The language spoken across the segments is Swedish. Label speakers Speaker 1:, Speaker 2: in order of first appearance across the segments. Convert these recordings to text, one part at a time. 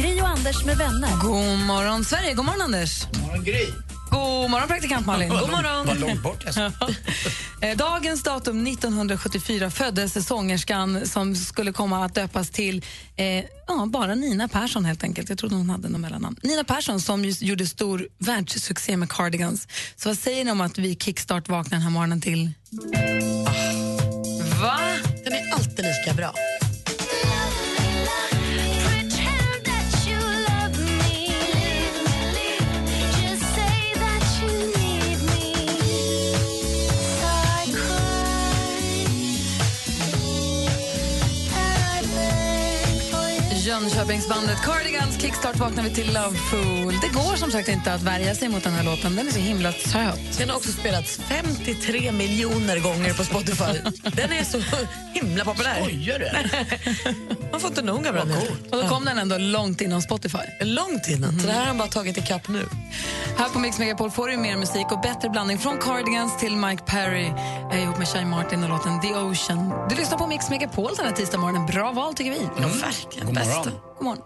Speaker 1: Gri och Anders med vänner.
Speaker 2: God morgon, Sverige. God morgon, Anders. God morgon, Gry. God morgon, praktikant Malin. God morgon. Vad långt bort Dagens datum 1974 föddes sångerskan som skulle komma att döpas till eh, ja, bara Nina Persson helt enkelt. Jag trodde hon hade något mellannamn. Nina Persson som just gjorde stor världssuccé med Cardigans. Så vad säger ni om att vi kickstart vaknar den här morgonen till? Ah. Va?
Speaker 3: Den är alltid lika bra.
Speaker 2: Jönköpingsbandet Cardigans kickstart vaknar vi till Loveful. Det går som sagt inte att värja sig mot den här låten. Den är så himla söt.
Speaker 3: Den har också spelats 53 miljoner gånger på Spotify. Den är så himla populär. Skojar du? Man får inte nog av den. här.
Speaker 2: Och då kom den ändå långt innan Spotify.
Speaker 3: Långt innan. Så det här har han bara tagit ikapp nu.
Speaker 2: Här på Mix Megapol får du mer musik och bättre blandning från Cardigans till Mike Perry Jag är ihop med Shai Martin och låten The Ocean. Du lyssnar på Mix Megapol den här tisdag morgonen. Bra val tycker vi.
Speaker 3: Ja, verkligen. God Bästa.
Speaker 2: God morgon.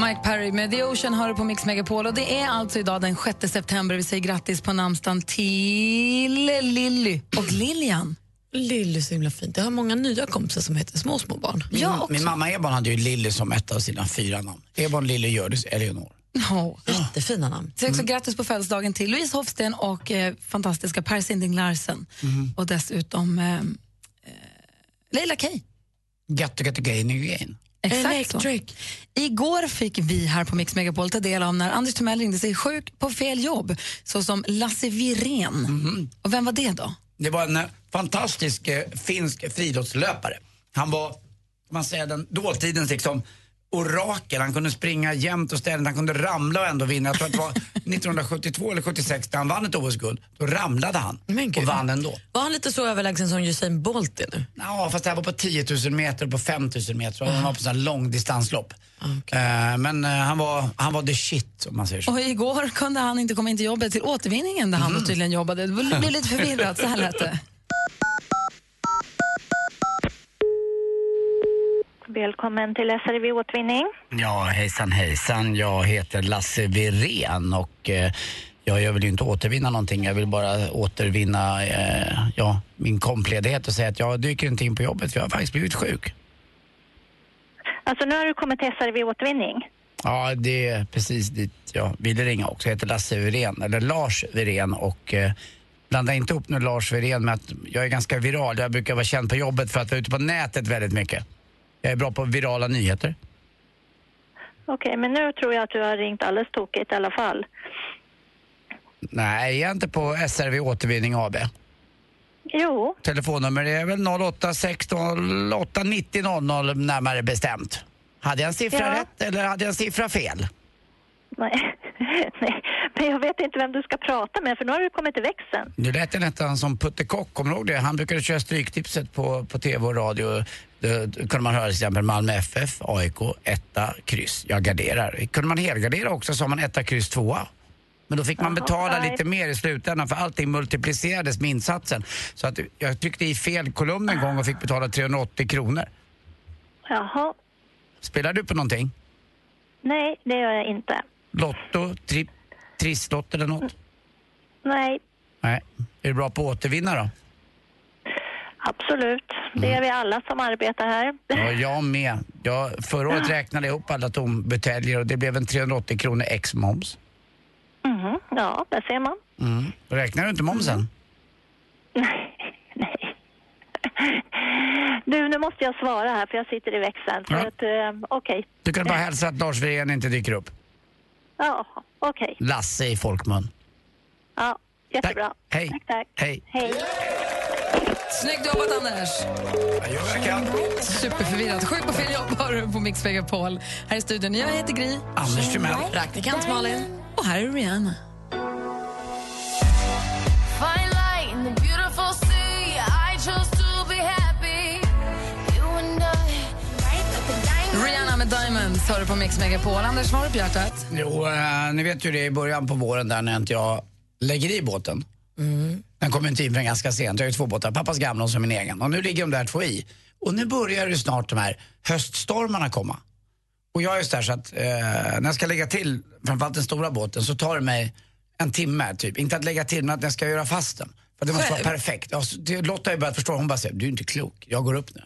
Speaker 2: Mike Perry med The Ocean hör du på Mix Megapol och det är alltså idag den 6 september. Vi säger grattis på namnsdagen till Lilly och Lilian.
Speaker 3: Lilly är så himla fint. Jag har många nya kompisar som heter små, små barn.
Speaker 2: Jag också.
Speaker 4: Min mamma Ebon hade ju Lilly som ett av sina fyra namn. Ebon, Lilly, Hjördis, Eleonor.
Speaker 2: Ja.
Speaker 3: Jättefina namn. Mm.
Speaker 2: Så också grattis på födelsedagen till Louise Hofsten och eh, fantastiska Per Sinding Larsen. Och dessutom eh, eh, Leila Kay.
Speaker 4: Gattu, gattu, gain, gain.
Speaker 2: Exakt
Speaker 3: Electric.
Speaker 2: så. Igår fick vi här på Mix Megapol ta del av när Anders Timell ringde sig sjuk på fel jobb, såsom Lasse Wirén.
Speaker 3: Mhm.
Speaker 2: Och vem var det då?
Speaker 4: Det var en eh, fantastisk eh, finsk friidrottslöpare. Han var, kan man säga, den dåtidens liksom orakel. Han kunde springa jämt och ständigt, han kunde ramla och ändå vinna. Jag tror att det var 1972 eller 76 när han vann ett OS-guld. Då ramlade han
Speaker 3: Men gud.
Speaker 4: och vann ändå.
Speaker 3: Var han lite så överlägsen som Usain Bolt är nu?
Speaker 4: Ja, fast det här var på 10 000 meter och på 5 000 meter. Och Han var på sån här långdistanslopp. Eh, Men eh, han var, han var the shit om man säger så.
Speaker 2: Och igår kunde han inte komma in till jobbet till återvinningen där
Speaker 3: Mhm.
Speaker 2: han då tydligen jobbade. Det blev lite förvirrat, så här lät det.
Speaker 5: Välkommen till SRV Återvinning.
Speaker 4: Ja, hejsan hejsan. Jag heter Lasse Wirén och eh, ja, jag vill ju inte återvinna någonting. Jag vill bara återvinna eh, ja, min kompledighet och säga att jag dyker inte in på jobbet för jag har faktiskt blivit sjuk.
Speaker 5: Alltså nu har du kommit till SRV Återvinning.
Speaker 4: Ja, det är precis dit jag ville ringa också. Jag heter Lasse Wirén, eller Lars Wirén och eh, blanda inte upp nu Lars Wirén med att jag är ganska viral. Jag brukar vara känd på jobbet för att vara ute på nätet väldigt mycket. Jag är bra på virala nyheter.
Speaker 5: Okej, men nu tror jag att du har ringt alldeles tokigt i alla fall.
Speaker 4: Nej, jag är inte på SRV Återvinning AB.
Speaker 5: Jo,
Speaker 4: Telefonnummer är väl 08-16-890-00 närmare bestämt. Hade jag en siffra
Speaker 5: Ja.
Speaker 4: rätt eller hade jag en siffra fel?
Speaker 5: nej. nej. Men jag vet inte vem du ska prata med för nu har du kommit till växeln.
Speaker 4: Nu lät det nästan som Putte Kock, kommer du ihåg det? Han brukade köra Stryktipset på, på tv och radio. Det, det kunde man höra till exempel Malmö FF, AIK, etta, kryss. Jag garderar. Kunde man helgardera också så har man etta, kryss, tvåa. Men då fick man betala
Speaker 5: nej.
Speaker 4: lite mer i slutändan för allting multiplicerades med insatsen. Så att jag tryckte i fel kolumn en gång och fick betala 380 kronor.
Speaker 5: Jaha,
Speaker 4: Spelar du på någonting?
Speaker 5: nej det gör jag inte.
Speaker 4: Lotto, tri, trisslott eller något?
Speaker 5: Nej,
Speaker 4: Nej. Är du bra på att återvinna då?
Speaker 5: absolut. Det är vi alla som arbetar här.
Speaker 4: Mm. Ja, jag med. Jag, förra året räknade jag ihop alla tombuteljer och det blev en 380 kronor ex moms.
Speaker 5: Mhm, Ja, där ser man.
Speaker 4: Mm. Räknar du inte momsen?
Speaker 5: Nej. Du, nu måste jag svara här för jag sitter i växeln. Så
Speaker 4: Ja.
Speaker 5: att, eh, okej.
Speaker 4: Du kan bara hälsa att Lars Wirén inte dyker upp.
Speaker 5: Ja, okej.
Speaker 4: Lasse i folkmun.
Speaker 5: Ja, jättebra.
Speaker 4: Hej.
Speaker 5: Tack, tack.
Speaker 4: Hej.
Speaker 5: Hej.
Speaker 2: Snyggt jobbat, Anders.
Speaker 4: Jag gör vad jag kan.
Speaker 2: Superförvirrat. Sjuk på fel jobb har du på Mix Megapol. Här i studion, jag heter Gry.
Speaker 4: Anders Timell.
Speaker 3: Praktikant Malin.
Speaker 2: Och här är Rihanna. Rihanna med Diamonds har du på Mix Megapol. Anders, vad har du på hjärtat?
Speaker 4: Jo, eh, ni vet ju det i början på våren där när inte jag lägger i båten. Den kommer inte in förrän ganska sent. Jag har ju två båtar, pappas gamla och så min egen. Och nu ligger de där två i. Och nu börjar ju snart de här höststormarna komma. Och jag är just där så att eh, när jag ska lägga till framförallt den stora båten så tar det mig en timme typ. Inte att lägga till men att jag ska göra fast den. För det måste vara perfekt. Ja, så det- Lotta har ju börjat förstå, hon bara säger du är inte klok, jag går upp nu.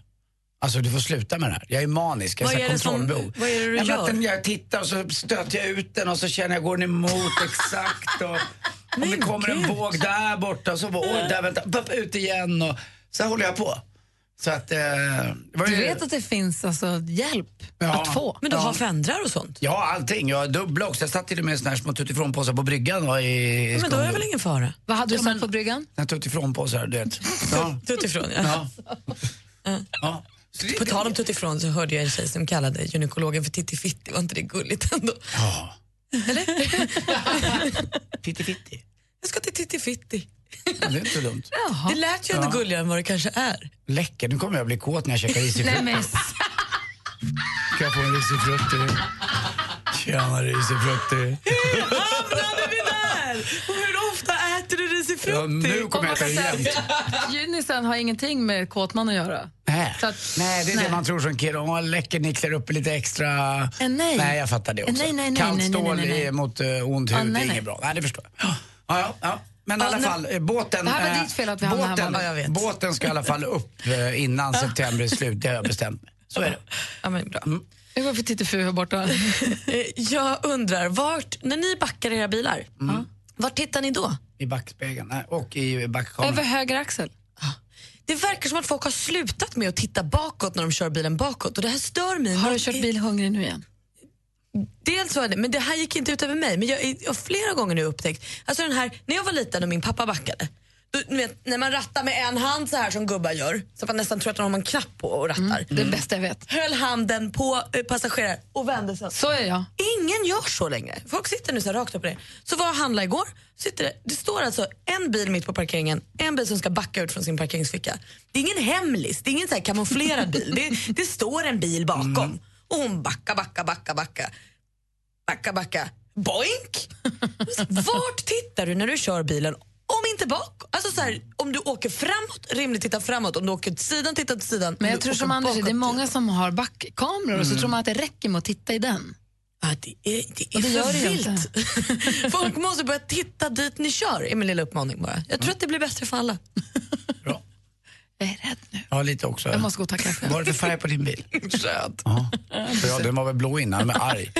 Speaker 4: Alltså du får sluta med det här. Jag är manisk, jag
Speaker 3: Vad
Speaker 4: är
Speaker 3: är det som-
Speaker 4: kontrollbehov.
Speaker 3: vad är det du
Speaker 4: Nej, men att
Speaker 3: gör?
Speaker 4: den- jag tittar och så stöter jag ut den och så känner jag går den emot exakt. Och, om det kommer en våg där borta så bara, oj, där vänta, upp, ut igen. Och, så här håller jag på. Så att, eh, det var
Speaker 2: Du
Speaker 4: ju-
Speaker 2: vet att det finns alltså hjälp
Speaker 4: Ja.
Speaker 2: att få.
Speaker 3: Men du har fendrar och sånt?
Speaker 4: Ja, allting. Jag har dubbla också. Jag satt till och med såna här små tuttifrånpåsar på bryggan och i, i
Speaker 3: Men då är det väl ingen fara?
Speaker 2: Vad hade du satt på bryggan?
Speaker 4: ingen... Tuttifrånpåsar, du vet. Ja.
Speaker 3: Tuttifrån, ja.
Speaker 4: ja. ja. Så det-
Speaker 3: På tal om tuttifrån så hörde jag en tjej som kallade gynekologen för Tittifitti. Var inte det gulligt ändå?
Speaker 4: Ja. Eller? Fittifitti.
Speaker 3: Jag ska till Tittifitti.
Speaker 4: Ja, det är inte så dumt.
Speaker 3: Det lät ju ändå gulligare än vad det kanske är.
Speaker 4: Läcker. Nu kommer jag bli kåt när jag käkar risig frukt.
Speaker 2: men
Speaker 4: Kan jag få en risig frukt till dig? Tjena risig frukt till dig.
Speaker 3: Hamnade vi där? Och hur ofta äter du
Speaker 4: Ja,
Speaker 3: risifrutti?
Speaker 4: nu kommer jag äta det jämt.
Speaker 2: Junisen har ingenting med kåtman att göra.
Speaker 4: Nej.
Speaker 2: Så att-
Speaker 4: nej, det är
Speaker 2: nej.
Speaker 4: det man tror som kille. Om man läcker ni klär upp lite extra.
Speaker 2: Eh, nej.
Speaker 4: jag fattar det
Speaker 2: Eh,
Speaker 4: också.
Speaker 2: nej, nej, nej,
Speaker 4: Kallt
Speaker 2: nej, nej,
Speaker 4: stål
Speaker 2: nej, nej.
Speaker 4: i- mot uh, ont hud,
Speaker 2: Ah,
Speaker 4: det
Speaker 2: nej,
Speaker 4: är
Speaker 2: nej.
Speaker 4: inget bra. Nej, det förstår jag. Ja, ja, ja. Men i
Speaker 2: Ja,
Speaker 4: alla
Speaker 2: nu-
Speaker 4: fall, eh, båten,
Speaker 2: Det här var
Speaker 4: eh,
Speaker 2: ditt fel att vi hamnade här,
Speaker 4: båten,
Speaker 2: Malin.
Speaker 3: Ja, jag vet.
Speaker 4: båten ska i alla fall upp eh, innan september är slut, det har jag bestämt mig. Så är det.
Speaker 3: Ja, men bra.
Speaker 4: Mm.
Speaker 2: Nu går vi för Titti här borta.
Speaker 3: Eh, Jag undrar, vart, när ni backar era bilar, vart tittar ni då?
Speaker 4: Mm. I backspegeln nej, och i
Speaker 2: Över
Speaker 4: backkameran.
Speaker 2: höger axel.
Speaker 3: Ah. Det verkar som att folk har slutat med att titta bakåt när de kör bilen bakåt och det här stör mig.
Speaker 2: Har
Speaker 3: Men-
Speaker 2: du kört bil hungrig nu igen?
Speaker 3: Dels var det, men det här gick inte ut över mig. Men jag jag har flera gånger nu upptäckt, alltså den här, när jag var liten och min pappa backade, då, ni vet, när man rattar med en hand så här som gubbar gör, så att man nästan tror att man har en knapp på och rattar.
Speaker 2: Mm, Det är det bästa jag vet.
Speaker 3: Höll handen på eh, passagerare och vände sig.
Speaker 2: Så är jag.
Speaker 3: Ingen gör så längre. Folk sitter nu så här rakt upp och ner. Så var jag och handlade igår, sitter det, det står alltså en bil mitt på parkeringen, en bil som ska backa ut från sin parkeringsficka. Det är ingen hemlis, det är ingen så här kamouflerad bil. Det, det står en bil bakom
Speaker 2: Mm.
Speaker 3: och hon backar, backar, backar, backar. Backar, backar. Boink! Vart tittar du när du kör bilen om inte bak? Alltså så här, om du åker framåt, rimligt titta framåt. Om du åker till sidan, titta till sidan. Om
Speaker 2: Men jag
Speaker 3: du
Speaker 2: tror som
Speaker 3: åker
Speaker 2: Anders, det är
Speaker 3: bakåt,
Speaker 2: många som har backkameror och så tror man att det räcker med att titta i den.
Speaker 3: Ja, det är, det är
Speaker 2: Och det gör
Speaker 3: för
Speaker 2: det ju
Speaker 3: vilt. Folk måste börja titta dit ni kör, är min lilla uppmaning bara. Jag tror att det blir bättre för alla.
Speaker 4: Bra.
Speaker 2: Jag är rädd nu.
Speaker 4: Ja, lite också.
Speaker 2: Jag måste gå och ta kaffe.
Speaker 4: Vad är det för färg på din bil?
Speaker 3: Röd.
Speaker 4: Ja, För ja, den var väl blå innan, men arg.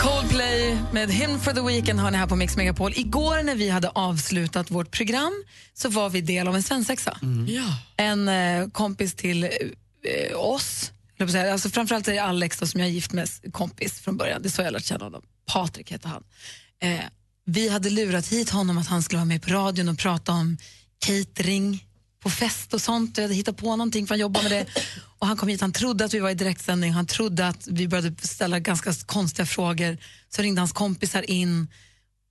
Speaker 2: Coldplay med Him for the Weekend har ni här på Mix Megapol. Igår när vi hade avslutat vårt program så var vi del av en svensexa.
Speaker 3: Ja.
Speaker 2: En eh, kompis till eh, oss, höll jag på att säga. alltså framförallt är det Alex då, som jag är gift med, s- kompis från början. Det är så jag lärt känna honom. Patrik heter han. Eh, vi hade lurat hit honom att han skulle vara med på radion och prata om catering på fest och sånt. Jag hade hittat på någonting för han jobbar med det. Och han kom hit, han trodde att vi var i direktsändning, han trodde att vi började ställa ganska konstiga frågor. Så ringde hans kompisar in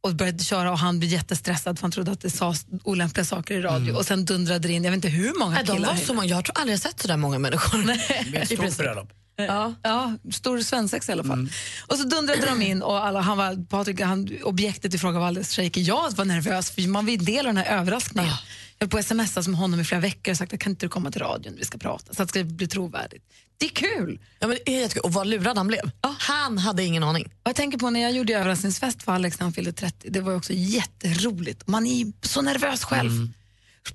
Speaker 2: och började köra och han blev jättestressad för han trodde att det sades olämpliga saker i radio. Och sen dundrade det in, jag vet inte hur många
Speaker 3: Mm. De
Speaker 2: killar.
Speaker 3: var så många, jag tror aldrig jag sett så där många människor.
Speaker 4: Det är ett stort bröllop.
Speaker 2: Eh, Ja. stor svensexa i alla
Speaker 3: Mm.
Speaker 2: fall. Och så dundrade de in och alla, han var, Patrik, han, objektet i fråga var alldeles shaky. Jag var nervös för man vill del av den här överraskningen. Jag höll på att smsa som honom i flera veckor och sagt att kan inte du komma till radion, vi ska prata så att det ska bli trovärdigt. Det är kul!
Speaker 3: Ja, men det är jättekul. Och vad lurad han blev. Han hade ingen aning.
Speaker 2: Och jag tänker på när jag gjorde överraskningsfest för Alex när han fyllde 30, det var ju också jätteroligt. Man är ju så nervös själv.
Speaker 4: Mm.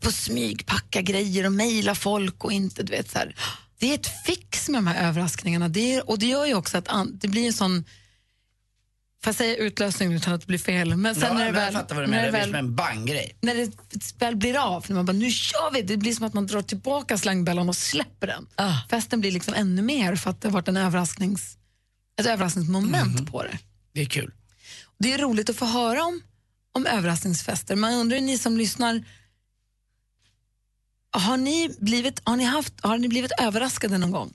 Speaker 2: På smygpacka grejer och mejla folk och inte, du vet så här. Det är ett fix med de här överraskningarna det är, och det gör ju också att an, det blir en sån Får jag säga utlösningen utan att det blir fel? Men sen
Speaker 4: ja,
Speaker 2: när det
Speaker 4: men
Speaker 2: väl,
Speaker 4: jag fattar vad du
Speaker 2: när
Speaker 4: menar,
Speaker 2: det
Speaker 4: det blir som
Speaker 2: väl,
Speaker 4: en banggrej.
Speaker 2: när det väl blir av, när man bara nu kör vi, det blir som att man drar tillbaka slangbällan och släpper den.
Speaker 4: Ah.
Speaker 2: Festen blir liksom ännu mer för att det har varit en överrasknings, ett överraskningsmoment
Speaker 4: Mhm.
Speaker 2: på det.
Speaker 4: Det är kul.
Speaker 2: Det är roligt att få höra om, om överraskningsfester. Man undrar ju, ni som lyssnar, har ni, blivit, har, ni haft, har ni blivit överraskade någon gång?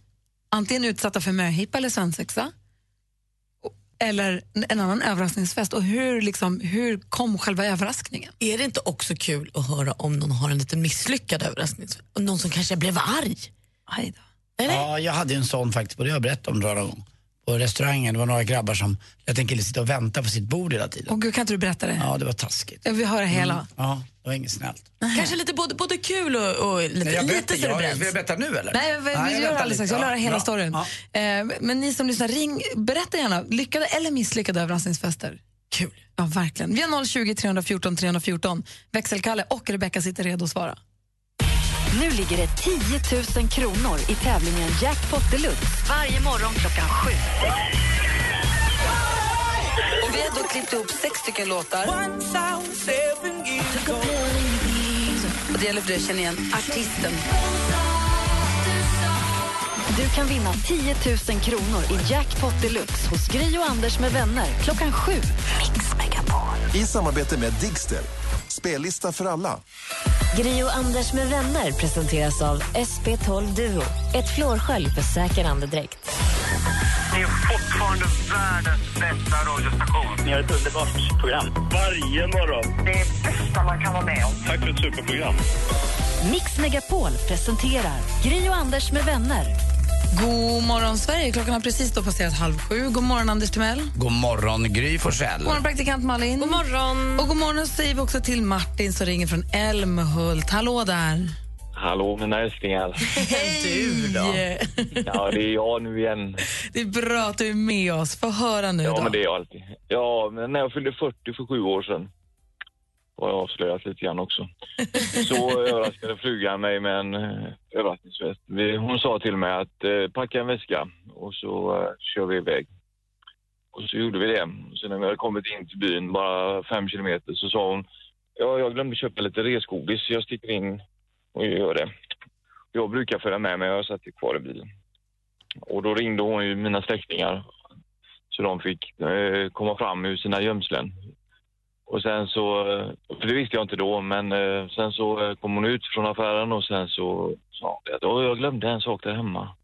Speaker 2: Antingen utsatta för möhippa eller svensexa? Och- Eller en- en annan överraskningsfest? Och hur, liksom, hur kom själva överraskningen?
Speaker 6: Är det inte också kul att höra om någon har en liten misslyckad överraskning? Och Någon som kanske blev arg?
Speaker 2: Aj då.
Speaker 6: Eller?
Speaker 4: Ja, jag hade ju en sån faktiskt, och det har jag berättat om några gång. På restaurangen, det var några grabbar som lät en kille sitta och vänta på sitt bord hela tiden.
Speaker 2: Och gud, kan inte du berätta det?
Speaker 4: Ja, det var taskigt. Mm.
Speaker 2: Jag vill höra hela.
Speaker 4: Ja, det var inget snällt.
Speaker 6: Mm. Kanske lite både, både kul och, och lite,
Speaker 4: Nej, jag
Speaker 6: lite
Speaker 4: berättar, jag,
Speaker 6: cerebellt.
Speaker 4: vill jag berätta nu eller?
Speaker 2: Nej, vi, vi gör
Speaker 4: väntar
Speaker 2: alldeles strax.
Speaker 4: lite.
Speaker 2: Jag vill höra
Speaker 4: Ja,
Speaker 2: hela
Speaker 4: bra.
Speaker 2: storyn.
Speaker 4: Ja.
Speaker 2: Eh, men ni som lyssnar, ring, berätta gärna. Lyckade eller misslyckade överraskningsfester? Kul. Ja, verkligen. Vi har 020 314 314. Växelkalle och Rebecca sitter redo att svara.
Speaker 1: Nu ligger det 10 000 kronor i tävlingen Jackpot Deluxe varje morgon klockan sju.
Speaker 2: Och vi har då klippt ihop sex stycken låtar. Och det gäller för dig att känna igen artisten.
Speaker 1: Du kan vinna 10 000 kronor i Jackpot Deluxe hos Gri och Anders med vänner klockan sju.
Speaker 7: I samarbete med Digster. Spellista för alla.
Speaker 8: Gri och Anders med vänner presenteras av SP12 Duo. Ett flårskölj för säker andedräkt.
Speaker 9: Ni är fortfarande världens bästa radiostation. Ni har ett underbart program. Varje morgon. Det är det bästa man kan vara med om. Tack för ett superprogram.
Speaker 1: Mix Megapol presenterar Gri och Anders med vänner.
Speaker 2: God morgon, Sverige. Klockan har precis då passerat halv sju. God morgon, Anders Timell. God
Speaker 4: God morgon Gry Forssell.
Speaker 2: morgon, praktikant Malin. God morgon. Och god morgon säger vi också till Martin som ringer från Älmhult. Hallå där.
Speaker 9: Hallå mina älsklingar.
Speaker 2: Du då?
Speaker 9: Ja, det är jag nu igen.
Speaker 2: Det är bra att du är med oss. Få höra nu
Speaker 9: Ja,
Speaker 2: då.
Speaker 9: men det är jag alltid. Ja, men när jag fyllde 40 för sju år sedan har jag avslöjat lite grann också. Så överraskade frugan mig med en eh, överraskningsfest. Vi- Hon sa till mig att eh, packa en väska och så eh, kör vi iväg. Och så gjorde vi det. Sen när vi hade kommit in till byn, bara fem kilometer, så sa hon ja, jag glömde köpa lite resgodis så jag sticker in och gör det. Jag brukar föra med mig, jag satt ju kvar i bilen. Och då ringde hon ju mina släktingar så de fick eh, komma fram ur sina gömslen. Och sen så, eh, för det visste jag inte då, men eh, sen så eh, kom hon ut från affären och sen så sa hon att "Åh, jag glömde en sak där hemma.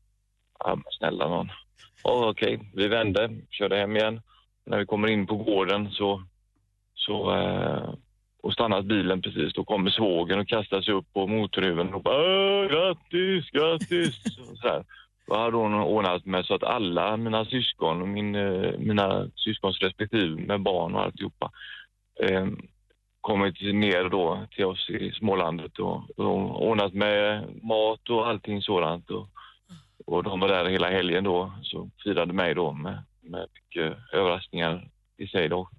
Speaker 9: Ja, men snälla någon. Ja, Okej, vi vände, körde hem igen. När vi kommer in på gården så, så eh, och stannat bilen precis, då kommer svågen och kastar sig upp på motorhuven och bara "Åh, grattis, grattis. Och Så här. Då hade hon ordnat med så att alla mina syskon och min, eh, mina syskons respektive med barn och alltihopa eh, kommit ner då till oss i smålandet och, och ordnat med mat och allting sådant. Och, och de var där hela helgen då, så firade mig då med, med mycket överraskningar i sig då.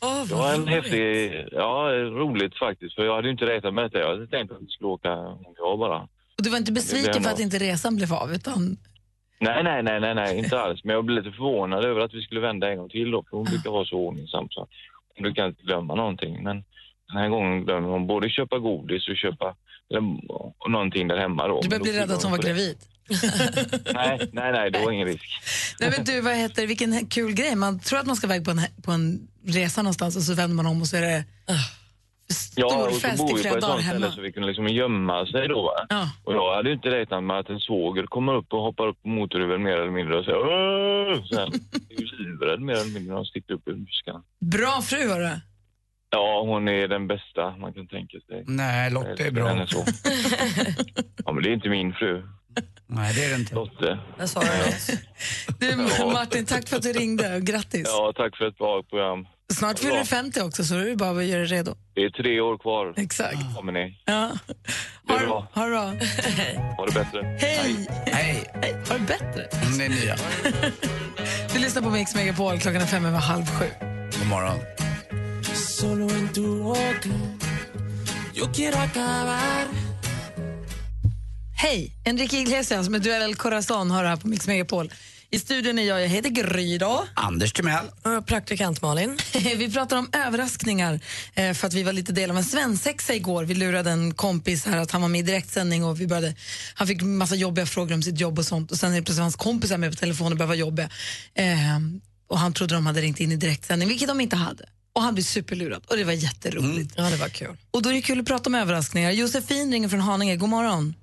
Speaker 6: Åh,
Speaker 9: Det
Speaker 6: vad
Speaker 9: var en
Speaker 6: roligt.
Speaker 9: häftig, ja roligt faktiskt för jag hade ju inte räknat med detta. Jag hade tänkt att vi skulle åka om jag bara.
Speaker 2: Och du var inte
Speaker 9: Det
Speaker 2: besviken
Speaker 9: blir
Speaker 2: för
Speaker 9: nog-
Speaker 2: att inte resan blev av? Utan...
Speaker 9: Nej, nej, nej, nej, nej, inte alls. Men jag blev lite förvånad över att vi skulle vända en gång till då, för hon brukar vara så ordningsam så hon brukar inte glömma någonting. Men den här gången glömmer hon både köpa godis och köpa eller, och någonting där hemma då.
Speaker 2: Du
Speaker 9: Men
Speaker 2: började
Speaker 9: då
Speaker 2: bli rädd
Speaker 9: skyller
Speaker 2: att hon var
Speaker 9: på det.
Speaker 2: gravid.
Speaker 9: Nej, nej, nej, det var ingen risk.
Speaker 2: Nej, men du, vad heter, vilken he- kul grej. Man tror att man ska iväg på en, he- på en resa någonstans och så vänder man om och så är det
Speaker 9: Ja,
Speaker 2: stor
Speaker 9: och så
Speaker 2: fest
Speaker 9: bor
Speaker 2: i
Speaker 9: vi på
Speaker 2: flera
Speaker 9: ett
Speaker 2: dagar
Speaker 9: sånt ställe
Speaker 2: hemma.
Speaker 9: så vi kunde liksom gömma sig då. Va?
Speaker 2: Ja.
Speaker 9: Och jag hade ju inte räknat med att en svåger kommer upp och hoppar upp på motorhuven mer eller mindre och säger Åh! Så här. Jag är ju livrädd mer eller mindre när hon sticker upp ur buskarna.
Speaker 2: Bra fru, hörru.
Speaker 9: Ja, hon är den bästa man kan tänka sig.
Speaker 4: Nej, Lotta Mm. är
Speaker 9: Henne
Speaker 4: bra.
Speaker 9: så. Ja, men det är inte min fru.
Speaker 4: Nej, det är det inte.
Speaker 9: Lotte.
Speaker 6: Jag sa det.
Speaker 2: Du, Martin, tack för att du ringde och grattis.
Speaker 9: Ja, tack för ett bra program.
Speaker 2: Snart fyller du 50 också så du är bara att göra dig redo.
Speaker 9: Det är tre år kvar.
Speaker 2: Exakt.
Speaker 9: Kommer ni.
Speaker 2: Ja.
Speaker 9: Det
Speaker 2: Ha
Speaker 9: är
Speaker 2: det
Speaker 9: bra.
Speaker 2: ha det bra.
Speaker 9: Ha det bättre.
Speaker 2: Hej!
Speaker 4: Hej,
Speaker 2: Har det bättre?
Speaker 4: det är nya.
Speaker 2: Du lyssnar på Mix Megapol klockan är fem över halv sju.
Speaker 4: God morgon.
Speaker 2: Hej! Enrique Iglesias med Duell El Corazon har det här på Mix Megapol. I studion är jag, jag heter Gry då.
Speaker 4: Anders Timell.
Speaker 2: Och Praktikant Malin. vi pratar om överraskningar eh, för att vi var lite del av en svensexa igår. Vi lurade en kompis här att han var med i direktsändning och vi började, han fick massa jobbiga frågor om sitt jobb och sånt och sen är det plötsligt hans kompisar med på telefon och började vara jobbiga. Eh, och han trodde de hade ringt in i direktsändning, vilket de inte hade. Och han blev superlurad och det var jätteroligt.
Speaker 6: Ja, det var kul.
Speaker 2: Och då är det kul att prata om överraskningar. Josefin ringer från Haninge, god morgon.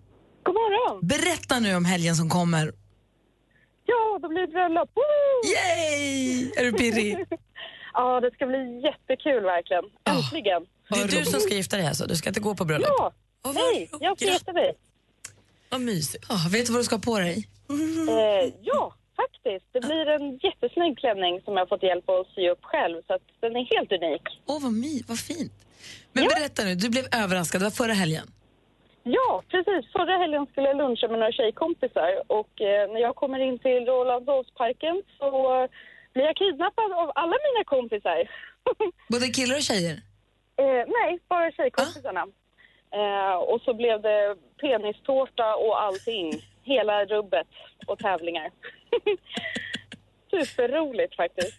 Speaker 10: God morgon.
Speaker 2: Berätta nu om helgen som kommer.
Speaker 10: Ja, då blir det bröllop! Woo!
Speaker 2: Yay! Är du pirrig? Ah,
Speaker 10: ja, det ska bli jättekul verkligen. Äntligen!
Speaker 6: Det är du som ska gifta dig alltså? Du ska inte gå på bröllop?
Speaker 10: Ja! Nej, jag ska gifta mig.
Speaker 6: Vad mysigt.
Speaker 2: Ja, vet du vad du ska ha på dig? Mm.
Speaker 10: Eh, ja, faktiskt. Det blir en jättesnygg klänning som jag har fått hjälp att sy upp själv, så att den är helt unik.
Speaker 2: Åh, vad, my, vad fint. Men berätta nu, du blev överraskad. Det var förra helgen.
Speaker 10: Ja, precis. Förra helgen skulle jag luncha med några tjejkompisar och eh, när jag kommer in till Rolandshovsparken så eh, blir jag kidnappad av alla mina kompisar.
Speaker 2: Både killar och tjejer?
Speaker 10: Eh, nej, bara tjejkompisarna. Eh, och så blev det penistårta och allting. Hela rubbet och tävlingar. Superroligt faktiskt.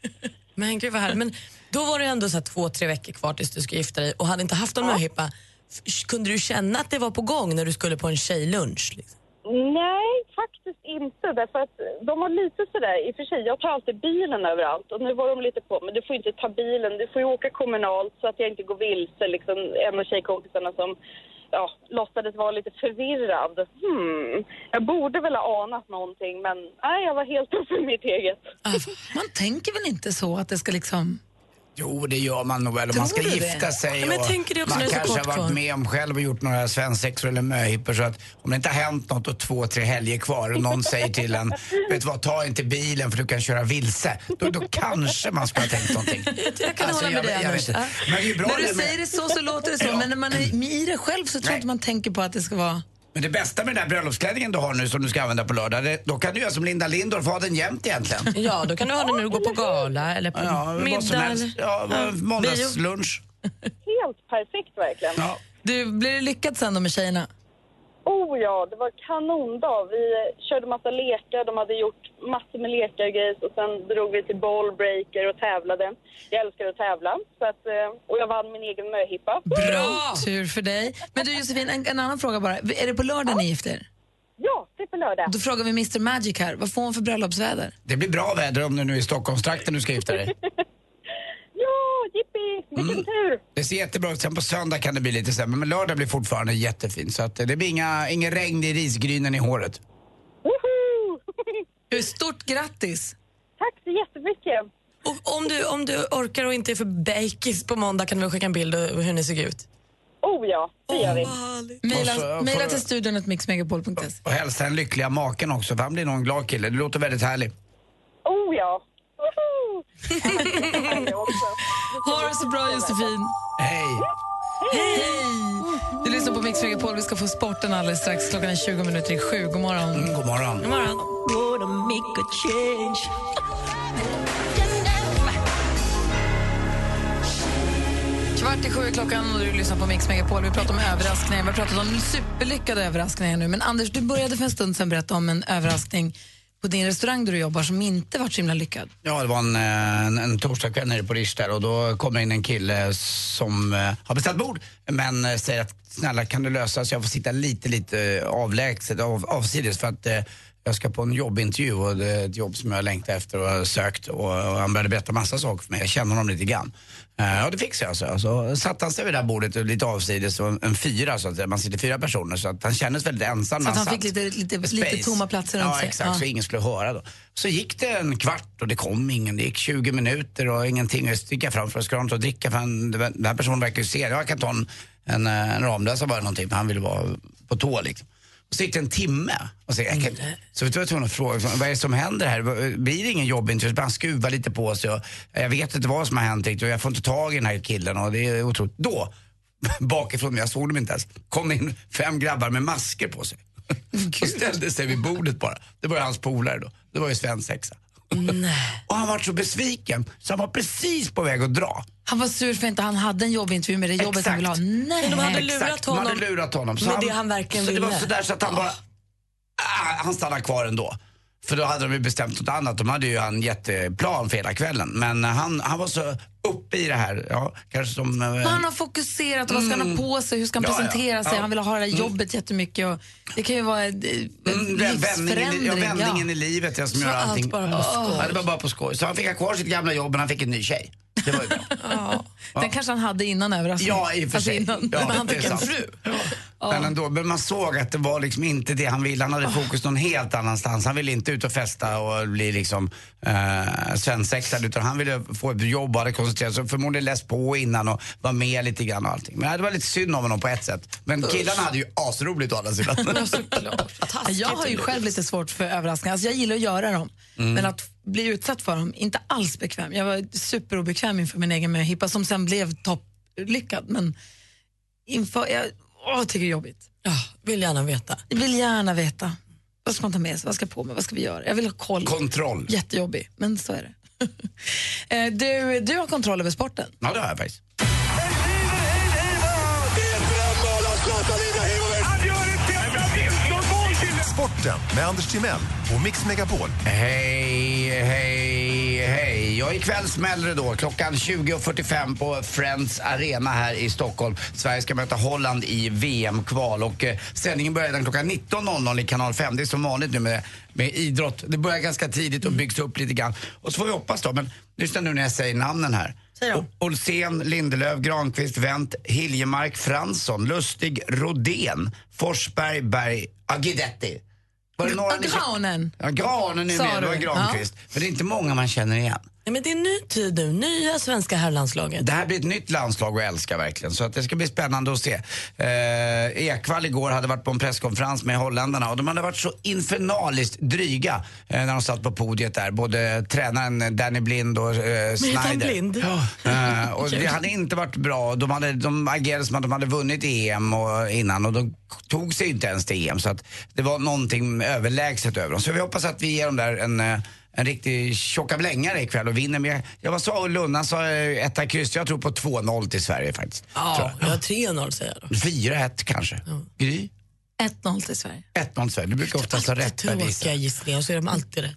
Speaker 6: Men gud vad härligt. Men då var det ändå så här två, tre veckor kvar tills du skulle gifta dig och hade inte haft någon möhippa. F- Kunde du känna att det var på gång när du skulle på en tjejlunch? Liksom?
Speaker 10: Nej, faktiskt inte. Därför att de var lite sådär, i och för sig, jag tar alltid bilen överallt och nu var de lite på men du får inte ta bilen, du får ju åka kommunalt så att jag inte går vilse. Liksom, en av tjejkompisarna som ja, låtsades vara lite förvirrad. Hmm. Jag borde väl ha anat någonting men nej, jag var helt uppe i mitt eget.
Speaker 2: Ah, Man tänker väl inte så att det ska liksom...
Speaker 4: Jo, det gör man nog väl. Om man ska
Speaker 2: Tror du det?
Speaker 4: gifta sig
Speaker 2: Ja, men jag tänker det
Speaker 4: och
Speaker 2: också
Speaker 4: man
Speaker 2: när det är så
Speaker 4: kanske har
Speaker 2: kort
Speaker 4: varit
Speaker 2: kvar.
Speaker 4: med om själv och gjort några svensexor eller möhippor så att om det inte har hänt något och två, tre helger kvar och någon säger till en, vet du vad, ta inte bilen för du kan köra vilse. Då, då kanske man skulle ha tänkt någonting.
Speaker 2: Jag kan
Speaker 4: Alltså,
Speaker 2: hålla med
Speaker 4: jag
Speaker 2: dig
Speaker 4: vet-
Speaker 2: Anders.
Speaker 4: jag vet inte.
Speaker 2: Ja.
Speaker 4: Men det är bra
Speaker 2: när
Speaker 4: det
Speaker 2: du
Speaker 4: med-
Speaker 2: säger det så så låter det så, men när man är i det själv så tror jag inte man tänker på att det ska vara...
Speaker 4: Men det bästa med den där bröllopsklänningen du har nu som du ska använda på lördag, det, då kan du göra som Linda Lindorff, ha den jämt egentligen.
Speaker 6: Ja, då kan du ha det när du går på gala eller på
Speaker 4: Ja, vad som
Speaker 6: middag.
Speaker 4: helst.
Speaker 6: eller-
Speaker 4: Ja,
Speaker 6: bio.
Speaker 4: måndagslunch.
Speaker 10: Helt perfekt verkligen.
Speaker 2: Du, blir det lyckat sen då med tjejerna?
Speaker 10: Oh ja, det var kanondag. Vi eh, körde massa lekar, de hade gjort massor med lekar och grejer och sen drog vi till ballbreaker och tävlade. Jag älskar att tävla så att, eh, och jag vann min egen möhippa.
Speaker 2: Bra! Tur för dig. Men du Josefin, en, en annan fråga bara. Är det på lördag ni gifter er?
Speaker 10: Ja, det är på lördag.
Speaker 2: Då frågar vi Mr Magic här, vad får hon för bröllopsväder?
Speaker 4: Det blir bra väder om du nu är i Stockholmstrakten du ska gifta dig.
Speaker 10: Ja, jippi! Vilken tur!
Speaker 4: Mm. Det ser jättebra ut. Sen på söndag kan det bli lite sämre, men lördag blir fortfarande jättefint. Så att eh, det blir inga, ingen regn i risgrynen i håret.
Speaker 2: Du, Stort grattis!
Speaker 10: Tack så jättemycket.
Speaker 6: Och om du, om du orkar och inte är för bakis på måndag kan du väl skicka en bild och hur ni såg ut?
Speaker 10: Oh ja, det gör vi.
Speaker 4: Och så,
Speaker 2: Mejla,
Speaker 4: eh,
Speaker 2: mejla
Speaker 4: får-
Speaker 2: till studion att mixmegapol.se.
Speaker 4: Och hälsa den lyckliga maken också, för han blir nog en glad kille. Det låter väldigt härligt.
Speaker 10: Oh ja! Woho!
Speaker 2: Ha det så bra Josefin!
Speaker 4: Hej!
Speaker 2: Hej! Du lyssnar på Mix Megapol. Vi ska få sporten alldeles strax. Klockan är 20 minuter i sju. God morgon.
Speaker 4: Mm, god morgon.
Speaker 2: God morgon. Kvart i sju är klockan och du lyssnar på Mix Megapol. Vi pratar om överraskningar. Vi har pratat om superlyckade överraskningar nu. Men Anders, du började för en stund sedan berätta om en överraskning på din restaurang där du jobbar som inte var så himla lyckad.
Speaker 4: Ja, det var en, eh, en, en torsdagskväll nere på Rish där och då kommer in en kille som eh, har beställt bord men eh, säger att snälla kan du lösa så jag får sitta lite, lite eh, avlägset, av, avsides för att eh, jag ska på en jobbintervju och det är ett jobb som jag längtar efter och har sökt och, och han började berätta massa saker för mig. Jag känner honom lite grann. Eh, Ja, det fixade jag, så. Så satte han sig vid det där bordet och lite avsides, och en, en fyra så att säga. Man sitter fyra personer så att han kändes väldigt ensam
Speaker 2: Så
Speaker 4: när
Speaker 2: att han
Speaker 4: satt
Speaker 2: fick lite, lite, lite
Speaker 4: space.
Speaker 2: tomma platser runt
Speaker 4: ja,
Speaker 2: sig.
Speaker 4: Exakt, Så ingen skulle höra då. Så gick det en kvart och det kom ingen. Det gick 20 minuter och ingenting. Jag sticker fram för att ska ha något att dricka för han, den här personen verkar ju se. Jag kan ta en, en, eh, en Ramlösa bara någonting för han ville vara på tå liksom. Och så gick det en timme. Och så, jag kan, så vet du vad jag var tvungen att fråga, liksom, vad är det som händer här? Blir det ingen jobbintervju? Han skruvar lite på sig och eh, jag vet inte vad som har hänt riktigt och jag får inte tag i den här killen och det är otroligt. Då, bakifrån, men jag såg dem inte ens, kom in fem grabbar med masker på sig. Och ställde sig vid bordet bara. Det var ju hans polare då. Det var ju svensexa. Och han var så besviken så han var precis på väg att dra.
Speaker 2: Han var sur för inte han hade en jobbintervju med det jobbet han ville ha. Nej.
Speaker 6: Men de hade
Speaker 4: Exakt,
Speaker 6: lurat
Speaker 4: de hade
Speaker 6: honom
Speaker 4: lurat honom. Så
Speaker 6: med det han verkligen
Speaker 4: så det var
Speaker 6: ville.
Speaker 4: sådär så att han bara... Ah, han stannade kvar ändå. För då hade de ju bestämt något annat. De hade ju en jätteplan för hela kvällen. Men eh, han, han var så uppe i det här. Ja, kanske som... eh,
Speaker 2: Men han har fokuserat, vad ska han ha
Speaker 4: Mm.
Speaker 2: på sig, hur ska han
Speaker 4: Ja, ja.
Speaker 2: presentera sig,
Speaker 4: Ja.
Speaker 2: han vill ha det här
Speaker 4: Mm.
Speaker 2: jobbet jättemycket. Och det kan ju vara eh, en
Speaker 4: Mm, den vändningen, i-
Speaker 2: livsförändring.
Speaker 4: ja, vändningen i livet ja, som
Speaker 2: Så
Speaker 4: gör allting.
Speaker 2: allt bara på skoj.
Speaker 4: Ja, det var bara på skoj. Så han fick ha kvar sitt gamla jobb men han fick en ny tjej. Det var ju bra.
Speaker 2: Den kanske han hade innan överraskningen.
Speaker 4: Ja, i och för
Speaker 2: Alltså
Speaker 4: sig.
Speaker 2: innan-
Speaker 4: Ja,
Speaker 2: men han
Speaker 4: det
Speaker 2: fick
Speaker 4: är
Speaker 2: en
Speaker 4: sant.
Speaker 2: fru.
Speaker 4: Men, ändå, men man såg att det var liksom inte det han ville. Han hade fokus någon helt annanstans. Han ville inte ut och festa och bli liksom eh, svensexad utan han ville få ett jobb och hade koncentrerat sig. Förmodligen läst på innan och var med lite grann och allting. Men det var lite synd om honom på ett sätt. Men killarna hade ju asroligt å andra sidan.
Speaker 2: alltså, Jag har ju själv lite svårt för överraskningar. Alltså jag gillar att göra dem,
Speaker 4: Mm.
Speaker 2: men att bli utsatt för dem, inte alls bekväm. Jag var superobekväm inför min egen möhippa som sen blev topplyckad. Men inför, jag åh, tycker det är jobbigt.
Speaker 6: vill gärna veta.
Speaker 2: Jag vill gärna veta. Vad ska man ta med sig? Vad ska jag på mig? Vad ska vi göra? Jag vill ha koll.
Speaker 4: Kontroll.
Speaker 2: Jättejobbig, men så är det. Eh, du, du har kontroll över sporten.
Speaker 4: Ja, det har jag faktiskt.
Speaker 7: Sporten med Anders Timell och Mix Megapol.
Speaker 4: Hej, hej, hej. Ja, ikväll smäller det då. Klockan 20.45 på Friends Arena här i Stockholm. Sverige ska möta Holland i VM-kval. Och eh, sändningen börjar redan klockan 19.00 i kanal 5. Det är som vanligt nu med, med idrott. Det börjar ganska tidigt och byggs upp lite grann. Och så får vi hoppas då. Men lyssna nu när jag säger namnen här. O- Olsén, Lindelöf, Granqvist, Wendt, Hiljemark, Fransson, Lustig, Rodén, Forsberg, Berg, Agidetti. Var det några ni-
Speaker 2: Granen.
Speaker 4: Ja, granen är
Speaker 2: Sa
Speaker 4: med, det var
Speaker 2: du?
Speaker 4: Granqvist. Men det är inte många man känner igen.
Speaker 6: Nej, men det är ny tid nu, nya svenska herrlandslaget.
Speaker 4: Det här blir ett nytt landslag att älska verkligen. Så att det ska bli spännande att se. Eh, Ekvall igår hade varit på en presskonferens med holländarna och de hade varit så infernaliskt dryga eh, när de satt på podiet där. Både tränaren Danny Blind och eh,
Speaker 6: Men heter han
Speaker 4: Snyder.
Speaker 6: Blind?
Speaker 4: Eh, och det hade inte varit bra. De, hade, de agerade som att de hade vunnit EM och, innan och de tog sig inte ens till EM. Så att det var någonting överlägset över dem. Så vi hoppas att vi ger dem där en, eh, en riktig tjocka blängare ikväll och vinner. Men jag, jag var sa och Lunna sa eh, etta kryss. Jag tror på 2-0 till Sverige faktiskt.
Speaker 6: Ja, jag har 3-0 säger jag
Speaker 4: 4-1 kanske. Gry?
Speaker 2: 1-0 till Sverige.
Speaker 4: 1-0 Sverige. Du brukar oftast ha rätt
Speaker 6: då.
Speaker 4: Parisa.
Speaker 6: Tråkiga gissningar, så är de alltid rätt.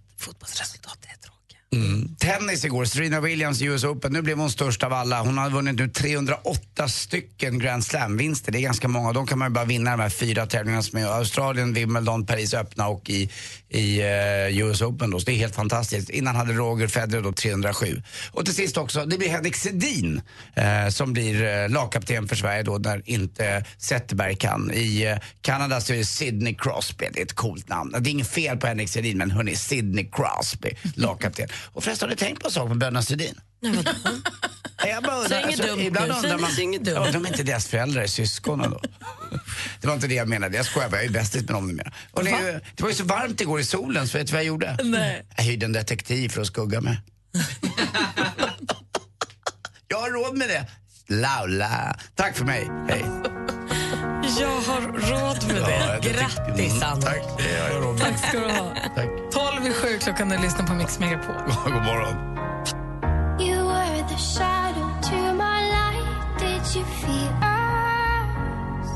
Speaker 4: Mm. Tennis igår, Serena Williams i US Open. Nu blev hon störst av alla. Hon har vunnit nu 308 stycken Grand Slam-vinster. Det är ganska många. De kan man ju bara vinna de här fyra tävlingarna som är Australien, Wimbledon, Paris öppna och i, i eh, US Open. Då. Så det är helt fantastiskt. Innan hade Roger Federer då 307. Och till sist också, det blir Henrik Sedin eh, som blir eh, lagkapten för Sverige då när inte Zetterberg kan. I eh, Kanada så är det Sidney Crosby. Det är ett coolt namn. Det är inget fel på Henrik Sedin men hörni, Sidney Crosby, lagkapten. Och förresten, har ni tänkt på en sak med bröderna Sedin? Nej, jag bara undrar, alltså,
Speaker 6: Säg inget dumt
Speaker 4: ibland
Speaker 6: nu,
Speaker 4: undrar
Speaker 6: säg- säg inget
Speaker 4: man,
Speaker 6: dumt.
Speaker 4: ja, de är inte deras föräldrar, är syskonen då? Det var inte det jag menade, jag skojar bara, jag är bästis med dem numera. Och det, är ju- det var ju så varmt igår i solen, så vet du vad jag gjorde?
Speaker 6: Nej.
Speaker 4: Jag hyrde en detektiv för att skugga mig. jag har råd med det. Laula. Tack för mig, hej.
Speaker 6: Jag har råd med
Speaker 4: Ja,
Speaker 6: det.
Speaker 4: jag tyckte-
Speaker 6: Grattis,
Speaker 4: Mm,
Speaker 6: Anna.
Speaker 4: Tack, det har jag råd med.
Speaker 2: Tack ska du ha.
Speaker 4: Tack.
Speaker 2: 12 i 7 klockan när du lyssnar på Mix Megapol.
Speaker 4: God morgon.
Speaker 11: You were the shadow to my light. Did you feel us?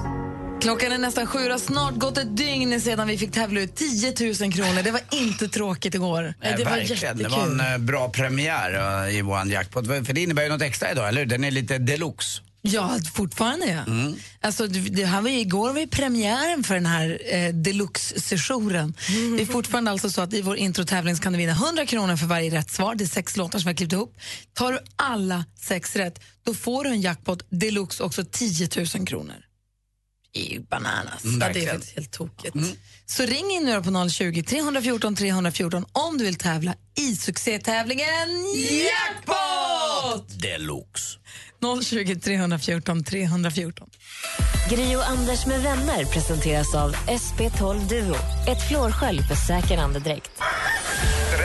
Speaker 2: Klockan är nästan sju och har snart gått ett dygn sedan vi fick tävla ut 10 000 kronor. Det var inte tråkigt igår.
Speaker 4: Nej,
Speaker 2: det var
Speaker 4: verkligen.
Speaker 2: jättekul.
Speaker 4: Det var en eh, bra premiär eh, i vår jackpot. För det innebär ju något extra idag, eller hur? Den är lite deluxe. Mm.
Speaker 2: Ja, fortfarande ja. Alltså, det det här var ju, igår var ju premiären för den här eh, deluxe-sessionen. Det är fortfarande alltså så att i vår introtävling så kan du vinna 100 kronor för varje rätt svar. Det är sex låtar som vi har klippt ihop. Tar du alla sex rätt, då får du en jackpot deluxe också 10 000 kronor. Det är ju bananas.
Speaker 6: Mm,
Speaker 2: Ja, det är
Speaker 6: verkligen.
Speaker 2: faktiskt helt tokigt. Mm. Så ring in nu då på 020 314 314 om du vill tävla i succétävlingen Jackpot!
Speaker 4: Deluxe.
Speaker 2: 020 314 314.
Speaker 8: Gri och Anders med vänner presenteras av SP12 Duo. Ett flårskölj för säker andedräkt.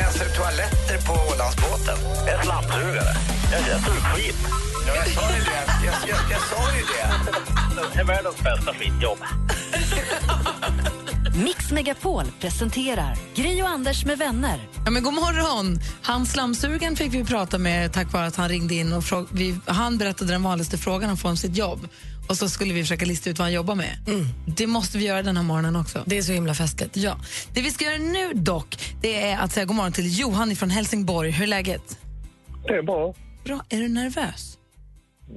Speaker 4: Rensar du toaletter på Ålandsbåten? En slamsugare. Jag jäser skit. Ja, jag sa ju det. Jag, jag, jag sa ju det.
Speaker 3: Det är världens bästa skitjobb.
Speaker 8: Mix Megapol presenterar Gri och Anders med vänner.
Speaker 2: Ja, men god morgon! Han slamsugaren fick vi prata med tack vare att han ringde in och frå- vi, han berättade den vanligaste frågan han får om sitt jobb. Och så skulle vi försöka lista ut vad han jobbar med. Det måste vi göra den här morgonen också.
Speaker 3: Mm. Det är så himla festligt.
Speaker 2: Ja. Det vi ska göra nu dock, det är att säga god morgon till Johan från Helsingborg. Hur är läget?
Speaker 12: Det är bra.
Speaker 2: Bra. Är du nervös?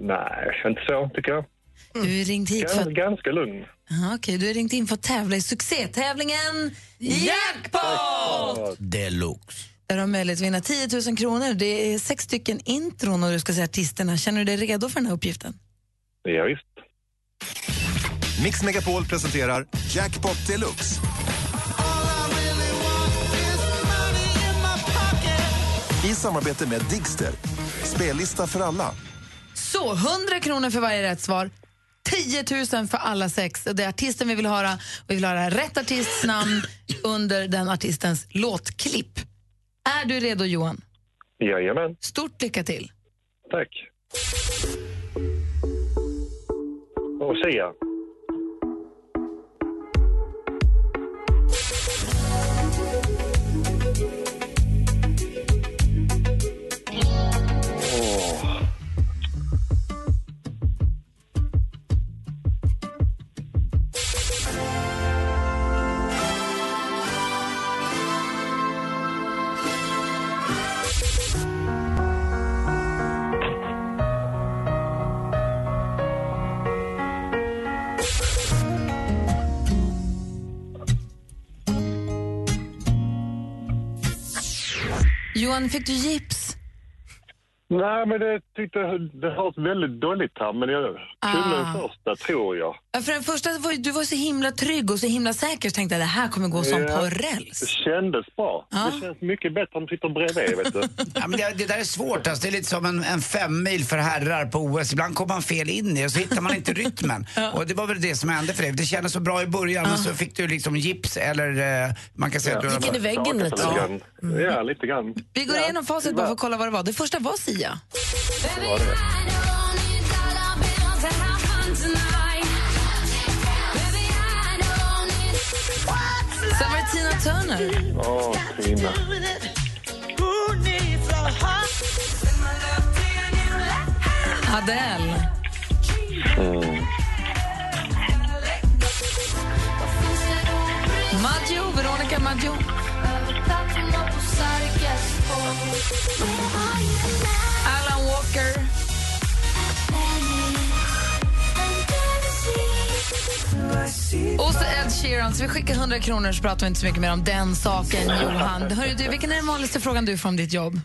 Speaker 12: Nej, inte så tycker jag.
Speaker 2: Du är ringt hit för
Speaker 13: Mm.
Speaker 12: Gans,
Speaker 2: att...
Speaker 12: ganska lugn.
Speaker 2: Ja, okej, du är ringt in för att tävla i succétävlingen Jackpot!
Speaker 4: Deluxe.
Speaker 2: Där du har möjlighet att vinna 10 000 kronor. Det är sex stycken intron och du ska säga artisterna. Känner du dig redo för den här uppgiften?
Speaker 12: Ja, visst.
Speaker 7: Mix Megapol presenterar Jackpot Deluxe. I samarbete med Digster. Spellista för alla.
Speaker 2: Så 100 kronor för varje rätt svar. 10 000 för alla sex. Och Det är artisten vi vill höra. Och vi vill höra rätt artists namn under den artistens låtklipp. Är du redo, Johan?
Speaker 12: Jajamän.
Speaker 2: Stort lycka till.
Speaker 12: Tack. Och Sia. Åh.
Speaker 2: Johan, fick du gips?
Speaker 12: Nej, men det tyckte jag- det hörs väldigt dåligt här, men jag kunde
Speaker 2: Ah.
Speaker 12: den första tror jag.
Speaker 2: Ja, För den första, var ju- du var så himla trygg och så himla säker så tänkte jag det här kommer gå som
Speaker 12: Ja.
Speaker 2: på räls. Ah.
Speaker 12: Det kändes bra. Det känns mycket bättre om du sitter bredvid, vet du.
Speaker 4: Ja, men det, det där är svårt. Alltså. Det är lite som en, en femmil för herrar på OS. Ibland kommer man fel in i och så hittar man inte rytmen. Och det var väl det som hände för dig. Det kändes så bra i början men så fick du liksom gips eller eh, man kan säga att du...
Speaker 3: Gick in i väggen
Speaker 4: Ja,
Speaker 3: lite. Mm.
Speaker 4: lite grann.
Speaker 12: Ja, lite grann.
Speaker 2: Vi går igenom facit bara för att kolla vad det var. Det första var Sia. Sen var det Tina Turner.
Speaker 12: Åh, Tina.
Speaker 2: Adele.
Speaker 12: Mm.
Speaker 2: Maggio, Veronica Maggio. Alan Walker. Och så Ed Sheeran, så vi skickar 100 kronor så pratar vi inte så mycket mer om den saken, Johan. Hörru, du, vilken är den vanligaste frågan du får om ditt jobb?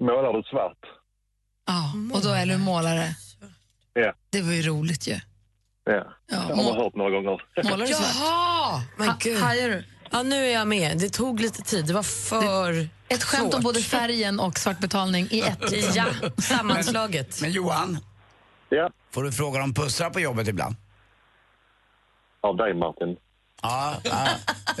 Speaker 12: Målar du svart?
Speaker 2: Ja, och då är du målare.
Speaker 12: Ja.
Speaker 2: Det var ju roligt ju.
Speaker 12: ja. Det har man
Speaker 3: må-
Speaker 12: hört några gånger.
Speaker 3: Målar du svart? Jaha! Men gud. du? Ja, nu är jag med. Det tog lite tid. Det var för
Speaker 2: Ett skämt om
Speaker 3: svårt.
Speaker 2: både färgen och svartbetalning i ett.
Speaker 3: Ja,
Speaker 4: Men, men Johan.
Speaker 12: Ja.
Speaker 4: Får du fråga om pussar på jobbet ibland?
Speaker 12: Av dig, Martin.
Speaker 4: Ja, ja.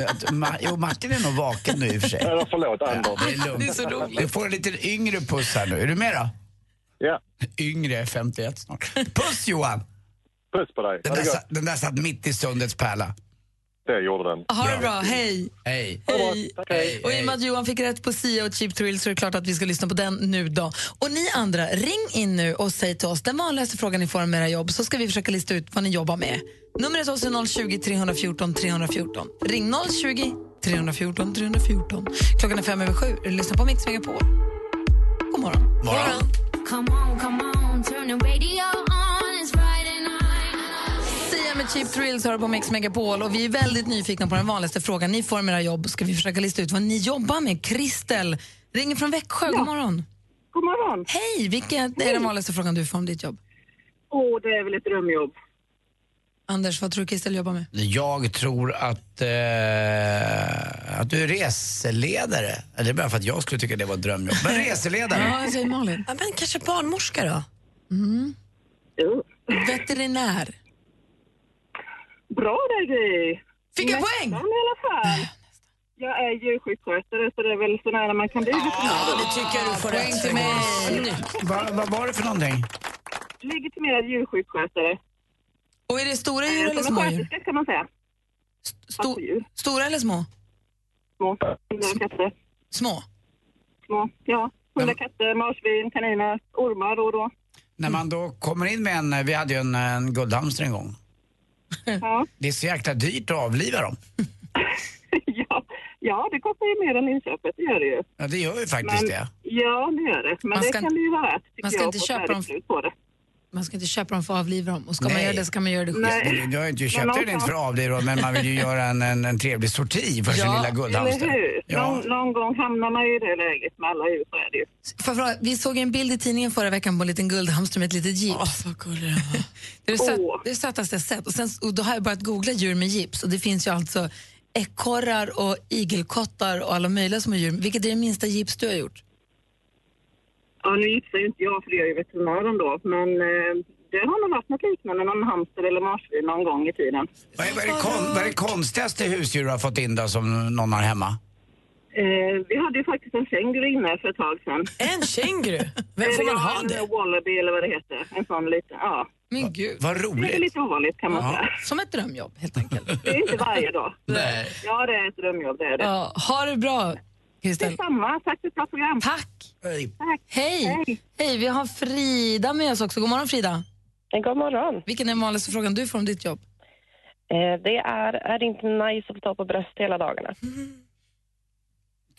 Speaker 4: Att Ma- jo, Martin är nog vaken nu i och för sig.
Speaker 12: Eller förlåt, Anders.
Speaker 4: det är lugnt.
Speaker 12: Det är så roligt.
Speaker 4: Du får en liten yngre puss här nu. Är du med då?
Speaker 12: Ja.
Speaker 4: Yngre, 51 snart. Puss Johan!
Speaker 12: Puss på dig.
Speaker 4: Den där, sa- den där satt mitt i sundets pärla.
Speaker 12: Det gjorde den.
Speaker 2: Ha det bra, hej!
Speaker 4: Hej.
Speaker 2: Hej. Och i och med att Johan fick rätt på Sia och Cheap Thrill så är det klart att vi ska lyssna på den nu då. Och ni andra, ring in nu och säg till oss den vanligaste frågan ni får om era jobb så ska vi försöka lista ut vad ni jobbar med. Numret till oss är 020 314 314. Ring 020 314 314. Klockan är fem över sju. Lyssna på Mix Megapol. God morgon.
Speaker 11: Come on, come on, turn the radio on. It's Friday night.
Speaker 2: Sia med Cheap Thrills hör på Mix Megapol och vi är väldigt nyfikna på den vanligaste frågan ni får om era jobb. Ska vi försöka lista ut vad ni jobbar med? Kristel ringer från Växjö. God morgon.
Speaker 14: God morgon.
Speaker 2: Hej! Vilken är den vanligaste frågan du får om ditt jobb?
Speaker 14: Åh, det är väl ett drömjobb.
Speaker 2: Anders, vad tror du Kristel jobbar med?
Speaker 4: Jag tror att, eh, att du är reseledare. Eller Det är bara för att jag skulle tycka det var ett drömjobb. Men reseledare?
Speaker 2: säger Malin.
Speaker 3: Ja, men kanske barnmorska då?
Speaker 2: Mm. Veterinär.
Speaker 14: Bra där, Gry!
Speaker 2: Fick jag poäng?
Speaker 14: i alla fall. Jag är djursjukskötare, så det är väl så nära man kan bli veterinär.
Speaker 3: Ja, det tycker jag du får
Speaker 14: Poäng
Speaker 3: rätt
Speaker 14: till
Speaker 3: för.
Speaker 14: mig.
Speaker 4: Vad vad var det för någonting?
Speaker 14: Legitimerad djursjukskötare.
Speaker 2: Och är det stora djur
Speaker 14: Eh,
Speaker 2: eller
Speaker 14: som en
Speaker 2: små djur?
Speaker 14: sköterska, kan man säga.
Speaker 2: Sto- stora eller små?
Speaker 15: Små. Hundar och katter.
Speaker 2: Små?
Speaker 15: Små, ja. Hundar, katter, marsvin, kaniner, ormar då och då.
Speaker 4: När man då kommer in med en, vi hade ju en, en guldhamster en gång.
Speaker 15: Ja,
Speaker 4: Det är så jäkla dyrt att avliva dem.
Speaker 15: ja det kostar ju mer än inköpet, det gör det ju.
Speaker 4: Ja, det gör ju faktiskt det.
Speaker 15: Ja, det gör det. Men
Speaker 2: Man ska
Speaker 15: det kan det ju vara värt, tycker
Speaker 2: man ska
Speaker 15: jag,
Speaker 2: inte
Speaker 15: att få
Speaker 2: köpa
Speaker 15: ett
Speaker 2: dem-
Speaker 15: slut på det.
Speaker 2: Man ska inte köpa dem för att avliva dem. Och ska man
Speaker 4: Nej.
Speaker 2: göra det ska man göra det själv.
Speaker 4: Nej. Jag har inte ju
Speaker 2: Men
Speaker 4: köpt den inte för att avliva dem, men man vill ju göra en, en, en trevlig sorti för sin
Speaker 2: Ja,
Speaker 4: lilla guldhamster.
Speaker 15: Eller hur?
Speaker 4: Ja.
Speaker 15: Någon, någon gång hamnar man ju i det läget med alla djur, så är det ju.
Speaker 2: Får jag fråga, vi såg en bild i tidningen förra veckan på en liten guldhamster med ett litet gips. det är det, söt, det är det sötaste jag sett. Och, sen, och då har jag börjat googla djur med gips och det finns ju alltså ekorrar och igelkottar och alla möjliga små djur. Vilket är det minsta gips du har gjort?
Speaker 15: Ja, nu gissar ju inte jag för det gör ju veterinären då, men eh, det har nog varit något liknande, någon hamster eller marsvin någon gång i tiden.
Speaker 4: Vad, är, vad, är det kon, vad är det konstigaste husdjur du har fått in då som någon har hemma?
Speaker 15: Eh, vi hade ju faktiskt en känguru inne för ett tag sedan.
Speaker 3: En känguru?
Speaker 4: Vem får man ha
Speaker 15: det? En wallaby eller vad det heter. En sån liten, ja.
Speaker 2: Men gud.
Speaker 4: Vad
Speaker 15: Det är
Speaker 4: roligt.
Speaker 15: lite ovanligt kan man
Speaker 4: Ja.
Speaker 15: säga.
Speaker 2: Som ett drömjobb helt enkelt.
Speaker 15: Det är inte varje dag.
Speaker 4: Nej.
Speaker 15: Ja, det är ett drömjobb, det är det.
Speaker 2: Ja, ha det bra, Kristel.
Speaker 15: Detsamma, tack för ett bra program.
Speaker 2: Tack.
Speaker 4: Hej.
Speaker 2: Hej. Hej. Vi har Frida med oss också. God morgon Frida.
Speaker 16: God morgon.
Speaker 2: Vilken är den vanligaste frågan du får om ditt jobb?
Speaker 16: Eh, Det är, är det inte nice att få ta på bröst hela dagarna?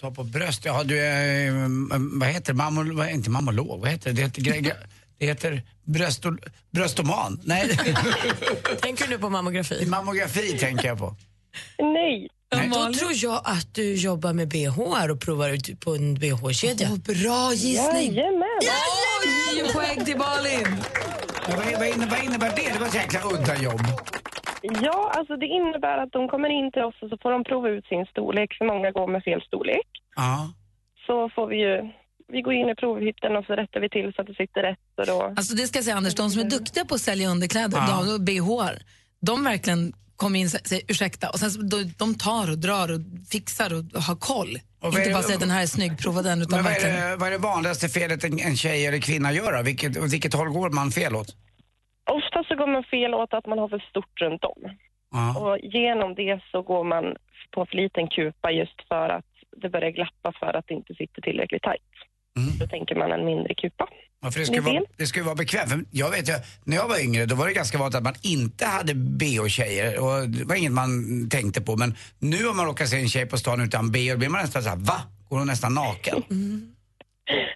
Speaker 4: Ta på bröst, ja du är, mm, vad heter det, mammo, vad, inte mammolog, vad heter det? Det heter, gre- gre- det heter brösto, bröstoman. Nej.
Speaker 3: tänker du på mammografi?
Speaker 4: Mammografi tänker jag på.
Speaker 16: Nej.
Speaker 3: Då tror jag att du jobbar med BH och provar ut på en BH-kedja.
Speaker 2: bra
Speaker 3: gissning!
Speaker 16: Jajamän!
Speaker 2: Oj, poäng till Malin!
Speaker 4: Ja, vad, vad, innebär, vad innebär det? Det var ett jäkla udda jobb.
Speaker 16: Ja, alltså det innebär att de kommer in till oss och så får de prova ut sin storlek, för många går med fel storlek.
Speaker 4: Ja.
Speaker 16: Så får vi ju, vi går in i provhytten och så rättar vi till så att det sitter rätt. Och då...
Speaker 2: Alltså det ska jag säga Anders, de som är duktiga på att sälja underkläder,
Speaker 16: Ja.
Speaker 2: de, och BH, de verkligen kommer in och säger ursäkta och sen så, de, de tar och drar och fixar och har koll.
Speaker 4: vad är
Speaker 2: Inte
Speaker 4: det-
Speaker 2: bara säga den här är snygg, prova den. Utan
Speaker 4: Men vad, är
Speaker 2: verkligen,
Speaker 4: det, vad är det vanligaste felet en, en tjej eller kvinna gör då? Vilket, åt vilket håll går man fel åt?
Speaker 16: Ofta så går man fel åt att man har för stort runt om.
Speaker 4: Ja.
Speaker 16: Och genom det så går man på för liten kupa just för att det börjar glappa för att det inte sitter tillräckligt tajt.
Speaker 4: Mm.
Speaker 16: Då tänker man en mindre kupa.
Speaker 4: Ja, för det, ska ju
Speaker 16: Min
Speaker 4: vara, det ska ju vara bekvämt. För Jag vet ju, när jag var yngre då var det ganska vanligt att man inte hade bh-tjejer och det var inget man tänkte på. Men nu om man råkar se en tjej på stan utan bh, då blir man nästan såhär, va? Går hon nästan naken?
Speaker 2: Mm.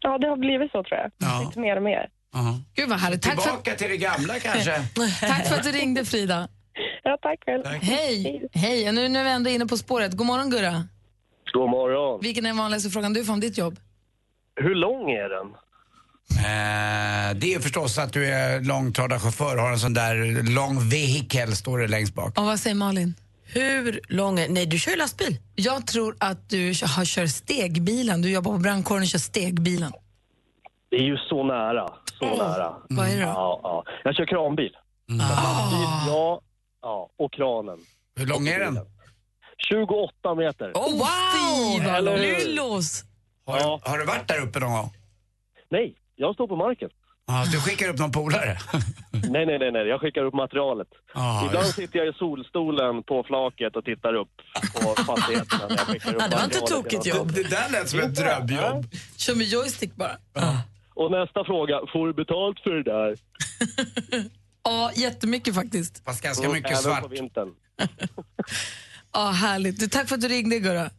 Speaker 16: Ja, det har blivit så tror jag. Lite mer och mer.
Speaker 4: Ja.
Speaker 2: Gud vad härligt. Tack för,
Speaker 4: Tillbaka till det gamla kanske.
Speaker 2: tack för att du ringde Frida.
Speaker 16: Ja, tack själv.
Speaker 2: Hej. Hej, och nu nu är vi ändå inne på spåret. God morgon Gurra.
Speaker 13: God morgon.
Speaker 2: Vilken är den vanligaste frågan du får om ditt jobb?
Speaker 13: Hur lång är den?
Speaker 4: Eh, det är förstås att du är långtradarchaufför och har en sån där lång vehikel står det längst bak.
Speaker 2: Och vad säger Malin? Hur lång är... Nej, du kör ju lastbil. Jag tror att du kö- har- kör stegbilen. Du jobbar på brandkåren och kör stegbilen.
Speaker 13: Det är ju så nära. Så nära.
Speaker 2: Vad är det då? Mm. Ah.
Speaker 13: Ja, ja. Jag kör kranbil. Lastbil, ja, ja. Och kranen.
Speaker 4: Hur lång är den?
Speaker 13: 28 meter.
Speaker 2: Oh, wow!
Speaker 13: vad Eller hur?
Speaker 2: Lyllos!
Speaker 4: Har, har du varit där uppe någon gång?
Speaker 13: Nej, jag står på marken.
Speaker 4: Ja, du skickar upp någon polare?
Speaker 13: Nej, nej, nej, nej. Jag skickar upp materialet.
Speaker 4: Mm. Ah, Ja,
Speaker 13: Ibland
Speaker 4: just.
Speaker 13: sitter jag i solstolen på flaket och tittar upp på fastigheterna när jag skickar upp
Speaker 2: Ja, det var inte
Speaker 13: materialet
Speaker 2: tokigt
Speaker 13: genom-
Speaker 2: jobb. Det- det där lät som ett drömjobb. Kör med joystick bara.
Speaker 13: Och nästa fråga, får du betalt för det där?
Speaker 2: Ja, jättemycket faktiskt.
Speaker 4: Fast ganska
Speaker 13: Mm,
Speaker 4: mycket
Speaker 13: även
Speaker 4: svart.
Speaker 13: på vintern.
Speaker 2: Ja, härligt. Du, tack för att du ringde, Gurra.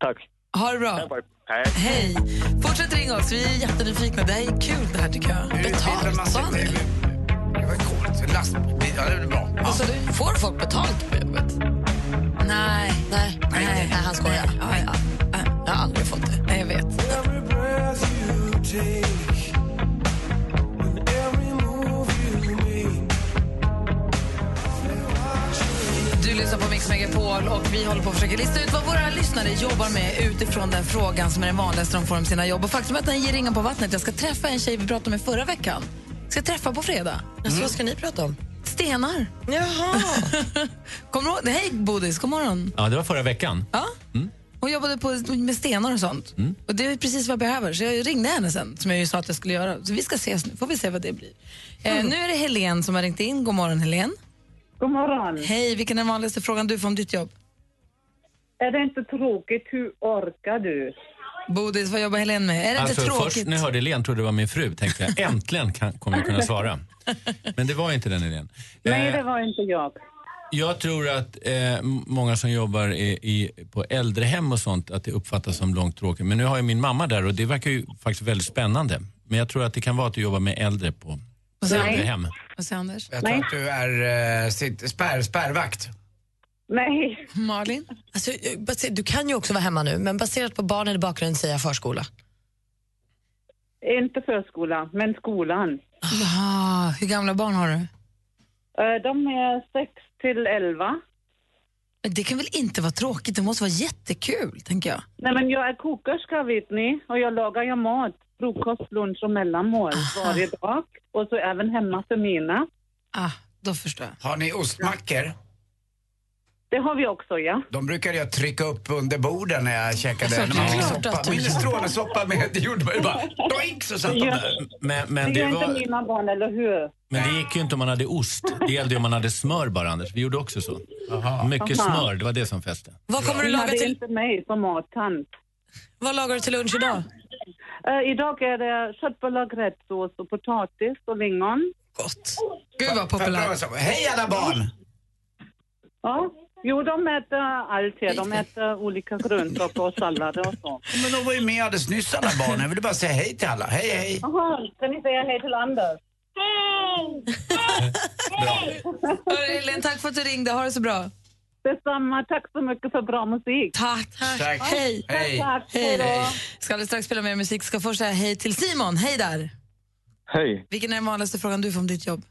Speaker 13: Tack.
Speaker 2: Ha det bra.
Speaker 13: Hej.
Speaker 2: Hej. Fortsätt ringa oss. Vi är jättenyfikna. Det här är kul det här tycker jag.
Speaker 4: Mm.
Speaker 2: Betalt.
Speaker 4: Man sitter, i- det var ju coolt. Lastbil, ja det är bra. Ja.
Speaker 3: Alltså, du får folk betalt på jobbet?
Speaker 2: Nej. Nej,
Speaker 3: nej, nej, han skojar.
Speaker 2: Ja, ja.
Speaker 3: Jag har aldrig fått det.
Speaker 2: Nej, jag vet. Du lyssnar på Mix Megapol och vi håller på att försöka lista ut vad våra lyssnare jobbar med utifrån den frågan som är den vanligaste de får om sina jobb. Och faktum är att den ger ringan på vattnet. Jag ska träffa en tjej vi pratade med förra veckan. Ska jag träffa på fredag.
Speaker 3: Alltså, vad ska ni prata om?
Speaker 2: Stenar. Jaha. Kommer du ihåg? Hej Bodis, god morgon.
Speaker 17: Ja, det var förra veckan.
Speaker 2: Ja. Hon jobbade på, med stenar och sånt. Och Det är precis vad jag behöver, så jag ringde henne sen, som jag ju sa att jag skulle göra. Så vi ska ses nu, får vi se vad det blir.
Speaker 3: Mm.
Speaker 2: Eh, nu är det Helen som har ringt in. God morgon, Helen.
Speaker 15: God morgon.
Speaker 2: Hej, vilken är den vanligaste frågan du får om ditt jobb?
Speaker 15: Är det inte tråkigt? Hur orkar du?
Speaker 2: Bodis, vad jobbar Helene med? Är det inte tråkigt?
Speaker 17: Alltså, Först när jag hörde Helene trodde det var min fru, tänkte jag äntligen kan, kommer jag kunna svara. Men det var inte den Helene.
Speaker 2: Eh.
Speaker 15: Nej, det var inte jag.
Speaker 17: Jag tror att eh, många som jobbar i, i, på äldrehem och sånt, att det uppfattas som långt tråkigt. Men nu har jag min mamma där och det verkar ju faktiskt väldigt spännande. Men jag tror att det kan vara att du jobbar med äldre på äldrehem.
Speaker 2: Vad säger Anders?
Speaker 4: Jag tror att du är eh, sitt, spärr, spärrvakt.
Speaker 15: Nej.
Speaker 2: Malin?
Speaker 3: Alltså, baser- du kan ju också vara hemma nu, men baserat på barnen i bakgrunden säger jag förskola.
Speaker 15: Inte förskolan, men skolan.
Speaker 2: Ah, hur gamla barn har du?
Speaker 15: Eh, De är 6 till 11.
Speaker 2: Men Det kan väl inte vara tråkigt? Det måste vara jättekul, tänker jag.
Speaker 15: Nej, men jag är kokerska, vet ni. Och jag lagar ju mat. Frukost, lunch och mellanmål varje dag. Och så även hemma för mina.
Speaker 2: Ah, då förstår jag.
Speaker 4: Har ni ostmackor?
Speaker 15: Det har vi också, ja.
Speaker 4: De brukade jag trycka upp under borden när jag käkade.
Speaker 15: Såklart
Speaker 2: Alltså,
Speaker 4: när man fick
Speaker 15: att
Speaker 4: soppa.
Speaker 15: du-
Speaker 4: Min strålesoppa med jordbär bara doink så satt de
Speaker 15: Ja.
Speaker 4: där.
Speaker 17: Men, men,
Speaker 15: det
Speaker 17: det
Speaker 15: gör inte
Speaker 17: var,
Speaker 15: mina barn, eller hur?
Speaker 17: men det gick ju inte om man hade ost. Det gällde ju om man hade smör bara, Anders. Vi gjorde också så. Mycket
Speaker 15: Aha.
Speaker 17: smör, det var det som fäste.
Speaker 3: Vad kommer du
Speaker 15: Ni
Speaker 3: laga
Speaker 15: hade
Speaker 3: till-
Speaker 15: inte mig som mattant.
Speaker 3: Vad lagar du till lunch idag?
Speaker 15: Eh, idag är det köttbullar, gräddsås och potatis och lingon.
Speaker 3: Gott.
Speaker 2: Gud vad populärt.
Speaker 4: Hej alla barn!
Speaker 15: Ja. Jo, de äter allt här. De äter olika grönsaker och sallader och så.
Speaker 4: Men de var ju med alldeles nyss alla barn. Jag ville bara säga hej till alla. Hej hej.
Speaker 15: Jaha, ska ni säga hej till Anders?
Speaker 2: Hörru, Elin, tack för att du ringde. Ha det så bra.
Speaker 15: Detsamma. Tack så mycket för bra musik.
Speaker 2: Tack.
Speaker 4: Tack.
Speaker 2: Hej.
Speaker 4: Hej.
Speaker 15: Tack,
Speaker 2: Hej.
Speaker 15: hej.
Speaker 2: Ska alldeles strax spela mer musik. Ska först säga hej till Simon. Hej där.
Speaker 18: Hej,
Speaker 2: Vilken är den vanligaste frågan du får om ditt jobb?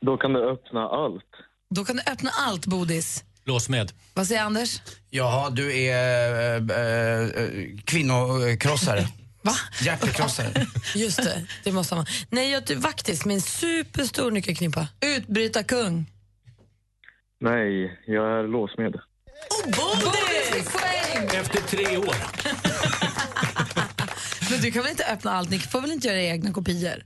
Speaker 18: då kan du öppna allt.
Speaker 2: Då kan du öppna allt, Bodis.
Speaker 17: Lås med.
Speaker 2: Vad säger Anders?
Speaker 4: Jaha, du är äh, kvinnokrossare.
Speaker 3: Va?
Speaker 4: Hjärtekrossare.
Speaker 3: Just det, det måste man. Nej, jag är vaktis med en superstor nyckelknippa.
Speaker 2: Utbryta kung.
Speaker 18: Nej, jag är låsmed.
Speaker 2: Bodis! Poäng!
Speaker 17: Efter tre år.
Speaker 2: Men du kan väl inte öppna allt? Ni får väl inte göra era egna kopior?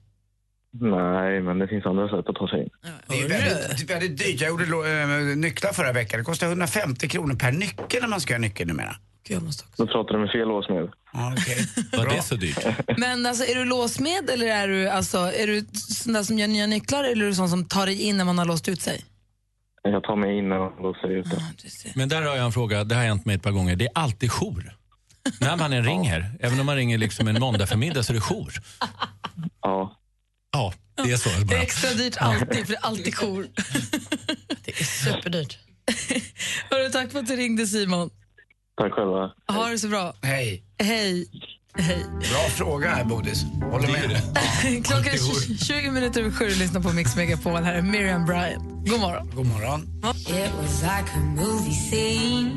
Speaker 18: Nej, men det finns andra sätt att ta sig in.
Speaker 4: Det är ju väldigt, det är väldigt dyrt. Jag gjorde lo- eh, nycklar förra veckan. Det kostar 150 kronor per nyckel när man ska göra nyckel numera.
Speaker 18: Då pratar du med fel låsmed.
Speaker 4: Ah, okay.
Speaker 17: Var det så dyrt?
Speaker 2: Men alltså, är du låsmed eller är du, alltså, är du sån där som gör nya nycklar eller är du sån som tar dig in när man har låst ut sig?
Speaker 18: Jag tar mig in och låser ut det.
Speaker 17: Men där har jag en fråga, det har hänt mig ett par gånger. Det är alltid jour. När man än ringer, även om man ringer liksom en måndag förmiddag så är det jour.
Speaker 18: Ja.
Speaker 17: Ja, det är så.
Speaker 2: Det är
Speaker 17: Bara.
Speaker 2: extra dyrt alltid, för det är alltid jour.
Speaker 3: Det är superdyrt.
Speaker 2: Hörru, tack för att du ringde Simon.
Speaker 18: Tack själva.
Speaker 2: Ha det så bra.
Speaker 4: Hej.
Speaker 2: Hej. Hej.
Speaker 4: Bra fråga här, Bodis. Håller med.
Speaker 2: Klockan är 20 20 minuter över sju och lyssnar på Mix Megapol. Här är Miriam Bryant. God morgon.
Speaker 4: God morgon.
Speaker 19: It was like a movie scene.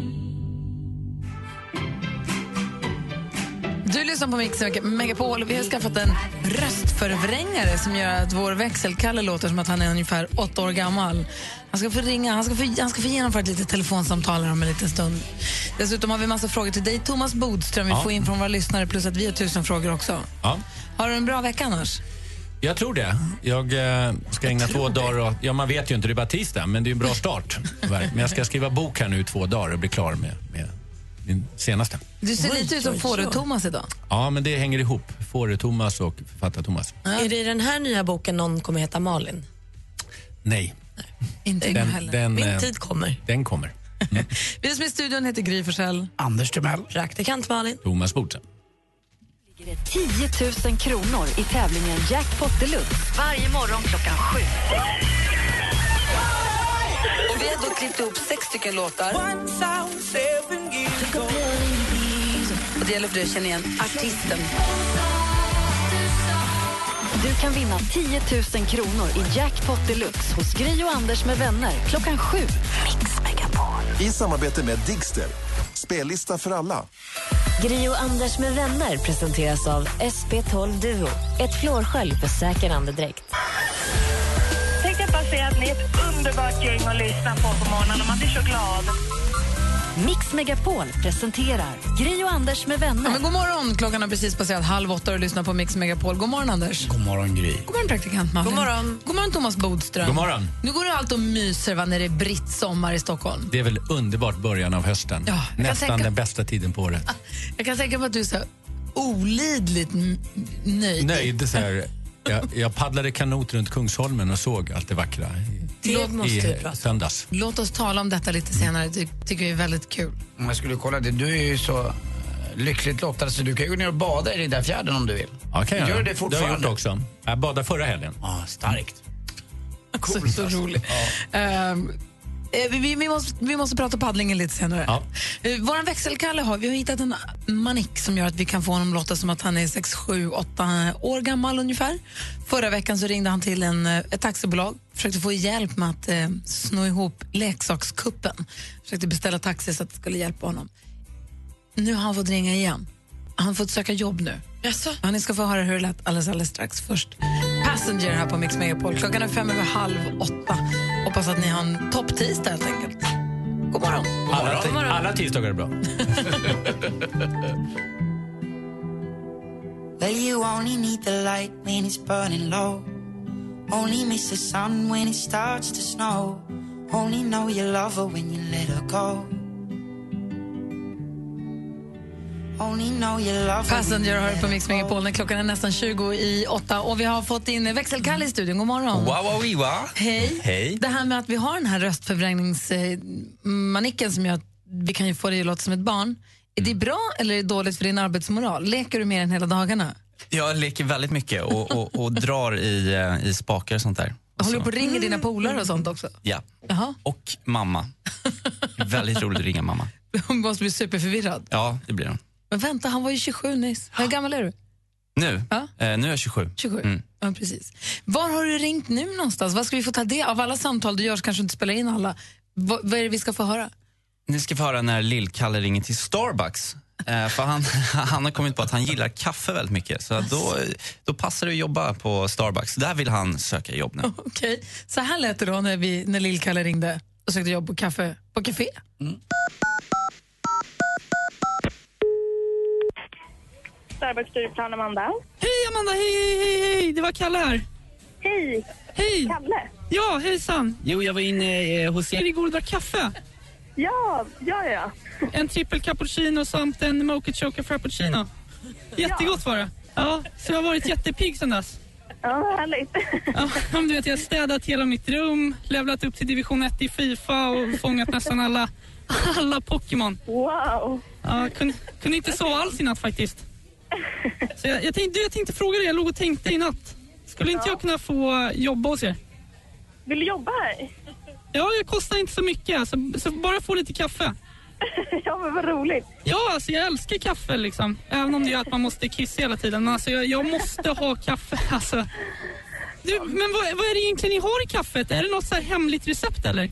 Speaker 2: Du lyssnar på Mix Megapol. Vi har skaffat en röstförvrängare som gör att vår växelkalle låter som att han är ungefär åtta år gammal. Han ska få ringa, han ska få, han ska få genomföra ett litet telefonsamtal här om en liten stund. Dessutom har vi massa frågor till dig, Thomas Bodström. Vi
Speaker 17: Ja.
Speaker 2: får in från våra lyssnare, plus att vi har tusen frågor också.
Speaker 17: Ja,
Speaker 2: Har du en bra vecka annars?
Speaker 17: jag tror det. Jag eh, ska ägna två dagar åt... Ja, man vet ju inte, det är bara tisdag, men det är en bra start. tyvärr. Men jag ska skriva bok här nu i två dagar och bli klar med, med min senaste.
Speaker 2: Du ser lite ut som Fårö-Thomas idag.
Speaker 17: Ja, men det hänger ihop. Fåre-Thomas och författar-Thomas.
Speaker 3: Är det i den här nya boken någon kommer heta Malin?
Speaker 17: Nej.
Speaker 2: Inte
Speaker 17: Den, den,
Speaker 3: Min
Speaker 17: eh,
Speaker 3: tid kommer.
Speaker 17: Den kommer.
Speaker 2: Vi som är i studion heter Gry Forssell.
Speaker 4: Anders Timell.
Speaker 3: Praktikant Malin.
Speaker 17: Thomas Bodström.
Speaker 1: 10 000 kronor i tävlingen Jackpot Deluxe. Varje morgon klockan sju.
Speaker 3: Och vi har då klippt ihop sex stycken låtar.
Speaker 1: Och det gäller för dig att känna igen artisten. Du kan vinna 10 000 kronor i Jackpot Deluxe hos Gry och Anders med vänner klockan sju.
Speaker 7: I samarbete med Digster. Spellista för alla.
Speaker 8: Gri och Anders med vänner presenteras av SP12 Duo. Ett flårskölj för säker andedräkt.
Speaker 16: Tänkte jag bara säga att ni är ett underbart gäng att lyssna på på morgonen och man blir så glad.
Speaker 1: Mix Megapol presenterar Gri och Anders med vänner.
Speaker 2: Ja, men god morgon, klockan har precis passerat halv åtta och du lyssnar på Mix Megapol. God morgon Anders.
Speaker 4: God morgon Gry.
Speaker 2: God morgon praktikant Malin.
Speaker 3: God morgon.
Speaker 2: God morgon Thomas Bodström.
Speaker 17: God morgon.
Speaker 2: Nu går du allt och myser va, när det är britt sommar i Stockholm.
Speaker 17: Det är väl underbart början av hösten.
Speaker 2: Ja, jag kan
Speaker 17: Nästan
Speaker 2: tänka-
Speaker 17: den bästa tiden på året.
Speaker 2: Jag kan tänka mig att du är så här olidligt n- nöjd.
Speaker 17: Nöjd så här. Jag, jag paddlade kanot runt Kungsholmen och såg allt det vackra i,
Speaker 2: Det måste vi
Speaker 17: i
Speaker 2: prata om.
Speaker 17: söndags.
Speaker 2: Låt oss tala om detta lite senare. Det tycker jag är väldigt kul.
Speaker 4: Om jag skulle kolla det, du är ju så eh, lyckligt lottad så du kan ju gå ner och bada i den där fjärden om du vill.
Speaker 17: Ja, kan jag
Speaker 4: Gör
Speaker 17: göra. Det
Speaker 4: det
Speaker 17: har jag
Speaker 4: fortfarande.
Speaker 17: gjort också. Jag badade förra helgen.
Speaker 4: Ja, starkt.
Speaker 2: Coolt, Alltså, så roligt. Ehm, eh, vi- vi, vi, måste, vi måste prata paddlingen lite senare.
Speaker 17: Ja.
Speaker 2: Eh, Vår växelkalle har, vi har hittat en manik som gör att vi kan få honom låta som att han är 6, 7, 8 år gammal ungefär. Förra veckan så ringde han till en, eh, ett taxibolag försökte få hjälp med att eh, sno ihop leksakskuppen. Försökte beställa taxi så att det skulle hjälpa honom. Nu har han fått ringa igen. Han har fått söka jobb nu. Jaså? Ja, ni ska få höra hur det lät alldeles, alldeles strax. Först Passenger här på Mix Megapol. Klockan är fem över halv åtta. Hoppas att ni har en topptisdag helt enkelt. God morgon.
Speaker 17: Alla, ti- alla tisdagar är bra.
Speaker 5: Well, you only need the light when it's burning low. Only miss the sun when it starts to snow. Only know you love her when you let her go. Only know you love her. when you
Speaker 2: Passenger hör
Speaker 5: let
Speaker 2: på
Speaker 5: her
Speaker 2: Mix
Speaker 5: go.
Speaker 2: Megapol. När Klockan är nästan 20 i åtta och vi har fått in växelkalle i studion. God morgon.
Speaker 20: wiwa.
Speaker 2: Hej.
Speaker 20: Hej.
Speaker 2: Det här med att vi har den här röstförvrängningsmanicken som gör att vi kan ju få dig att låta som ett barn. Är det bra eller är det dåligt för din arbetsmoral? Leker du med den hela dagarna?
Speaker 20: Jag leker väldigt mycket och, och, och drar i, eh, i spakar och sånt där.
Speaker 2: Håller du på att ringa dina polare och sånt också?
Speaker 20: Ja.
Speaker 2: Jaha.
Speaker 20: Och mamma. väldigt roligt att ringa mamma.
Speaker 2: Hon måste bli superförvirrad.
Speaker 20: Ja, det blir hon.
Speaker 2: Men vänta, han var ju 27 nyss. Hur gammal är du?
Speaker 20: Nu,
Speaker 2: Ja.
Speaker 20: eh, nu är jag 27.
Speaker 2: 27.
Speaker 20: Mm.
Speaker 2: Ja, precis. Var har du ringt nu någonstans? Vad ska vi få ta del av? alla samtal du gör så kanske du inte spelar in alla. Vad, vad är det vi ska få höra?
Speaker 20: Ni ska få höra när Lill-Kalle ringer till Starbucks. Eh, för han, han har kommit på att han gillar kaffe väldigt mycket. Så då, då passar det att jobba på Starbucks. Där vill han söka jobb nu.
Speaker 2: Okej, så här lät det då när, vi- när Lill-Kalle ringde och sökte jobb på kaffe på café.
Speaker 16: Starbucks styrplan Amanda.
Speaker 21: Hej Amanda, hej, hej, hej, hej, det var Kalle här. Hej. Hej. Kalle. Ja, hejsan. Jo, jag var inne eh, hos er igår och drack kaffe. Ja, ja, ja. En trippel cappuccino samt en mochachoca frappuccino. Jättegott var det. Ja, så jag har varit jättepigg sen dess. Ja, vad härligt. Ja, men du vet, jag har städat hela mitt rum, levlat upp till division 1 i Fifa och fångat nästan alla, alla Pokémon. Wow. Ja, kunde, kunde inte sova alls i natt faktiskt. Så jag, jag, tänkte, jag tänkte fråga dig, jag låg och tänkte i natt. Skulle inte jag kunna få jobba hos er? Vill du jobba här? Ja, jag kostar inte så mycket, så, så bara få lite kaffe. ja, men vad roligt. Ja, alltså jag älskar kaffe liksom. Även om det är att man måste kissa hela tiden. Men alltså jag, jag måste ha kaffe alltså. Du, men vad, vad är det egentligen ni har i kaffet? Är det något så här hemligt recept eller?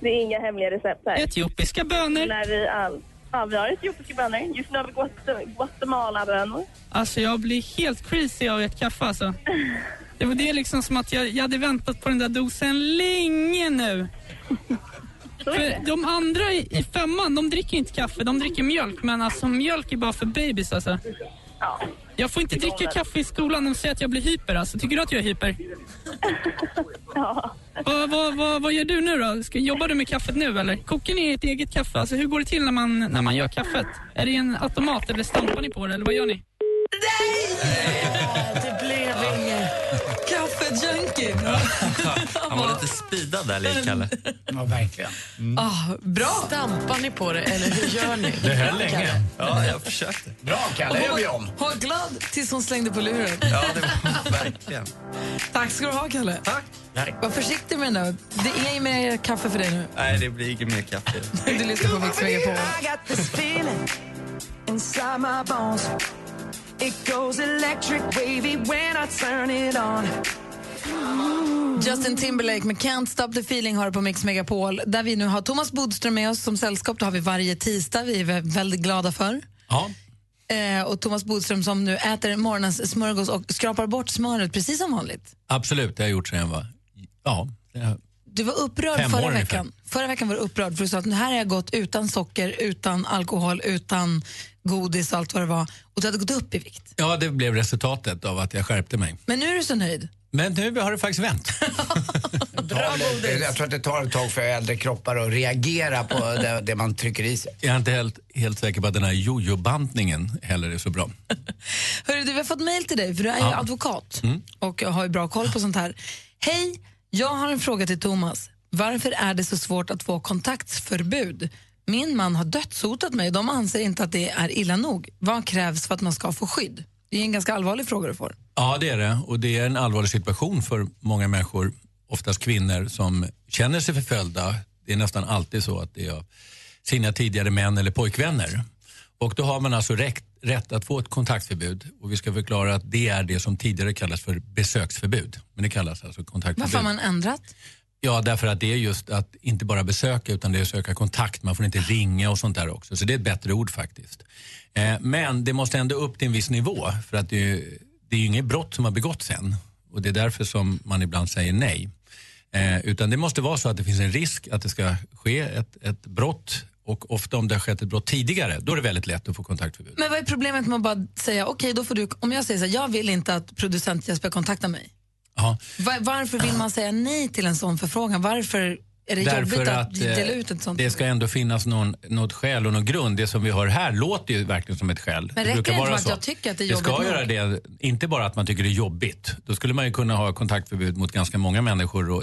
Speaker 16: Det är inga hemliga recept här.
Speaker 21: Etiopiska bönor?
Speaker 16: Lär vi allt. Ja, vi har etiopiska bönor. Just nu har vi Guat- Guatemala-bönor.
Speaker 21: Alltså jag blir helt crazy av ert kaffe alltså. Det, var- det är liksom som att jag, jag hade väntat på den där dosen länge nu. För de andra i, i femman, de dricker inte kaffe, de dricker mjölk. Men alltså mjölk är bara för babys alltså. Jag får inte dricka kaffe i skolan, de säger att jag blir hyper alltså. Tycker du att jag är hyper? Vad, vad, vad, vad gör du nu då? Ska, jobbar du med kaffet nu eller? Kokar ni ert eget kaffe? Alltså hur går det till när man, när man gör kaffet? Är det en automat eller stampar ni på det eller vad gör ni?
Speaker 3: Det blev inget.
Speaker 2: Kaffejunkie.
Speaker 20: Han var lite speedad där, Lill-Kalle.
Speaker 4: Ja, verkligen.
Speaker 2: Ah, bra.
Speaker 3: Mm. Stampar ni på det eller hur gör ni?
Speaker 20: Det höll länge. Ja, jag försökte.
Speaker 4: Bra,
Speaker 2: Och
Speaker 4: Kalle.
Speaker 2: hon
Speaker 4: gör
Speaker 2: var-
Speaker 4: vi om.
Speaker 2: hon var glad tills hon slängde på luren.
Speaker 20: Ja, det var verkligen.
Speaker 2: Tack ska du ha, Kalle. Tack.
Speaker 20: Nej.
Speaker 2: Var försiktig med den där. Det är inget mer kaffe för dig nu.
Speaker 20: Nej, det blir inget mer kaffe.
Speaker 2: Du lyssnar på Mix Megapol.
Speaker 5: I got this feeling inside my bones. It goes electric wavy when I turn it on.
Speaker 2: Justin Timberlake med Can't Stop The Feeling har du på Mix Megapol där vi nu har Thomas Bodström med oss som sällskap. Det har vi varje tisdag. Vi är vä- väldigt glada för.
Speaker 17: Ja.
Speaker 2: Eh, och Thomas Bodström som nu äter morgonens smörgås och skrapar bort smöret precis som vanligt.
Speaker 17: Absolut, det har jag gjort sedan jag var... Ja, det har-
Speaker 2: Du var upprörd
Speaker 22: Fem år
Speaker 2: förra
Speaker 22: ungefär.
Speaker 2: veckan. Förra veckan var du upprörd för du sa att nu här har jag gått utan socker, utan alkohol, utan godis och allt vad det var. Och du hade gått upp i vikt.
Speaker 17: Ja, det blev resultatet av att jag skärpte mig.
Speaker 2: Men nu är du så nöjd.
Speaker 17: Men nu har det faktiskt vänt.
Speaker 4: Bra jag tror att det tar ett tag för äldre kroppar att reagera på det, det man trycker i sig.
Speaker 17: Jag är inte helt, helt säker på att den här jojo-bantningen heller är så bra.
Speaker 2: Hörru, du, vi har fått mejl till dig, för du är ju
Speaker 17: Ja.
Speaker 2: advokat
Speaker 17: Mm.
Speaker 2: och har ju bra koll på sånt här. Hej, jag har en fråga till Thomas. Varför är det så svårt att få kontaktförbud? Min man har dödshotat mig och de anser inte att det är illa nog. Vad krävs för att man ska få skydd? Det är en ganska allvarlig fråga du får.
Speaker 17: Ja, det är det. Och det är en allvarlig situation för många människor, oftast kvinnor, som känner sig förföljda. Det är nästan alltid så att det är av sina tidigare män eller pojkvänner. Och då har man alltså rätt, rätt att få ett kontaktförbud. Och vi ska förklara att det är det som tidigare kallas för besöksförbud. Men det kallas alltså kontaktförbud.
Speaker 2: Varför har man ändrat?
Speaker 17: Ja, därför att det är just att inte bara besöka utan det är att söka kontakt. Man får inte ringa och sånt där också. Så det är ett bättre ord faktiskt. Eh, men det måste ändå upp till en viss nivå för att det är, ju- det är ju inget brott som har begåtts än. Och det är därför som man ibland säger nej. Eh, utan det måste vara så att det finns en risk att det ska ske ett, ett brott och ofta om det har skett ett brott tidigare, då är det väldigt lätt att få kontaktförbud.
Speaker 2: Men vad är problemet med att bara säga, okej, då får du, om jag säger så här, jag vill inte att producent Jesper kontaktar mig.
Speaker 17: Ja.
Speaker 2: Va- Varför vill man säga nej till en sån förfrågan? Varför är det jobbigt att,
Speaker 17: eh,
Speaker 2: dela ut ett sånt?
Speaker 17: Det ska ändå finnas någon, något skäl och någon grund. Det som vi hör här låter ju verkligen som ett skäl.
Speaker 2: Men räcker det inte med att jag tycker att det är
Speaker 17: Det ska
Speaker 2: jobbigt
Speaker 17: göra det, inte bara att man tycker det är jobbigt. Då skulle man ju kunna ha kontaktförbud mot ganska många människor. Och,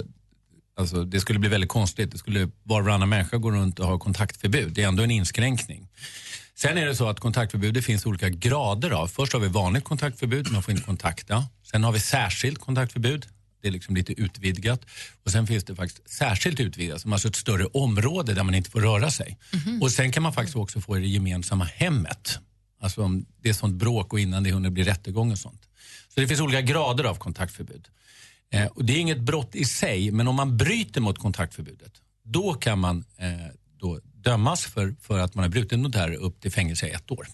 Speaker 17: alltså, det skulle bli väldigt konstigt. Det skulle var och varannan människa gå runt och ha kontaktförbud. Det är ändå en inskränkning. Sen är det så att kontaktförbud det finns olika grader av. Först har vi vanligt kontaktförbud, man får inte kontakta. Sen har vi särskilt kontaktförbud, det är liksom lite utvidgat. Och sen finns det faktiskt särskilt utvidgat, som alltså ett större område där man inte får röra sig.
Speaker 15: Mhm.
Speaker 4: Mm-hmm.
Speaker 17: Och sen kan man faktiskt också få i det gemensamma hemmet. Alltså om det är sånt bråk och innan det hunnit bli rättegång och sånt. Så det finns olika grader av kontaktförbud. Eh, och det är inget brott i sig, men om man bryter mot kontaktförbudet, då kan man eh, då dömas för, för att man har brutit mot det här upp till fängelse i ett år.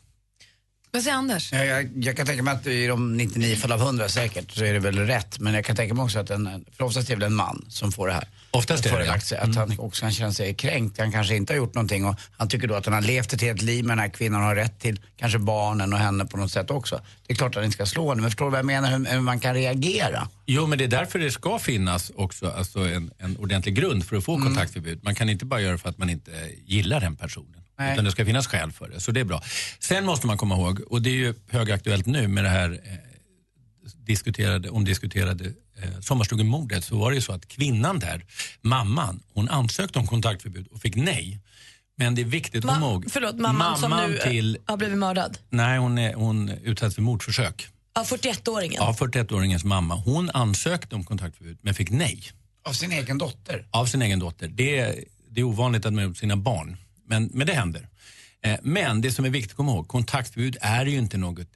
Speaker 2: Vad säger Anders?
Speaker 4: Ja, jag, jag kan tänka mig att i de 99 fall av 100 säkert så är det väl rätt. Men jag kan tänka mig också att en, för oftast är det väl en man som får det här.
Speaker 17: Oftast är det Mm.
Speaker 4: Förelagt sig, Att han också kan känna sig kränkt. Han kanske inte har gjort någonting och han tycker då att han har levt ett helt liv med den här kvinnan och har rätt till kanske barnen och henne på något sätt också. Det är klart att han inte ska slå henne men förstår du vad jag menar hur, hur man kan reagera?
Speaker 17: Jo, men det är därför det ska finnas också alltså en, en ordentlig grund för att få kontaktförbud. Man kan inte bara göra för att man inte eh, gillar den personen.
Speaker 13: Nej.
Speaker 17: Utan det ska finnas skäl för det, så det är bra. Sen måste man komma ihåg, och det är ju högaktuellt nu med det här eh, diskuterade, omdiskuterade eh, sommarstugemordet, så var det ju så att kvinnan där, mamman, hon ansökte om kontaktförbud och fick nej. Men det är viktigt att komma ihåg.
Speaker 6: Förlåt, mamman, som
Speaker 17: mamman
Speaker 6: nu eh,
Speaker 17: till,
Speaker 6: har blivit mördad.
Speaker 17: nej hon, är, hon utsattes för mordförsök.
Speaker 6: Ja, 41-åringen.
Speaker 17: Ja, 41-åringens mamma. Hon ansökte om kontaktförbud men fick nej
Speaker 4: Av sin egen dotter?
Speaker 17: av sin egen dotter. Det är, det är ovanligt att man har gjort sina barn, men, men det händer. Eh, Men det som är viktigt att komma ihåg, kontaktförbud är ju inte något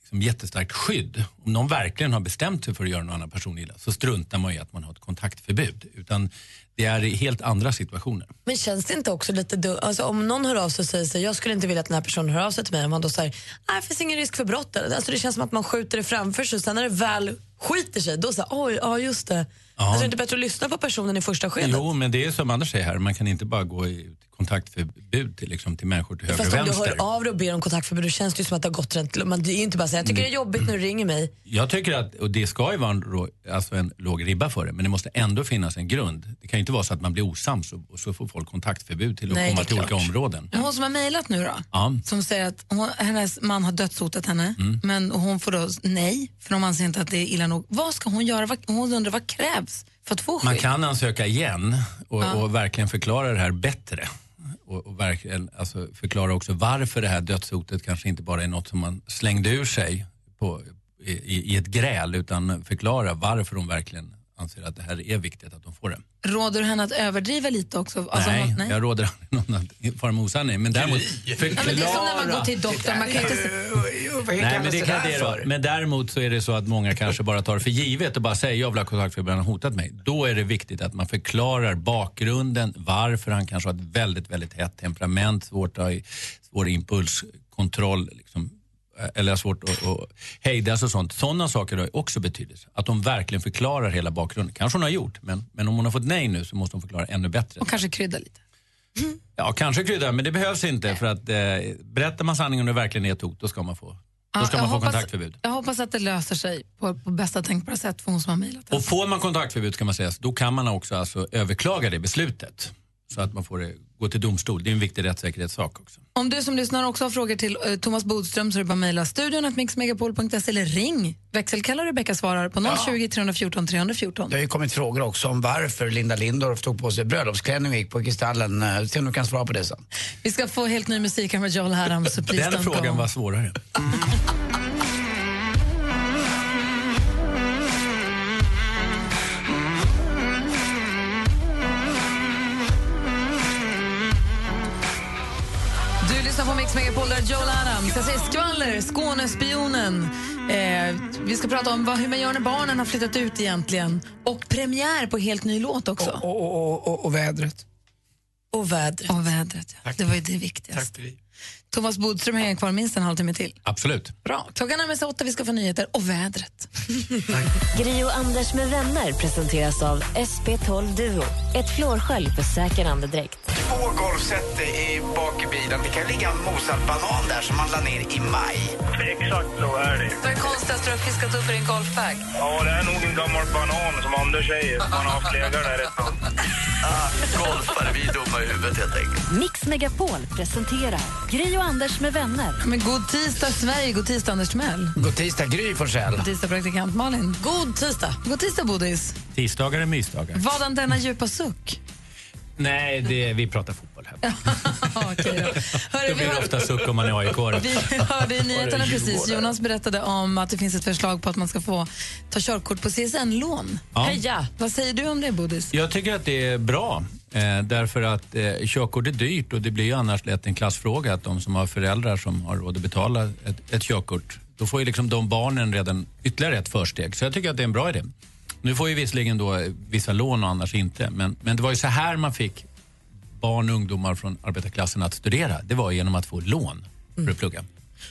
Speaker 17: liksom jättestarkt skydd. Om någon verkligen har bestämt sig för att göra någon annan person illa så struntar man ju i att man har ett kontaktförbud. Utan det är i helt andra situationer.
Speaker 6: Men känns det inte också lite dumt? Alltså, om någon hör av sig och säger så här, jag skulle inte vilja att den här personen hör av sig till mig, om man då säger nej det finns ingen risk för brott. eller?" Alltså, det känns som att man skjuter det framför sig och sen när det väl skiter sig, då säger oj, ja just det.
Speaker 17: Ja.
Speaker 6: Alltså, är det inte bättre att lyssna på personen i första skedet?
Speaker 17: Jo, men det är som Anders säger här, man kan inte bara gå i kontaktförbud till, liksom, till människor till höger och
Speaker 6: Fast om du
Speaker 17: vänster.
Speaker 6: hör av dig och ber om kontaktförbud, då känns det ju som att det har gått rent. Man, det är ju inte bara så här, jag tycker det är jobbigt när du ringer mig.
Speaker 17: Jag tycker att, och det ska ju vara en, rå- alltså en låg ribba för det, men det måste ändå finnas en grund. Det kan ju inte vara så att man blir osams och, och så får folk kontaktförbud till att
Speaker 2: Nej, det
Speaker 17: komma
Speaker 2: är
Speaker 17: till olika
Speaker 2: klart.
Speaker 17: områden.
Speaker 2: Men Hon som har mejlat nu då,
Speaker 17: Ja.
Speaker 2: som säger att hon, hennes man har dödshotat henne,
Speaker 17: Mm.
Speaker 2: men hon får då nej, för de anser inte att det är illa nog. Vad ska hon göra? Vad- Hon undrar vad krävs för att få skydd?
Speaker 17: Man kan ansöka igen och,
Speaker 2: Ja.
Speaker 17: och verkligen förklara det här bättre. Och, och verkligen, alltså förklara också varför det här dödshotet kanske inte bara är något som man slängde ur sig på, i, i- i ett gräl, utan förklara varför de verkligen anser att det här är viktigt att de får det.
Speaker 2: Råder du henne att överdriva lite också? Alltså,
Speaker 17: nej,
Speaker 2: hon-
Speaker 17: jag råder aldrig någon att fara med osanning. Men däremot
Speaker 2: Ja,
Speaker 17: förklara...
Speaker 2: men det är som när man går till doktorn, man kan inte...
Speaker 17: Nej, men, det kan det då.
Speaker 4: för?
Speaker 17: men däremot så är det så att många kanske bara tar det för givet och bara säger jag vill ha kontakt för han har hotat mig. Då är det viktigt att man förklarar bakgrunden, varför han kanske har ett väldigt, väldigt hett temperament, svårt att ha i- svår impulskontroll, liksom, eller har svårt att att hejda sig och sånt. Sådana saker har ju också betydelse. Att hon verkligen förklarar hela bakgrunden. Kanske hon har gjort, men, men om hon har fått nej nu så måste hon förklara ännu bättre.
Speaker 2: Och kanske krydda lite.
Speaker 17: Ja, kanske krydda, men det behövs inte för att eh, berättar man sanningen och det verkligen är ett hot, då ska man få, då
Speaker 2: Ja,
Speaker 17: ska
Speaker 2: jag
Speaker 17: man få
Speaker 2: hoppas-
Speaker 17: kontaktförbud.
Speaker 2: Jag hoppas att det löser sig på, på bästa tänkbara sätt för hon som har mejlat.
Speaker 17: Och får man kontaktförbud ska man säga, så då kan man också alltså överklaga det beslutet. Så att man får det, gå till domstol. Det är en viktig rättssäkerhetssak också.
Speaker 2: Om du som lyssnar också har frågor till eh, Thomas Bodström så är det bara att mejla studion att mixmegapol.se eller ring. Växelkalla och Rebecka svarar på 020 314 314.
Speaker 4: Det har ju kommit frågor också om varför Linda Lindorff tog på sig bröllopsklänning och gick på Kristallen. Eh, Se om du kan svara på det sen.
Speaker 2: Vi ska få helt ny musik här med Joel Haram, så please
Speaker 4: Den
Speaker 2: don't
Speaker 4: frågan
Speaker 2: go.
Speaker 4: var
Speaker 17: svårare.
Speaker 2: Du lyssnar på Mix Megapol, där är Joel Adams. Jag säger skvaller, Skånespionen. Eh, vi ska prata om vad, hur man gör när barnen har flyttat ut egentligen. Och premiär på helt ny låt också.
Speaker 4: Och, och, och, och vädret.
Speaker 2: Och vädret. Och vädret, ja. Det var ju det viktigaste. Thomas Bodström hänger kvar minst en halvtimme till.
Speaker 17: Absolut.
Speaker 2: Bra. Klockan närmar sig åtta, vi ska få nyheter och vädret.
Speaker 8: Gri och Anders med vänner presenteras av SP12 Duo. Ett flårskölj för säker andedräkt.
Speaker 4: Två golfset i bak i bilen. Det kan ligga en mosad banan där som man la ner i maj.
Speaker 22: Exakt så är det.
Speaker 2: Vad är det konstigaste du har fiskat upp i din golfbag?
Speaker 22: Ja, det är nog en gammal banan som Anders säger. Man har haft legat där ett tag. Ah, golfare, vi är dumma i huvudet helt enkelt.
Speaker 8: Mix Megapol presenterar Gri och Anders med vänner.
Speaker 2: Men god tisdag, Sverige. God tisdag, Anders Timell.
Speaker 4: God tisdag, Gry Forssell.
Speaker 2: God tisdag, praktikant Malin. God tisdag. God tisdag, Bodis.
Speaker 17: Tisdagar är mysdagar.
Speaker 2: Vadan denna djupa suck?
Speaker 17: Nej, det, vi pratar fotboll här. det blir ofta suck om man är aik
Speaker 2: Vi hörde i nyheterna precis, Jonas berättade om att det finns ett förslag på att man ska få ta körkort på CSN-lån.
Speaker 17: Ja.
Speaker 2: Heja! Vad säger du om det, Bodis?
Speaker 17: Jag tycker att det är bra. Eh, därför att eh, körkort är dyrt och det blir ju annars lätt en klassfråga att de som har föräldrar som har råd att betala ett, ett körkort, då får ju liksom de barnen redan ytterligare ett försteg. Så jag tycker att det är en bra idé. Nu får ju visserligen då eh, vissa lån och annars inte, men, men det var ju så här man fick barn och ungdomar från arbetarklassen att studera. Det var genom att få lån för att plugga.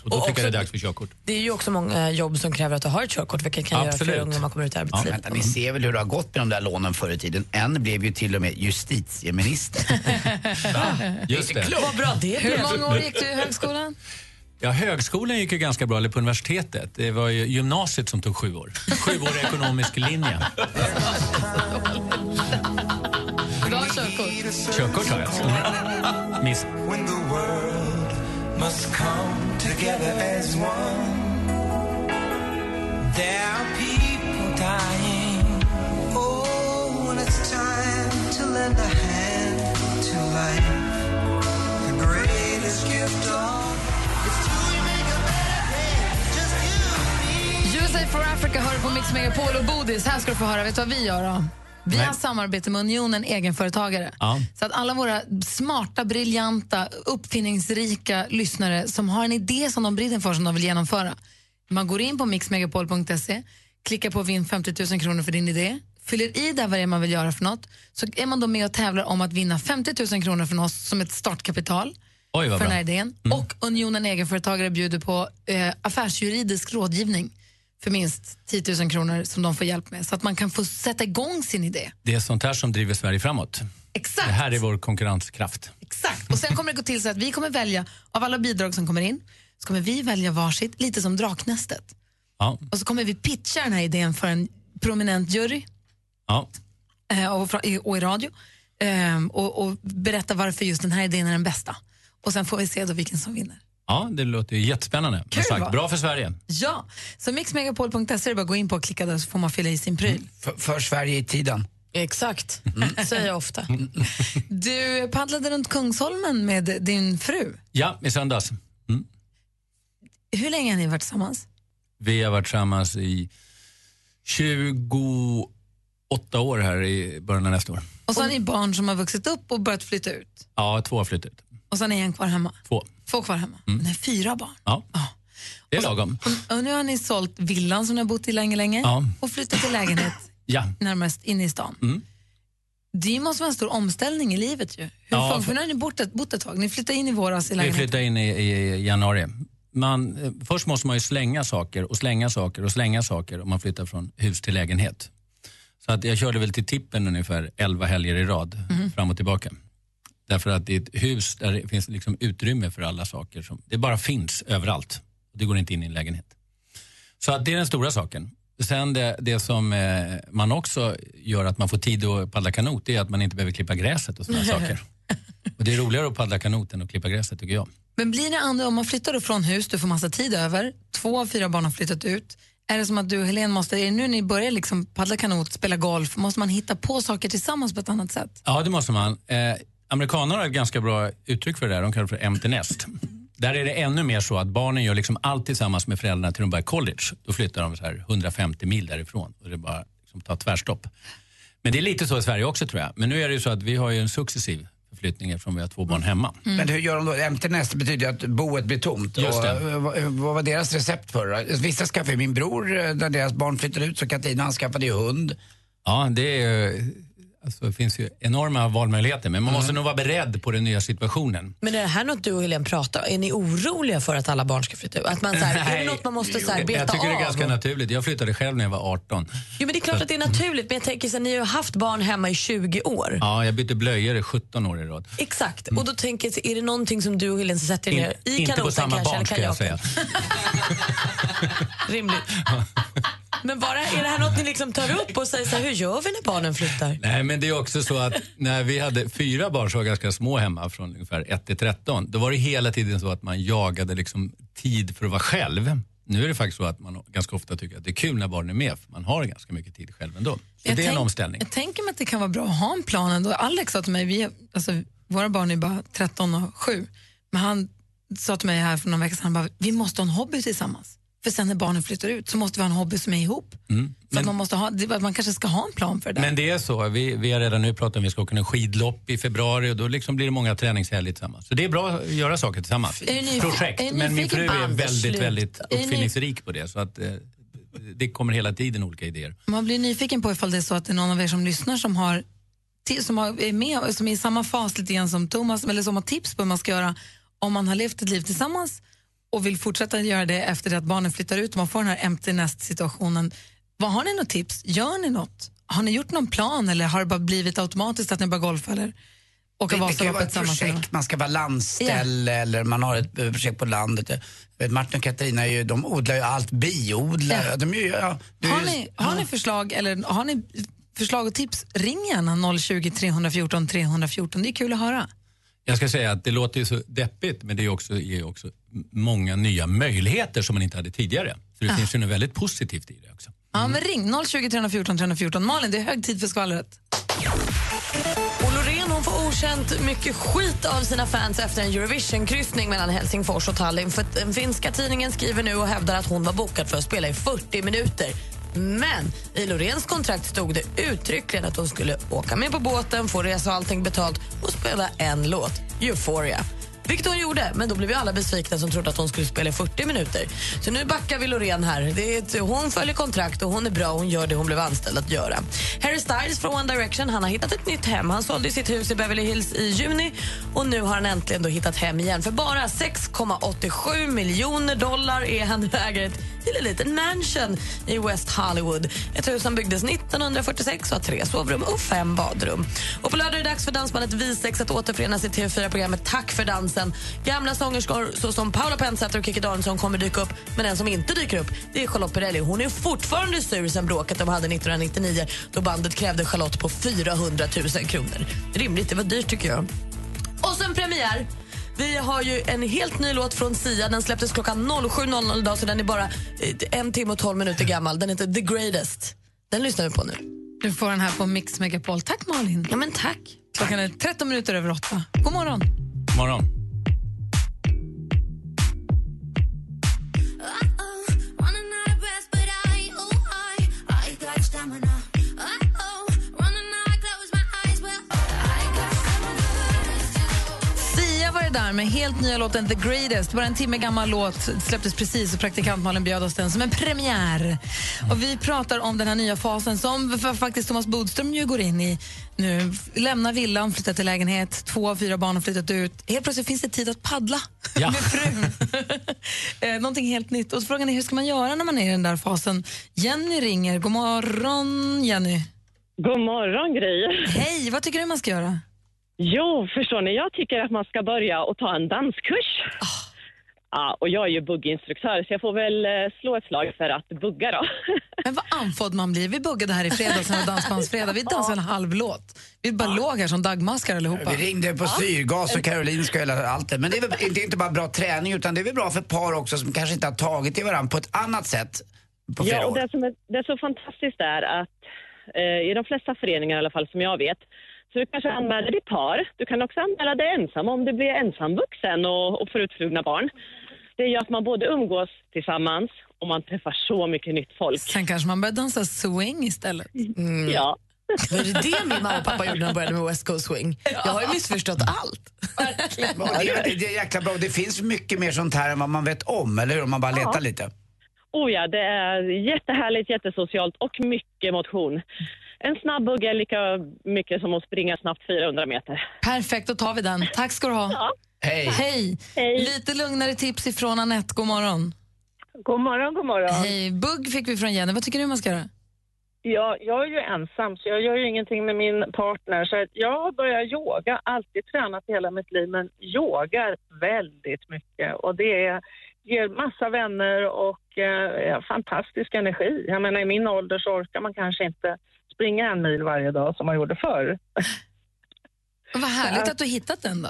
Speaker 17: Och då
Speaker 3: Mm. Och
Speaker 17: tycker jag det
Speaker 3: också-
Speaker 17: är dags för körkort.
Speaker 3: Det är ju också många jobb som kräver att du har ett körkort vilket kan göra
Speaker 4: Absolut.
Speaker 3: för unga man kommer ut i arbetslivet.
Speaker 4: Vänta, ni ser väl hur det har gått med de där lånen förr i tiden. En blev ju till och med justitieminister.
Speaker 17: Just det.
Speaker 3: Vad bra det
Speaker 2: Hur
Speaker 3: blev.
Speaker 2: många år gick du i högskolan?
Speaker 17: Ja, högskolan gick ju ganska bra, eller på universitetet. Det var ju gymnasiet som tog sju år. Sju år ekonomisk linje.
Speaker 2: Du har körkort?
Speaker 17: Körkort har jag. Miss.
Speaker 13: When the world must come together as one. There are people dying. Oh, when it's time to lend a hand to life. The greatest gift of
Speaker 2: USA for Africa hör på Mix Megapol och Bodis. Här ska du få höra. Vet du vad vi gör då? Vi har samarbete med Unionen Egenföretagare.
Speaker 9: Ja.
Speaker 2: Så att alla våra smarta, briljanta, uppfinningsrika lyssnare som har en idé som de brinner för som de vill genomföra. Man går in på mixmegapol.se, klickar på vinn 50 000 kronor för din idé, fyller i där vad det är man vill göra för något. Så är man då med och tävlar om att vinna 50 000 kronor från oss som ett startkapital
Speaker 17: Oj,
Speaker 2: för
Speaker 17: vad
Speaker 2: den här
Speaker 17: bra. Mm.
Speaker 2: idén. Och Unionen Egenföretagare bjuder på eh, affärsjuridisk rådgivning för minst 10 000 kronor som de får hjälp med så att man kan få sätta igång sin idé.
Speaker 17: Det är sånt här som driver Sverige framåt.
Speaker 2: Exakt.
Speaker 17: Det här är vår konkurrenskraft.
Speaker 2: Exakt. Och sen kommer det gå till så att vi kommer välja, av alla bidrag som kommer in, så kommer vi välja varsitt, lite som Draknästet.
Speaker 17: Ja.
Speaker 2: Och så kommer vi pitcha den här idén för en prominent jury
Speaker 17: Ja.
Speaker 2: eh, och, fra- i- och i radio eh, och, och berätta varför just den här idén är den bästa. Och sen får vi se då vilken som vinner.
Speaker 17: ja, det låter ju jättespännande.
Speaker 2: Kul,
Speaker 17: Kul,
Speaker 2: va? Mm.
Speaker 17: sagt, bra för Sverige.
Speaker 2: Ja, så mixmegapol.se är det bara att gå in på och klicka där så får man fylla i sin pryl.
Speaker 17: Mm.
Speaker 4: För, för Sverige i tiden.
Speaker 2: Mm. Exakt, säger jag ofta.
Speaker 17: Mm.
Speaker 2: Du paddlade runt Kungsholmen med din fru.
Speaker 17: Ja, i söndags.
Speaker 2: Hur länge har ni varit tillsammans?
Speaker 17: Vi har varit tillsammans i 28 år här i början av nästa år.
Speaker 2: Och så har ni barn som har vuxit upp och börjat flytta ut.
Speaker 17: Ja, två har flyttat ut.
Speaker 2: Och så har ni en kvar hemma.
Speaker 17: Två.
Speaker 2: Två kvar hemma. Nej, fyra barn.
Speaker 17: Ja. Det är lagom.
Speaker 2: Och nu har ni sålt villan som ni har bott i länge, länge
Speaker 17: Ja.
Speaker 2: och flyttat till lägenhet
Speaker 17: Ja.
Speaker 2: närmast inne i stan.
Speaker 17: Mm.
Speaker 2: Det måste vara en stor omställning i livet ju. Hur
Speaker 17: Ja,
Speaker 2: funkar-
Speaker 17: för-
Speaker 2: för nu har ni bott ett, bott ett tag. Ni flyttade in i våras i
Speaker 17: Vi
Speaker 2: lägenheten.
Speaker 17: flyttade in i, i januari man, eh, först måste man ju slänga saker och slänga saker och slänga saker om man flyttar från hus till lägenhet. Så att jag körde väl till tippen ungefär 11 helger i rad
Speaker 9: Mhm.
Speaker 17: fram och tillbaka. Därför att det är ett hus där det finns liksom utrymme för alla saker. Som, det bara finns överallt. Det går inte in i en lägenhet. Så att det är den stora saken. Sen det, det som eh, man också gör att man får tid att paddla kanot det är att man inte behöver klippa gräset och sådana saker. Och det är roligare att paddla kanot än att klippa gräset tycker jag.
Speaker 2: Men blir det andra, om man flyttar då från hus, du får massa tid över, två av fyra barn har flyttat ut, är det som att du och Helene måste, är det nu ni börjar liksom paddla kanot, spela golf, måste man hitta på saker tillsammans på ett annat sätt?
Speaker 17: Ja, det måste man. Eh, amerikaner har ett ganska bra uttryck för det där. De kallar det för empty nest. Där är det ännu mer så att barnen gör liksom allt tillsammans med föräldrarna till de börjar college. Då flyttar de så här 150 mil därifrån och det bara liksom tar tvärstopp. Men det är lite så i Sverige också tror jag. Men nu är det ju så att vi har ju en successiv förflyttning eftersom vi har två barn hemma.
Speaker 4: Men hur gör de då? MTNS betyder ju att boet blir tomt.
Speaker 17: Just
Speaker 4: Och,
Speaker 17: det.
Speaker 4: eh, vad, eh, vad var deras recept för det? Vissa skaffade ju min bror, eh, när deras barn flyttade ut, så Katina han skaffade ju hund.
Speaker 17: Ja, det, är, ju- alltså, det finns ju enorma valmöjligheter men
Speaker 4: Mm.
Speaker 17: man måste nog vara beredd på den nya situationen.
Speaker 3: Men är det här något du och Helene pratar Är ni oroliga för att alla barn ska flytta ut? Att man, så här, är det något man måste så här, beta
Speaker 17: jag tycker
Speaker 3: av?
Speaker 17: det är ganska naturligt. Jag flyttade själv när jag var 18.
Speaker 3: Jo, men det är klart att det är naturligt, men jag tänker så här, ni har ju haft barn hemma i 20 år.
Speaker 17: Ja, jag bytte blöjor i 17 år i rad.
Speaker 3: Exakt, och då tänker jag, så är det någonting som du och Helene sätter er
Speaker 17: Mm. In-
Speaker 3: ner i
Speaker 17: inte på
Speaker 3: kanoten
Speaker 17: samma
Speaker 3: kanske,
Speaker 17: barn
Speaker 3: eller
Speaker 17: ska jag säga.
Speaker 3: Rimligt. Men bara, är det här något ni liksom tar upp och säger så här, hur gör vi när barnen flyttar?
Speaker 17: Nej, men det är också så att när vi hade fyra barn som var ganska små hemma från ungefär 1 till 13, då var det hela tiden så att man jagade liksom tid för att vara själv. Nu är det faktiskt så att man ganska ofta tycker att det är kul när barnen är med, för man har ganska mycket tid själv ändå. Så
Speaker 2: Jag
Speaker 17: det är en
Speaker 2: tänk-
Speaker 17: omställning.
Speaker 2: Jag tänker mig att det kan vara bra att ha en plan ändå. Alex sa till mig, vi, alltså, våra barn är bara 13 och 7, men han sa till mig här för någon vecka sedan, han bara, vi måste ha en hobby tillsammans. För sen när barnen flyttar ut så måste vi ha en hobby som är ihop.
Speaker 17: Mm.
Speaker 2: För man, måste ha, det- man kanske ska ha en plan för det.
Speaker 17: Men det är så, vi, vi har redan nu pratat om att vi ska åka en skidlopp i februari och då liksom blir det många träningshelger tillsammans. Så det är bra att göra saker tillsammans.
Speaker 2: Är ni nyfiken- är
Speaker 17: Projekt,
Speaker 2: ni
Speaker 17: men min
Speaker 2: nyfiken
Speaker 17: fru
Speaker 2: på
Speaker 17: är
Speaker 2: Anders?
Speaker 17: väldigt,
Speaker 2: Sluta.
Speaker 17: väldigt
Speaker 2: Är ni-
Speaker 17: uppfinningsrik på det. Så att, eh, det kommer hela tiden olika idéer.
Speaker 2: Man blir nyfiken på ifall det är så att det är någon av er som lyssnar som har ti- som har, är med som är i samma fas lite grann som Thomas eller som har tips på hur man ska göra om man har levt ett liv tillsammans och vill fortsätta göra det efter det att barnen flyttar ut och man får den här empty nest situationen. Vad Har ni något tips? Gör ni något? Har ni gjort någon plan eller har det bara blivit automatiskt att ni börjar golfa eller åka
Speaker 4: det, det kan ju vara
Speaker 2: Vasaloppet
Speaker 4: ett
Speaker 2: tillsammans? eller något?
Speaker 4: projekt, man ska vara landställe eller man har ett eh, projekt på landet. Jag Vet, Martin och Katarina är ju, de odlar ju allt, biodlar.
Speaker 2: Ja.
Speaker 4: De är ju, ja, det är
Speaker 2: Har
Speaker 4: ju-
Speaker 2: ni,
Speaker 4: ja.
Speaker 2: har ni förslag eller har ni förslag och tips? Ring gärna 020 314 314. Det är kul att höra.
Speaker 17: Jag ska säga att det låter ju så deppigt men det är också, ger också m- många nya möjligheter som man inte hade tidigare. Så det
Speaker 2: Ah.
Speaker 17: finns ju något väldigt positivt i det.
Speaker 2: Ja, men ring 020 314 314. Malin, det är hög tid för skvallret.
Speaker 3: Och Loreen hon får okänt mycket skit av sina fans efter en Eurovision-kryssning mellan Helsingfors och Tallinn. För att den finska tidningen skriver nu och hävdar att hon var bokad för att spela i 40 minuter. Men i Loreens kontrakt stod det uttryckligen att hon skulle åka med på båten, få resa och allting betalt och spela en låt, Euphoria. Vilket hon gjorde, men då blev ju alla besvikna som trodde att hon skulle spela i 40 minuter. Så nu backar vi Loreen här. Det är, ett- hon följer kontrakt och hon är bra. Hon gör det hon blev anställd att göra. Harry Styles från One Direction han har hittat ett nytt hem. Han sålde ju sitt hus i Beverly Hills i juni och nu har han äntligen då hittat hem igen. För bara 6,87 miljoner dollar är han nu ägare till en liten mansion i West Hollywood. Ett hus som byggdes 1946 och har tre sovrum och fem badrum. Och på lördag är det dags för dansbandet Visex att återförenas i TV4-programmet Tack för dansen. Gamla sångerskor såsom Paula Pennsäter och Kikki Danielsson kommer dyka upp, men en som inte dyker upp det är Charlotte Perrelli. Hon är fortfarande sur sen bråket de hade 1999 då bandet krävde Charlotte på 400 000 kronor. Rimligt, det var dyrt tycker jag. Och sen premiär. Vi har ju en helt ny låt från Sia. Den släpptes klockan 07.00 idag så den är bara eh, en timme och tolv minuter gammal. Den heter The Greatest. Den lyssnar vi på nu.
Speaker 2: Du får den här på Mix Megapol. Tack Malin.
Speaker 3: Ja, men tack.
Speaker 2: Klockan är 13 minuter över 8. God morgon.
Speaker 17: Morgon.
Speaker 9: Running out of breath, but I, oh, I, I got stamina. Uh-oh, running out, I close my eyes, well, I got stamina.
Speaker 3: Sia var det
Speaker 2: där med helt nya låten The Greatest. Bara en timme gammal låt släpptes precis och praktikant Malin bjöd oss den som en premiär. Och vi pratar om den här nya fasen som f- faktiskt Thomas Bodström ju går in i nu. Lämnar villan, flyttar till lägenhet, två av fyra barn har flyttat ut. Helt plötsligt finns det tid att paddla
Speaker 17: Ja.
Speaker 2: med frun. eh, någonting helt nytt. Och så frågan är hur ska man göra när man är i den där fasen? Jenny ringer. God morgon, Jenny.
Speaker 10: God morgon, Gry.
Speaker 2: Hej, vad tycker du man ska göra?
Speaker 10: Jo, förstår ni, jag tycker att man ska börja och ta en danskurs. Ja, och jag är ju bugginstruktör, så jag får väl eh, slå ett slag för att bugga då.
Speaker 2: Men vad anfådd man blir. Vi buggade här i fredags, när det var dansbandsfredag. Vi dansade en halv låt. Vi bara låg här som dagmaskar allihopa.
Speaker 4: Vi ringde på syrgas och Karolinska och hela allt det. Men det är, väl, det är inte bara bra träning utan det är väl bra för par också som kanske inte har tagit i varandra på ett annat sätt på flera
Speaker 10: Ja, och
Speaker 4: år.
Speaker 10: det som är, det är så fantastiskt är att eh, i de flesta föreningar i alla fall som jag vet, så du kanske anmäler dig par. Du kan också anmäla dig ensam om du blir ensamvuxen och, och får utflugna barn. Det gör att man både umgås tillsammans och man träffar så mycket nytt folk.
Speaker 2: Sen kanske man börjar dansa swing istället. Mm.
Speaker 10: Ja.
Speaker 3: Var det det min mamma och pappa gjorde när de började med West Coast Swing? Jag har ju missförstått allt.
Speaker 4: Och det, är- det är jäkla bra. Det finns mycket mer sånt här än vad man vet om, eller hur? Om man bara letar
Speaker 10: Ja.
Speaker 4: lite.
Speaker 10: Oh ja, det är jättehärligt, jättesocialt och mycket motion. En snabb bugg är lika mycket som att springa snabbt 400 meter.
Speaker 2: Perfekt, då tar vi den. Tack ska du ha.
Speaker 10: Hej.
Speaker 2: Hej. Lite lugnare tips ifrån Anette. God morgon.
Speaker 16: God morgon, god morgon.
Speaker 2: Hej. Bugg fick vi från Jenny. Vad tycker du man ska göra?
Speaker 16: Ja, jag är ju ensam, så jag gör ju ingenting med min partner. Så att jag börjar yoga, alltid tränat hela mitt liv, men yogar väldigt mycket. Och det är, ger massa vänner och eh, fantastisk energi. Jag menar, i min ålder så orkar man kanske inte springa en mil varje dag som man gjorde förr.
Speaker 2: Vad härligt att du har hittat den då.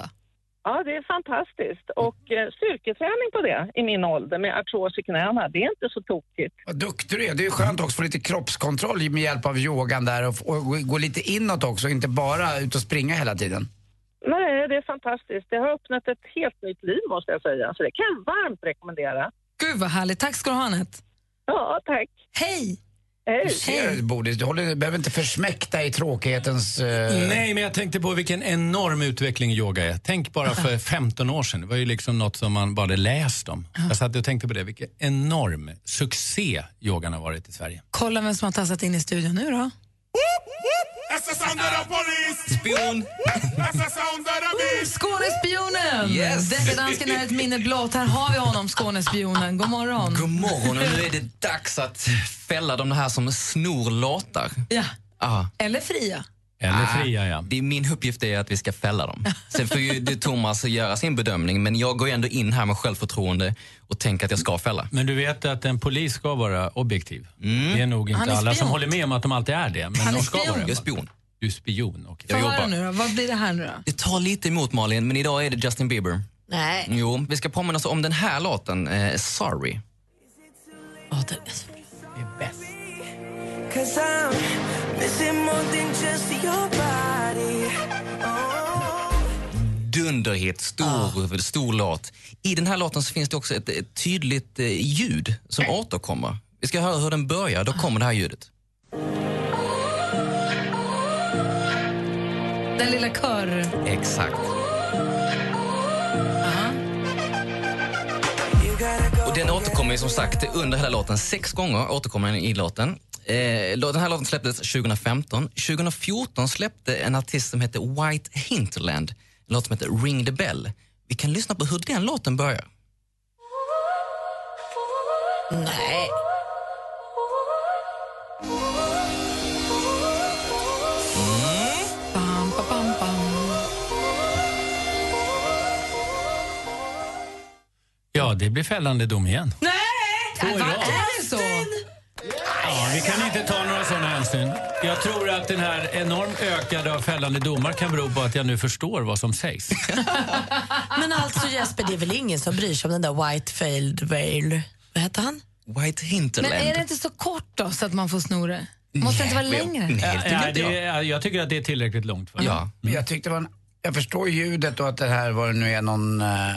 Speaker 16: Ja, det är fantastiskt. Och eh, styrketräning på det i min ålder med artros i knäna, det är inte så tokigt.
Speaker 4: Vad duktig du är. Det är skönt också att få lite kroppskontroll med hjälp av yogan där och, och gå- gå lite inåt också, inte bara ut och springa hela tiden.
Speaker 16: Nej, det är fantastiskt. Det har öppnat ett helt nytt liv måste jag säga. Så det kan jag varmt rekommendera.
Speaker 2: Gud vad härligt. Tack ska du ha Anette.
Speaker 16: Ja, tack.
Speaker 2: Hej!
Speaker 16: Hej!
Speaker 4: Du ser, du, Bodis, du, håller, du behöver inte försmäkta i tråkighetens... eh,
Speaker 17: Nej, men jag tänkte på vilken enorm utveckling yoga är. Tänk bara för 15 år sedan. Det var ju liksom något som man bara hade läst om. Jag satt och tänkte på det. Vilken enorm succé yogan har varit i Sverige.
Speaker 2: Kolla vem som har tassat in i studion nu då.
Speaker 13: That's the sound of the police.
Speaker 17: Spion.
Speaker 13: That's the sound of the beast.
Speaker 2: Skånespionen!
Speaker 13: Yes.
Speaker 2: Deckardansken är ett minne blott. Här har vi honom, Skånespionen. God morgon.
Speaker 11: God morgon och nu är det dags att fälla de här som snor låtar.
Speaker 2: Ja.
Speaker 11: Ah.
Speaker 2: Eller Fria.
Speaker 11: Eller fria, ja. Det är min uppgift är att vi ska fälla dem. Sen får ju det Thomas göra sin bedömning, men jag går ju ändå in här med självförtroende och tänker att jag ska fälla.
Speaker 17: Men du vet att en polis ska vara objektiv. Det är nog
Speaker 11: Mm. Han
Speaker 17: inte
Speaker 11: är
Speaker 17: alla som
Speaker 11: spion.
Speaker 17: håller med om att de alltid är det. Men
Speaker 11: Han
Speaker 17: de
Speaker 11: är
Speaker 17: ska
Speaker 11: spion.
Speaker 17: Vara det.
Speaker 11: Jag är spion.
Speaker 17: Du är spion, okej.
Speaker 2: Få höra nu då. Vad blir det här nu då?
Speaker 11: Det tar lite emot Malin, men idag är det Justin Bieber.
Speaker 3: Nej.
Speaker 11: Jo, vi ska påminna oss om den här låten, eh, Sorry.
Speaker 13: Cause I'm missing more than just your body.
Speaker 11: dunderhit, stor, stor låt. I den här låten så finns det också ett, ett tydligt eh, ljud som återkommer. Vi ska höra hur den börjar, då kommer det här ljudet.
Speaker 2: Den lilla kör...
Speaker 11: Exakt. Uh-huh. Och den återkommer ju som sagt under hela låten. Sex gånger återkommer den i låten. Eh, lå- den här låten släpptes 2015. 2014 släppte en artist som hette White Hinterland en låt som heter Ring the Bell. Vi kan lyssna på hur den låten börjar.
Speaker 3: Nej.
Speaker 2: Bam, ba, bam, bam.
Speaker 17: Ja, det blir fällande dom igen.
Speaker 2: Nej!
Speaker 17: Två i
Speaker 2: Vad
Speaker 17: rad.
Speaker 2: är det så?
Speaker 17: Ja, vi kan inte ta några sådana hänsyn. Jag tror att den här enormt ökade av fällande domar kan bero på att jag nu förstår vad som sägs.
Speaker 3: Men alltså Jesper, det är väl ingen som bryr sig om den där White Failed Veil? Vad hette han?
Speaker 11: White
Speaker 2: Men
Speaker 11: Hinterland.
Speaker 2: är det inte så kort då, så att man får sno det? Måste det inte vara längre?
Speaker 17: Ja, det, är- jag tycker att det är tillräckligt långt. För.
Speaker 4: Ja. Men jag tyckte det var en, jag förstår ljudet och att det här var det nu är någon eh,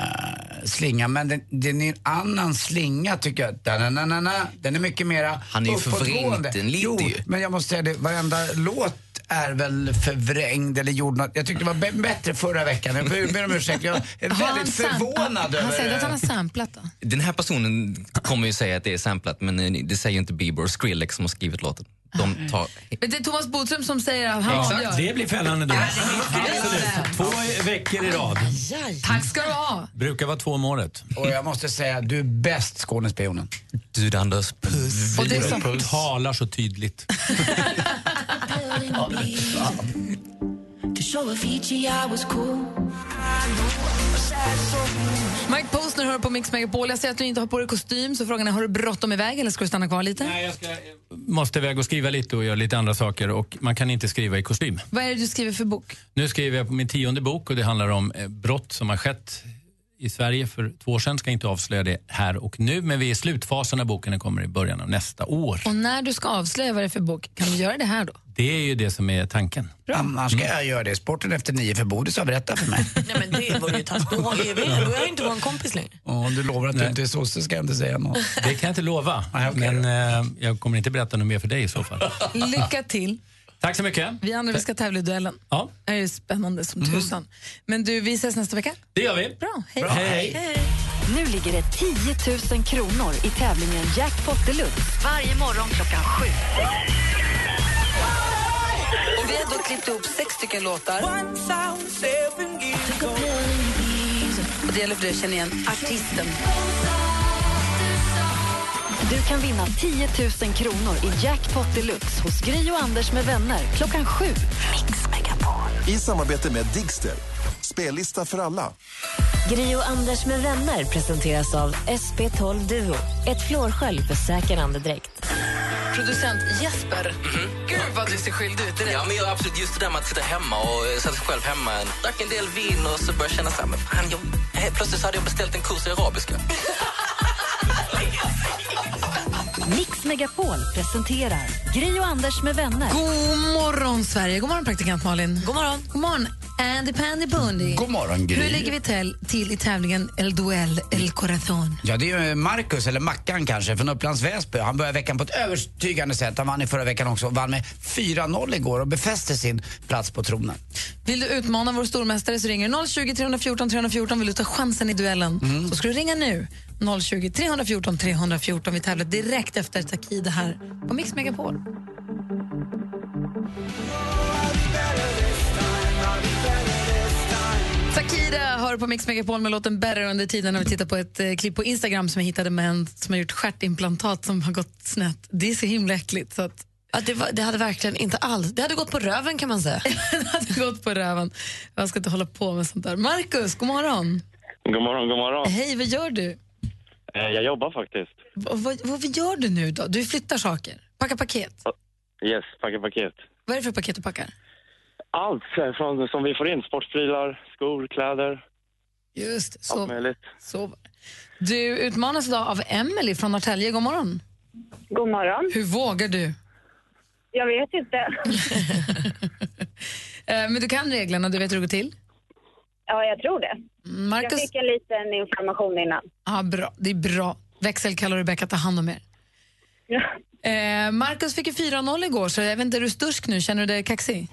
Speaker 4: slinga, men den, den är en annan slinga tycker jag. Da-na-na-na-na. Den är mycket mera
Speaker 11: Han är ju
Speaker 4: uppåtgående.
Speaker 11: förvrängt, den lite
Speaker 4: Jo,
Speaker 11: ju.
Speaker 4: men jag måste säga det, varenda låt är väl förvrängd eller gjord något. Jag tyckte det var b- bättre förra veckan. Jag ber ber om ursäkt. Jag är
Speaker 2: Har han
Speaker 4: väldigt
Speaker 2: sam-
Speaker 4: förvånad
Speaker 2: Han säger
Speaker 4: över...
Speaker 2: att han har samplat då.
Speaker 11: Den här personen kommer ju säga att det är samplat men eh, det säger inte Bieber och Skrillex som har skrivit låten. De tar...
Speaker 2: Men det är Thomas Bodström som säger att han avgör.
Speaker 11: Exakt.
Speaker 17: Det blir fällande dom. Absolut. Två veckor i rad.
Speaker 2: Tack ska du ha.
Speaker 17: Brukar vara två om året.
Speaker 4: Och jag måste säga, du är bäst Skånespionen.
Speaker 17: Du Anders, puss.
Speaker 2: Och det är så-
Speaker 17: puss. talar så tydligt.
Speaker 13: To show a Fiji I was cool.
Speaker 2: Mike Postner hör på Mix Megapol. Jag ser att du inte har på dig kostym, så frågan är har du bråttom iväg eller ska du stanna kvar lite? Nej,
Speaker 17: jag ska... Måste iväg och skriva lite och göra lite andra saker och man kan inte skriva i kostym.
Speaker 2: Vad är det du skriver för bok?
Speaker 17: Nu skriver jag på min tionde bok och det handlar om eh, brott som har skett i Sverige för två år sedan. Ska inte avslöja det här och nu, men vi är i slutfasen när boken kommer i början av nästa år.
Speaker 2: Och när du ska avslöja vad det är för bok, kan du göra det här då?
Speaker 17: Det är ju det som är tanken. Mm.
Speaker 4: Annars ska jag göra det. Sporten efter nio för Bodis har berättat för mig.
Speaker 3: Nej, men det vore ju taskigt. Då har vi- då är jag inte vår kompis längre.
Speaker 4: Om du lovar att du inte är sosse ska jag inte säga något.
Speaker 17: Det kan jag inte lova, men eh, jag kommer inte berätta något mer för dig i så fall.
Speaker 2: Lycka till.
Speaker 17: Tack så mycket.
Speaker 2: Vi andra vi ska tävla i duellen.
Speaker 17: Ja.
Speaker 2: Det är spännande som tusan. Men du, vi ses nästa vecka.
Speaker 17: Det gör vi.
Speaker 2: Bra, hej.
Speaker 17: Bra, hej.
Speaker 1: Nu ligger det 10 000 kronor i tävlingen Jackpot Deluxe. Varje morgon klockan sju.
Speaker 13: Och vi har då klippt ihop sex stycken låtar.
Speaker 1: Och det gäller för dig att känna igen artisten. Du kan vinna 10 000 kronor i Jackpot Deluxe hos Gry och Anders med vänner klockan sju.
Speaker 7: I samarbete med Digster. Spellista för alla.
Speaker 8: Gri och Anders med vänner presenteras av SP12 Duo. Ett fluorskölj för säker andedräkt.
Speaker 3: Producent Jesper.
Speaker 11: Gud vad du ser skyldig ut Mhm. Ja, men jag, absolut. Just det där med att sitta hemma och eh, sätta sig själv hemma. Drack en del vin och så började jag känna så här, men fan, jag, eh, plötsligt så hade jag beställt en kurs i arabiska.
Speaker 1: Mix Megapol presenterar Gri och Anders med vänner.
Speaker 2: God morgon, Sverige. God morgon, praktikant Malin. God morgon. God morgon, Andy Pandy Bundy. God
Speaker 4: morgon, Gry.
Speaker 2: Hur ligger vi till, till i tävlingen El Duell El Corazon?
Speaker 4: Ja, det är ju eh, Marcus, eller Mackan kanske, från Upplands Väsby. Han börjar veckan på ett övertygande sätt. Han vann i förra veckan också. Vann med 4-0 igår och befäste sin plats på tronen.
Speaker 2: Vill du utmana vår stormästare så ringer du 020 314 314. Vill du ta chansen i duellen så ska du ringa nu. 020 314 314. Vi tävlar direkt efter Takida här på Mix Megapol. Takida hör på Mix Megapol med låten Better under tiden när vi tittar på ett eh, klipp på Instagram som jag hittade med en som har gjort stjärtimplantat som har gått snett. Det är så himla äckligt. Så att...
Speaker 3: det, var, det hade verkligen inte alls... Det hade gått på röven kan man säga.
Speaker 2: det hade gått på röven. Jag ska inte hålla på med sånt där. Markus, god morgon.
Speaker 18: God morgon, god morgon.
Speaker 2: Hej, vad gör du?
Speaker 18: Eh, Jag jobbar faktiskt.
Speaker 2: Vad, vad, vad gör du nu då? Du flyttar saker, packar paket.
Speaker 18: Yes, packar paket.
Speaker 2: Vad är det för paket du packar?
Speaker 18: Allt eh, från, som vi får in. Sportprylar, skor, kläder.
Speaker 2: Just det,
Speaker 18: Allt
Speaker 2: så,
Speaker 18: möjligt.
Speaker 2: så. var det. Du utmanas idag av Emily från Norrtälje. God morgon.
Speaker 15: God morgon.
Speaker 2: Hur vågar du?
Speaker 15: Jag vet inte.
Speaker 2: Eh, Men du kan reglerna, du vet hur det går till?
Speaker 15: Ja, jag tror det. Jag
Speaker 2: Marcus,
Speaker 15: fick en liten information innan.
Speaker 2: ja, bra. det är bra. Växelkalla och Rebecka ta hand om er. Eh, Marcus fick ju 4-0 igår, så jag vet inte, är du stursk nu? Känner du dig kaxig?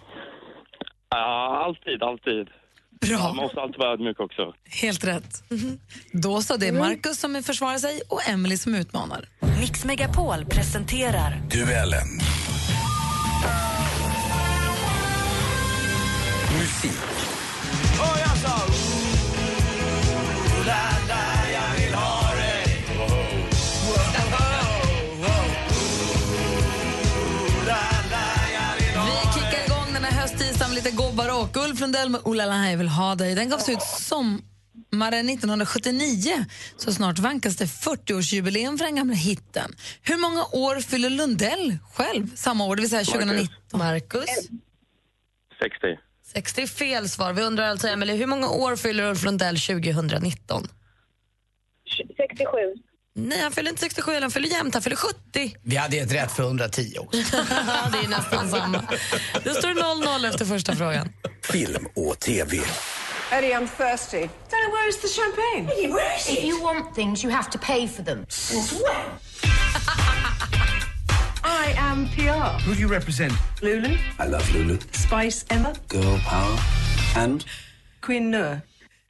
Speaker 18: Ja, alltid, alltid.
Speaker 2: Bra.
Speaker 18: Man måste alltid vara ödmjuk också.
Speaker 2: Helt rätt.
Speaker 15: Mhm.
Speaker 2: Då så, det
Speaker 15: Mm.
Speaker 2: är Marcus som försvarar sig och Emily som utmanar.
Speaker 1: Mix Megapol presenterar
Speaker 7: Duellen.
Speaker 13: Musik. Och jag sa
Speaker 23: alltså.
Speaker 13: ooh, la, la, jag vill ha dig. Wow, wow, ooh, la, la, jag vill ha
Speaker 2: Vi kickar igång den här hösttisdagen med lite gobbar och Ulf Lundell med Oh la la, jag vill ha dig. Den gavs ut sommaren 1979, så snart vankas det 40-årsjubileum för den gamla hitten. Hur många år fyller Lundell själv samma år, det vill säga 2019?
Speaker 3: Marcus?
Speaker 18: 60.
Speaker 3: 60 fel svar. Vi undrar alltså, Emily, hur många år fyller Ulf Lundell 2019?
Speaker 15: 67.
Speaker 3: Nej, han fyller inte 67, han fyller jämnt. Han fyller 70.
Speaker 4: Vi hade ett rätt för 110 också.
Speaker 3: det är nästan samma. Det står 0-0 efter första frågan.
Speaker 7: Film och TV.
Speaker 12: Eddie, Oh. I'm thirsty. Daddy, where is the champagne? Eddie, where is it?
Speaker 14: If you want things, you have to pay for them. Since when?
Speaker 12: I
Speaker 14: I am PR.
Speaker 23: Who do you represent?
Speaker 14: Lulu,
Speaker 23: I love Lulu.
Speaker 14: Spice Emma,
Speaker 23: Girl power. And?
Speaker 14: Queen Noor.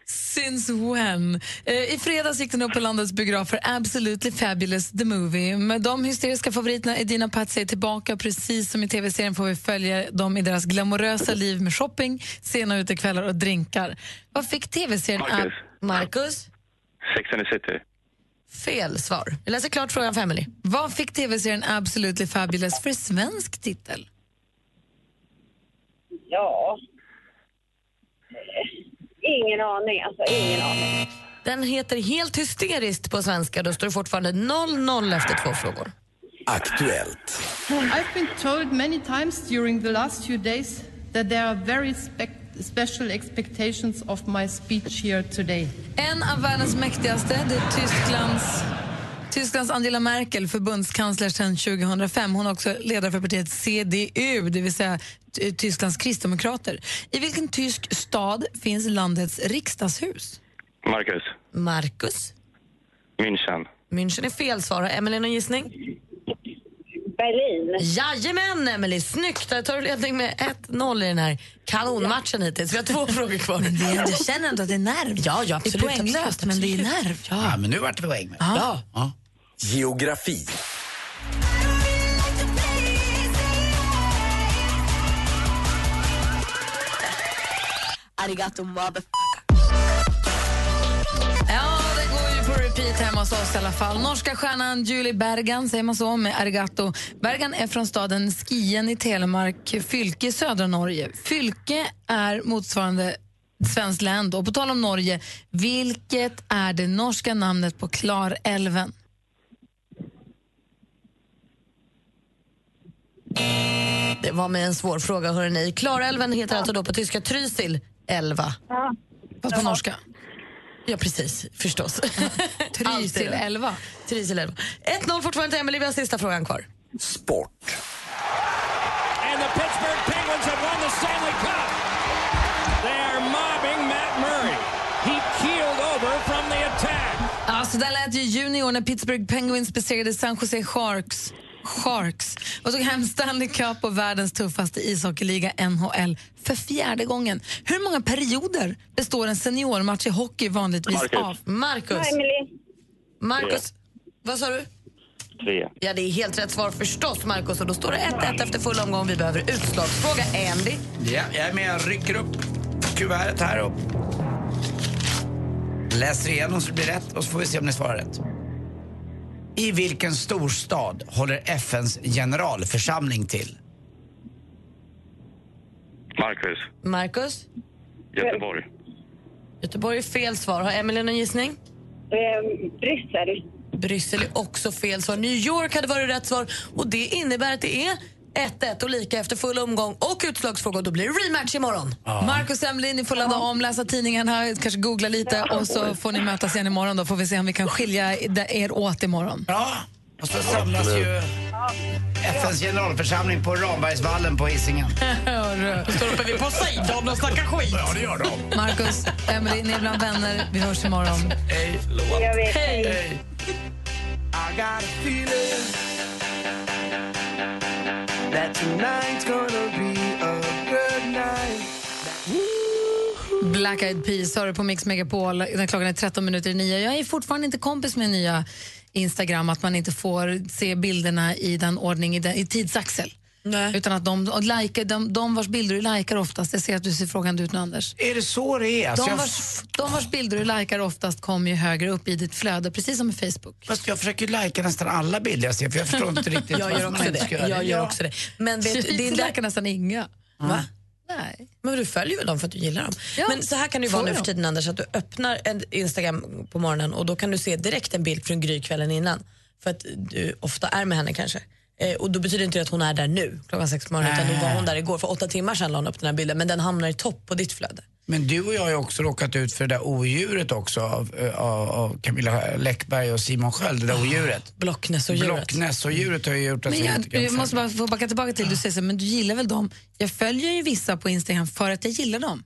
Speaker 2: Since when? Eh, I fredags gick den upp på landets biografer Absolutely Fabulous The Movie. Med de hysteriska favoriterna Edina Patsy är tillbaka. Precis som i tv-serien får vi följa dem i deras glamorösa liv med shopping, sena utekvällar och drinkar. Vad fick tv-serien...
Speaker 18: Marcus.
Speaker 2: Ab- Marcus?
Speaker 18: Sex and the City.
Speaker 2: Fel svar. Jag läser klart frågan för Emily. Vad fick tv-serien Absolutely Fabulous för svensk titel?
Speaker 14: Ja. Ingen aning, alltså. Ingen aning.
Speaker 3: Den heter Helt hysteriskt på svenska. Då står det fortfarande 0-0 efter två frågor.
Speaker 23: Aktuellt.
Speaker 24: I've been told many times during the last few days that there are very spec- special expectations of my speech here today.
Speaker 2: En av världens mäktigaste, det är Tysklands, Tysklands Angela Merkel, förbundskansler sedan 2005. Hon är också ledare för partiet CDU, det vill säga Ty- Tysklands kristdemokrater. I vilken tysk stad finns landets riksdagshus?
Speaker 18: Marcus.
Speaker 3: Marcus.
Speaker 18: München.
Speaker 3: München är fel svar. Har Emelie någon gissning? Berlin. Jajamän, Emelie. Snyggt! Där tar du ledning med 1-0 i den här kanonmatchen hittills. Vi har två frågor kvar. Men
Speaker 2: det är- jag känner ändå att det är nerv.
Speaker 3: Ja, ja, absolut.
Speaker 2: det är poänglöst, men det är nerv.
Speaker 4: Ja. men nu vart det poäng med.
Speaker 2: Ja.
Speaker 23: Geografi.
Speaker 3: Arigato motherfucker. Ja,
Speaker 2: det går ju på repeat hemma hos oss i alla fall. Norska stjärnan Julie Bergan, säger man så, med Arigato. Bergan är från staden Skien i Telemark fylke i södra Norge. Fylke är motsvarande svenskt län då. På tal om Norge, vilket är det norska namnet på Klarälven?
Speaker 3: Det var med en svår fråga, hörrni. Klarälven heter alltså då på tyska Trysil elva. Fast på norska. Ja, precis. Förstås.
Speaker 2: Trysil elva.
Speaker 3: Trysil elva. 1-0 fortfarande till Emelie. Vi har sista frågan kvar.
Speaker 23: Sport.
Speaker 24: And the Pittsburgh Penguins have won the Stanley Cup. They are mobbing Matt Murray. He keeled over from the attack.
Speaker 2: Ja, så där lät ju junior när Pittsburgh Penguins besegrade San Jose Sharks, Sharks och tog hem Stanley Cup och världens tuffaste ishockeyliga NHL för fjärde gången. Hur många perioder består en seniormatch i hockey vanligtvis
Speaker 3: Marcus.
Speaker 2: av? Marcus.
Speaker 3: Ja, Marcus,
Speaker 2: Ja.
Speaker 3: vad sa du?
Speaker 18: Tre.
Speaker 3: Ja, det är helt rätt svar förstås, Marcus. Och då står det 1-1 efter full omgång. Vi behöver utslagsfråga. Andy.
Speaker 4: Ja, jag är med. Jag rycker upp kuvertet här och läser igenom så det blir rätt och så får vi se om ni svarar rätt. I vilken storstad håller FNs generalförsamling till?
Speaker 18: Marcus.
Speaker 3: Marcus,
Speaker 18: Göteborg.
Speaker 3: Göteborg är fel svar. Har Emelie någon gissning? Bryssel. Bryssel är också fel svar. New York hade varit rätt svar. Och Det innebär att det är 1-1 och lika efter full omgång och utslagsfråga. Då blir det rematch imorgon.
Speaker 2: Ja. Marcus Emlin, ni får ladda om, läsa tidningen här, kanske googla lite och så får ni mötas igen imorgon då får vi se om vi kan skilja er åt imorgon.
Speaker 4: Ja, och så samlas ju FNs generalförsamling på Rambergsvallen på Hisingen.
Speaker 2: Hörru.
Speaker 3: Står uppe vid Poseidon och snackar skit.
Speaker 4: Ja, det gör de.
Speaker 2: Marcus, Emily, ni är bland vänner. Vi hörs imorgon.
Speaker 4: Hej.
Speaker 2: Jag vet. Hej.
Speaker 13: I got a feeling that tonight's gonna be a good night.
Speaker 2: Black Eyed Peas har du på Mix Megapol när klockan är 13 minuter i nio. Jag är fortfarande inte kompis med nya Instagram, att man inte får se bilderna i den ordning, i, den, i tidsaxel. Utan att de, och like, de, de vars bilder du likar oftast, jag ser att du ser frågande ut nu Anders.
Speaker 4: Är det så det är? Alltså,
Speaker 2: De
Speaker 4: jag,
Speaker 2: vars, de vars bilder du likar oftast kommer ju högre upp i ditt flöde, precis som i Facebook.
Speaker 4: fast jag försöker ju lajka nästan alla bilder jag ser för jag förstår inte riktigt
Speaker 3: Jag
Speaker 4: varför
Speaker 3: gör
Speaker 4: man
Speaker 3: också
Speaker 4: inte
Speaker 3: det.
Speaker 4: ska göra
Speaker 3: Jag
Speaker 4: Ja.
Speaker 3: gör också det. Men vet du, det är
Speaker 2: Vi likar nästan inga.
Speaker 3: Va?
Speaker 2: Nej.
Speaker 3: Men du följer väl dem för att du gillar dem?
Speaker 2: Ja,
Speaker 3: Men så här kan det ju
Speaker 2: får
Speaker 3: vara nu
Speaker 2: jag
Speaker 3: för
Speaker 2: dem.
Speaker 3: tiden Anders, att du öppnar en Instagram på morgonen och då kan du se direkt en bild från Gry kvällen innan. För att du ofta är med henne kanske. Eh, och då betyder inte det att hon är där nu klockan sex på morgonen utan då var hon där igår. För åtta timmar sedan la hon upp den här bilden men den hamnar i topp på ditt flöde.
Speaker 4: Men du och jag har ju också råkat ut för det där odjuret också av, eh, av, av Camilla Läckberg och Simon Sköld, det där odjuret.
Speaker 3: Blocknäsodjuret.
Speaker 4: Blocknäsodjuret har ju gjort att
Speaker 2: Ah, Men
Speaker 4: vi
Speaker 2: jag,
Speaker 4: inte kan
Speaker 2: jag måste
Speaker 4: följa.
Speaker 2: bara få backa tillbaka till, du säger så, här, men du gillar väl dem? Jag följer ju vissa på Instagram för att jag gillar dem.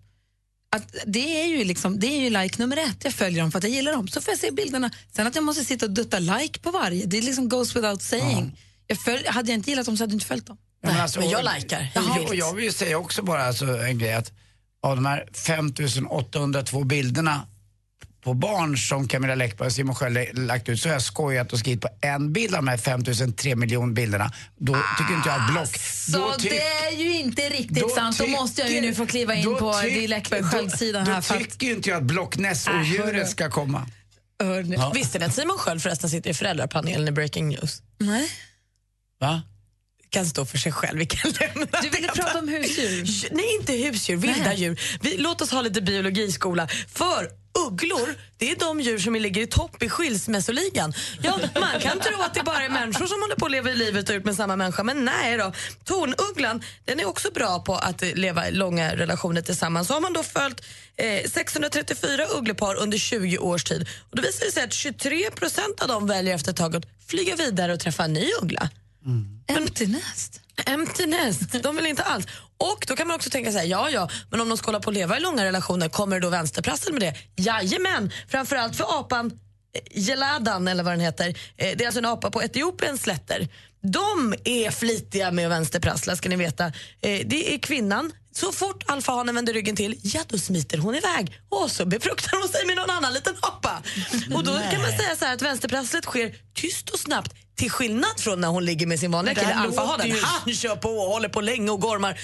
Speaker 2: Att det, är ju liksom, det är ju like nummer ett, jag följer dem för att jag gillar dem. Så får jag se bilderna. Sen att jag måste sitta och dutta like på varje, det liksom goes without saying. Jag följ, hade jag inte gillat dem så hade jag inte följt dem.
Speaker 4: Ja,
Speaker 2: men
Speaker 4: och-
Speaker 2: jag likar.
Speaker 4: alltså, och Jag, och jag vill ju säga också bara alltså, en grej att av de här 5802 bilderna på barn som Camilla Läckberg och Simon Sköld lagt ut så har jag skojat och skrivit på en bild av de här 5003 miljoner bilderna. Då tycker inte jag att block...
Speaker 2: Så
Speaker 4: då ty-
Speaker 2: det är ju inte riktigt sant. Då måste jag ju nu få kliva in
Speaker 4: då
Speaker 2: på
Speaker 4: ty-
Speaker 2: Di Läckberg-sidan
Speaker 4: då-
Speaker 2: här.
Speaker 4: Då
Speaker 2: För att, Äh,
Speaker 4: tycker ju inte jag att Blocknäs-odjuret ska komma.
Speaker 2: Hörni.
Speaker 4: Ja.
Speaker 3: Visste ni att Simon Sköld förresten sitter i föräldrapanelen i Breaking News?
Speaker 2: Nej.
Speaker 4: Va?
Speaker 3: Kan stå för sig själv. Vi kan lämna
Speaker 2: Du ville prata om husdjur?
Speaker 3: Nej, inte husdjur. Vilda djur. Vi, låt oss ha lite biologiskola. För ugglor, det är de djur som ligger i topp i skilsmässoligan. Ja, man kan tro att det bara är människor som håller på att leva i livet och ut med samma människa, men nej då. Tornugglan, den är också bra på att eh, leva i långa relationer tillsammans. Så har man då följt eh, 634 ugglepar under 20 års tid. Och då visar det sig att 23 procent av dem väljer efter ett tag att flyga vidare och träffa en ny uggla.
Speaker 2: Empty nest.
Speaker 3: Empty nest. De vill inte alls. Och då kan man också tänka så här, ja ja, men om de ska hålla på och leva i långa relationer, kommer då vänsterprassen med det? Jajamän, framförallt för apan eh, Geladan eller vad den heter. Eh, Det är alltså en apa på Etiopiens slätter. De är flitiga med att vänsterprassla ska ni veta. Eh, Det är kvinnan. Så fort alfahanen vänder ryggen till, ja då smiter hon iväg och så befruktar hon sig med någon annan liten apa. Och då kan man
Speaker 2: Nej.
Speaker 3: säga så här att vänsterprasslet sker tyst och snabbt till skillnad från när hon ligger med sin vanliga
Speaker 2: Men det
Speaker 3: kille
Speaker 2: här
Speaker 3: alfahanen.
Speaker 2: låter ju-
Speaker 3: Han kör på och håller på länge och gormar.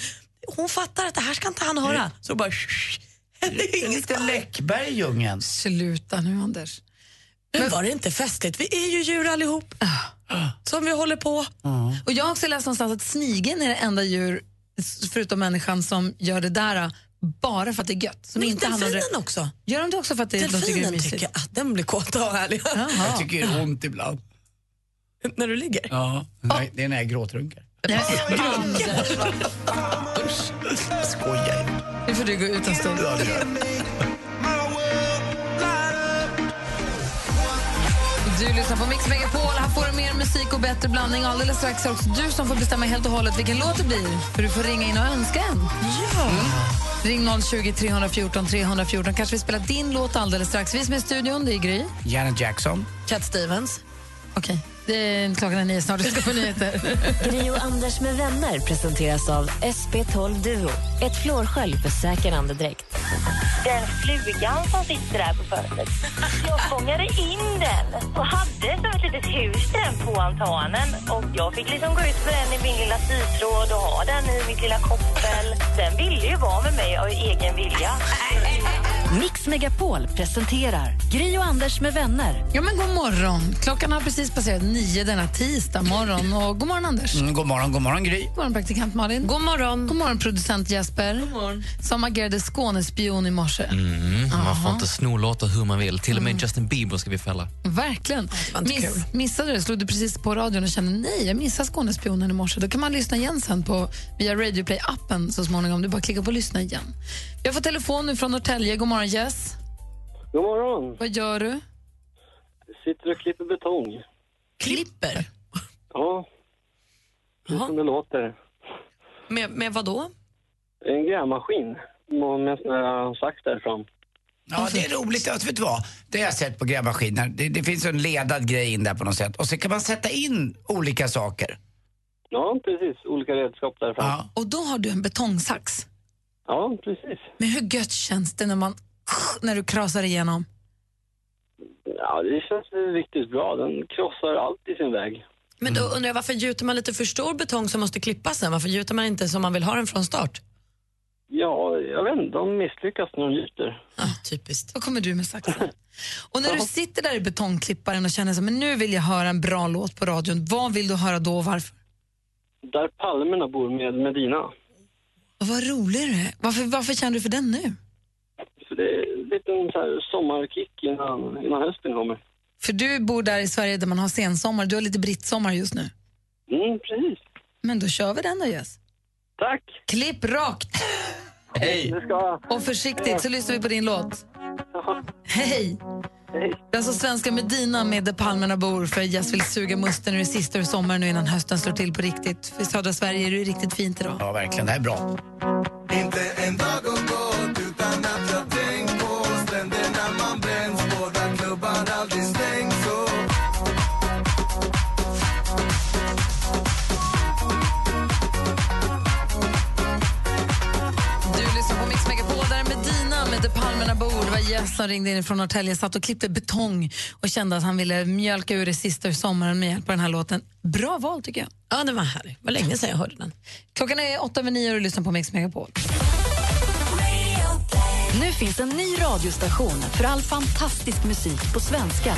Speaker 3: Hon fattar att det här ska inte han höra. Så bara... shh, Det är inget läck.
Speaker 4: Läckberg i djungeln.
Speaker 2: Sluta nu, Anders.
Speaker 3: Men var det inte festligt? Vi är ju djur allihop. Som vi håller på.
Speaker 2: Och jag har också läst någonstans att snigeln är det enda djur, s- förutom människan, som gör det där ah, bara för att det är gött. Som
Speaker 3: Men
Speaker 2: inte handlar om
Speaker 3: delfinen
Speaker 2: det-
Speaker 3: också.
Speaker 2: Gör de det också för att det, de tycker det är
Speaker 3: Delfinen
Speaker 2: mysigt?
Speaker 3: tycker att den blir kåt av härliga.
Speaker 4: Jag tycker det gör ont ibland.
Speaker 3: När du ligger?
Speaker 4: Ja, nej, det är när jag gråtrunkar. Skojar.
Speaker 2: Nu får du gå ut en stund.
Speaker 4: Ja, det gör jag.
Speaker 2: Du lyssnar på Mix Megapol. Här får du mer musik och bättre blandning. Alldeles strax är också du som får bestämma helt och hållet vilken låt det blir. För du får ringa in och önska en. Mm.
Speaker 3: Ja.
Speaker 2: Ring 020 314 314. Kanske vi spelar din låt alldeles strax. Vi som är i studion, det är Gry.
Speaker 4: Janet Jackson.
Speaker 3: Cat Stevens.
Speaker 2: Okej, det är klockan är nio snart. Du ska få nyheter.
Speaker 8: Gri och Anders med vänner presenteras av SP12 Duo. Ett flårskölj för säker andedräkt.
Speaker 5: Den flugan som sitter där på fönstret. Jag fångade in den och hade som ett litet hus den på altanen. Och jag fick liksom gå ut med den i min lilla sytråd och ha den i mitt lilla koppel. Den ville ju vara med mig av egen vilja.
Speaker 8: Mix Megapol presenterar Gri och Anders med vänner.
Speaker 2: Ja, men god morgon. Klockan har precis passerat nio denna tisdag morgon. Och god morgon, Anders.
Speaker 4: Mm, god morgon, god morgon Gry.
Speaker 2: God morgon, praktikant Malin. God morgon. God morgon, producent Jesper. God morgon. Som agerade Skånespion i morse.
Speaker 11: Mm, man får
Speaker 2: Jaha.
Speaker 11: inte sno låtar hur man vill. Till och med Justin Bieber ska vi fälla.
Speaker 2: Verkligen.
Speaker 11: inte
Speaker 2: Miss, missade du det? Slog du precis på radion och kände nej, jag missade Skånespionen i morse. Då kan man lyssna igen sen på, via Radio Play appen så småningom. Du bara klickar på lyssna igen. Jag får telefon nu från Norrtälje. God morgon Jess.
Speaker 20: God morgon.
Speaker 2: Vad gör du?
Speaker 20: Sitter och klipper betong.
Speaker 3: Klipper?
Speaker 20: Ja. Det är som det låter.
Speaker 3: Med, med vad då?
Speaker 20: En grävmaskin med med en sån här sax där fram.
Speaker 4: Ja, det är roligt. Alltså, vet du vad? Det har jag sett på grävmaskiner. Det, det finns en ledad grej in där på något sätt. Och så kan man sätta in olika saker.
Speaker 20: Ja, precis. Olika redskap där fram. Ja,
Speaker 2: Och då har du en betongsax.
Speaker 20: precis.
Speaker 2: Men hur gött känns det när man när du krasar igenom?
Speaker 20: Ja, det känns riktigt bra. Den krossar allt i sin väg.
Speaker 3: Men
Speaker 2: Mm.
Speaker 3: då undrar jag varför gjuter man lite för stor betong som måste klippas sen? Varför gjuter man inte som man vill ha den från start?
Speaker 20: Ja, jag vet inte. De misslyckas när de gjuter.
Speaker 3: Typiskt.
Speaker 2: Då kommer du med saxen. Och när du sitter där i betongklipparen och känner så, här, men nu vill jag höra en bra låt på radion. Vad vill du höra då och varför?
Speaker 20: Där palmerna bor med Medina.
Speaker 2: Och vad rolig du är. Varför, varför känner du för den nu?
Speaker 20: Så det är en liten så här sommarkick innan, innan hösten kommer.
Speaker 2: För du bor där i Sverige där man har sensommar. Du har lite brittsommar just nu.
Speaker 20: Mm, precis.
Speaker 2: Men då kör vi den då, Jess.
Speaker 20: Tack!
Speaker 2: Klipp rakt!
Speaker 20: Hej!
Speaker 2: Och försiktigt så lyssnar vi på din låt. Hej! Det är alltså svenska Medina med Där palmerna bor för Jess vill suga musten ur det sista ur sommaren nu innan hösten slår till på riktigt. För i södra Sverige är det ju riktigt fint idag.
Speaker 4: Ja, verkligen. Det här är bra.
Speaker 13: Inte en dag har gått utan att jag tänkt på stränderna man bränns på där klubbar aldrig stängs och
Speaker 2: andra bord. Det var Jess som ringde in från Norrtälje, satt och klippte betong och kände att han ville mjölka ur det sista ur sommaren med hjälp av den här låten. Bra val tycker jag.
Speaker 3: Ja, den var härlig. Det var länge sedan jag hörde den.
Speaker 2: Klockan är åtta över nio och du lyssnar på Mix Megapol.
Speaker 1: Nu finns en ny radiostation för all fantastisk musik på svenska.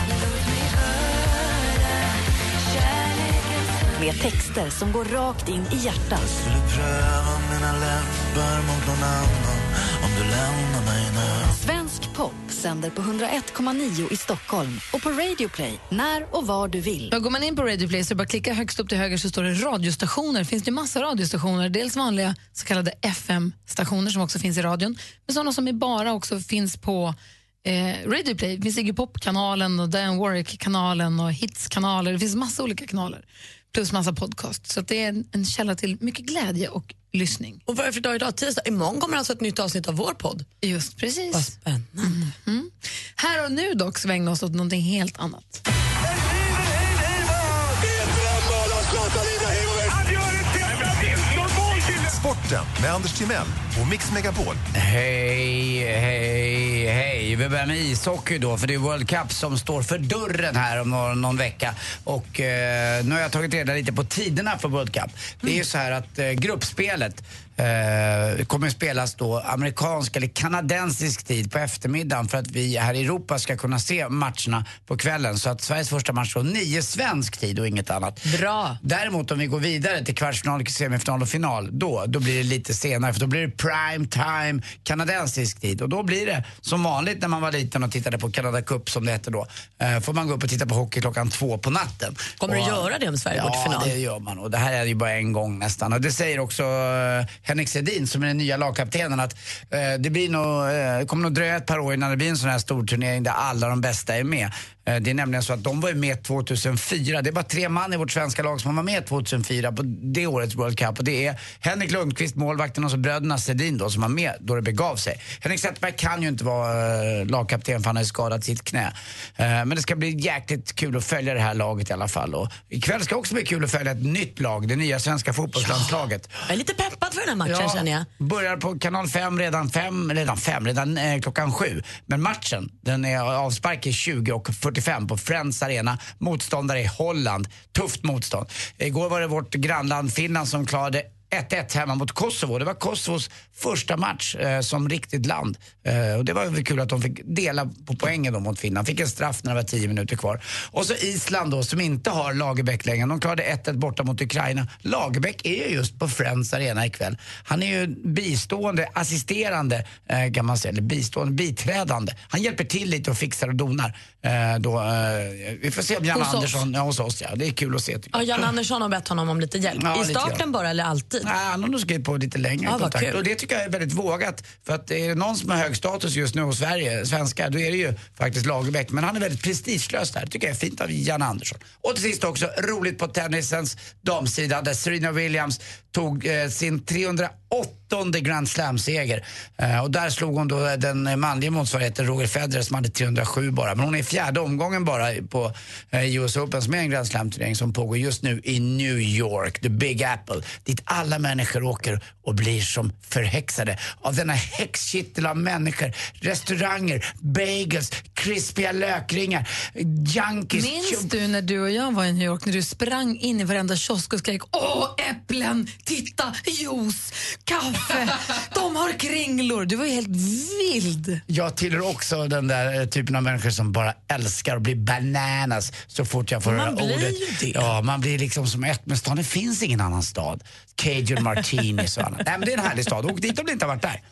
Speaker 1: Med texter som går rakt in i hjärtat.
Speaker 13: Pröva mina läppar mot någon annan om du lämnar mig nu
Speaker 1: Svensk pop sänder på 101,9 i Stockholm och på Radio Play när och var du vill.
Speaker 2: Då går man in på Radio Play så är det bara att klicka högst upp till höger så står det radiostationer. Det finns ju massa radiostationer, dels vanliga så kallade FM-stationer som också finns i radion, men sådana som är bara också finns på eh, Radio Play. Det finns Iggy Pop-kanalen och Diane Warwick-kanalen och Hits-kanaler. Det finns massa olika kanaler, plus massa podcast. Så att det är en, en källa till mycket glädje och lyssning.
Speaker 3: Och vad är det för dag idag? Tisdag? Imorgon kommer alltså ett nytt avsnitt av vår podd.
Speaker 2: Just precis. Vad spännande. Här och nu dock svänger oss åt någonting helt annat.
Speaker 7: Sporten med Anders Timell och Mix Megapol.
Speaker 4: Hej, hej, hej. Vi börjar med ishockey då, för det är World Cup som står för dörren här om någon, någon vecka. Och eh, nu har jag tagit reda lite på tiderna för World Cup. Det är ju så här att eh, gruppspelet eh, kommer spelas då amerikansk eller kanadensisk tid på eftermiddagen för att vi här i Europa ska kunna se matcherna på kvällen. Så att Sveriges första match då, nio svensk tid och inget annat.
Speaker 3: Bra.
Speaker 4: Däremot om vi går vidare till kvartsfinal, semifinal och final, då, då blir det lite senare för då blir det prime time kanadensisk tid. Och då blir det som vanligt när man var liten och tittade på Canada Cup som det hette då. Eh, får man gå upp och titta på hockey klockan två på natten.
Speaker 3: Kommer
Speaker 4: och,
Speaker 3: du göra det om Sverige
Speaker 4: ja,
Speaker 3: går till final?
Speaker 4: det gör man. Och det här är ju bara en gång nästan. Och det säger också eh, Henrik Sedin som är den nya lagkaptenen att eh, det blir nog, eh, kommer nog dröja ett par år innan det blir en sån här stor turnering där alla de bästa är med. Eh, det är nämligen så att de var ju med 2004. Det är bara tre man i vårt svenska lag som var med 2004 på det årets World Cup. Och det är Henrik Lundqvist, målvakten, och så bröderna Sedin då som var med då det begav sig. Henrik Zetterberg kan ju inte vara eh, lagkapten för han har ju skadat sitt knä. Eh, Men det ska bli jäkligt kul att följa det här laget i alla fall. Och ikväll ska också bli kul att följa ett nytt lag, det nya svenska fotbollslandslaget.
Speaker 3: Jag är lite peppad för den här matchen känner jag.
Speaker 4: Börjar på kanal 5 redan fem, redan fem, redan eh, klockan sju. Men matchen, den är avspark i 20 och 45 på Friends Arena. Motståndare är Holland. Tufft motstånd. Igår var det vårt grannland Finland som klarade 1-1 hemma mot Kosovo. Det var Kosovos första match eh, som riktigt land. Eh, och det var väl kul att de fick dela på poängen då mot Finland. Fick en straff när det var 10 minuter kvar. Och så Island då, som inte har Lagerbäck längre. De klarade 1-1 borta mot Ukraina. Lagerbäck är ju just på Friends Arena ikväll. Han är ju bistående, assisterande eh, kan man säga, eller bistående, biträdande. Han hjälper till lite och fixar och donar. Eh, då, eh, vi får se om Jan
Speaker 3: Hos oss.
Speaker 4: Andersson, ja, hos oss ja. Det är kul att se tycker
Speaker 3: Ja,
Speaker 4: jag.
Speaker 3: Jan Andersson har bett honom om lite hjälp.
Speaker 4: Ja,
Speaker 3: I
Speaker 4: lite grann.
Speaker 3: starten bara eller alltid?
Speaker 4: Nej, han har nog skrivit på lite längre
Speaker 3: Ja, vad
Speaker 4: kontrakt.
Speaker 3: kul.
Speaker 4: Och det tycker jag är väldigt vågat. För att är det någon som har hög status just nu hos Sverige, svenskar, då är det ju faktiskt Lagerbäck. Men han är väldigt prestigelös där. Det tycker jag är fint av Jan Andersson. Och till sist också, roligt på tennisens damsida där Serena Williams tog eh, sin 308 Grand Slam-seger. Eh, och där slog hon då den eh, manliga motsvarigheten Roger Federer som hade 307 bara. Men hon är i fjärde omgången bara på eh, US Open som är en Grand Slam-turnering som pågår just nu i New York, the Big Apple. Dit alla människor åker och blir som förhäxade av denna häxkittel av människor. Restauranger, bagels, krispiga lökringar, junkies.
Speaker 2: Minns du när du och jag var i New York när du sprang in i varenda kiosk och skrek Åh, äpplen! Titta! Juice! Kaffe! De har kringlor! Du var ju helt vild.
Speaker 4: Jag tillhör också den där eh, typen av människor som bara älskar att bli bananas så fort jag får
Speaker 2: Man
Speaker 4: höra
Speaker 2: blir
Speaker 4: ordet.
Speaker 2: ju det.
Speaker 4: Ja, man blir liksom som ett med stan. Det finns ingen annan stad. Cajun martinis och annat. Nej, men det är en härlig stad. Åk dit om ni inte har varit där.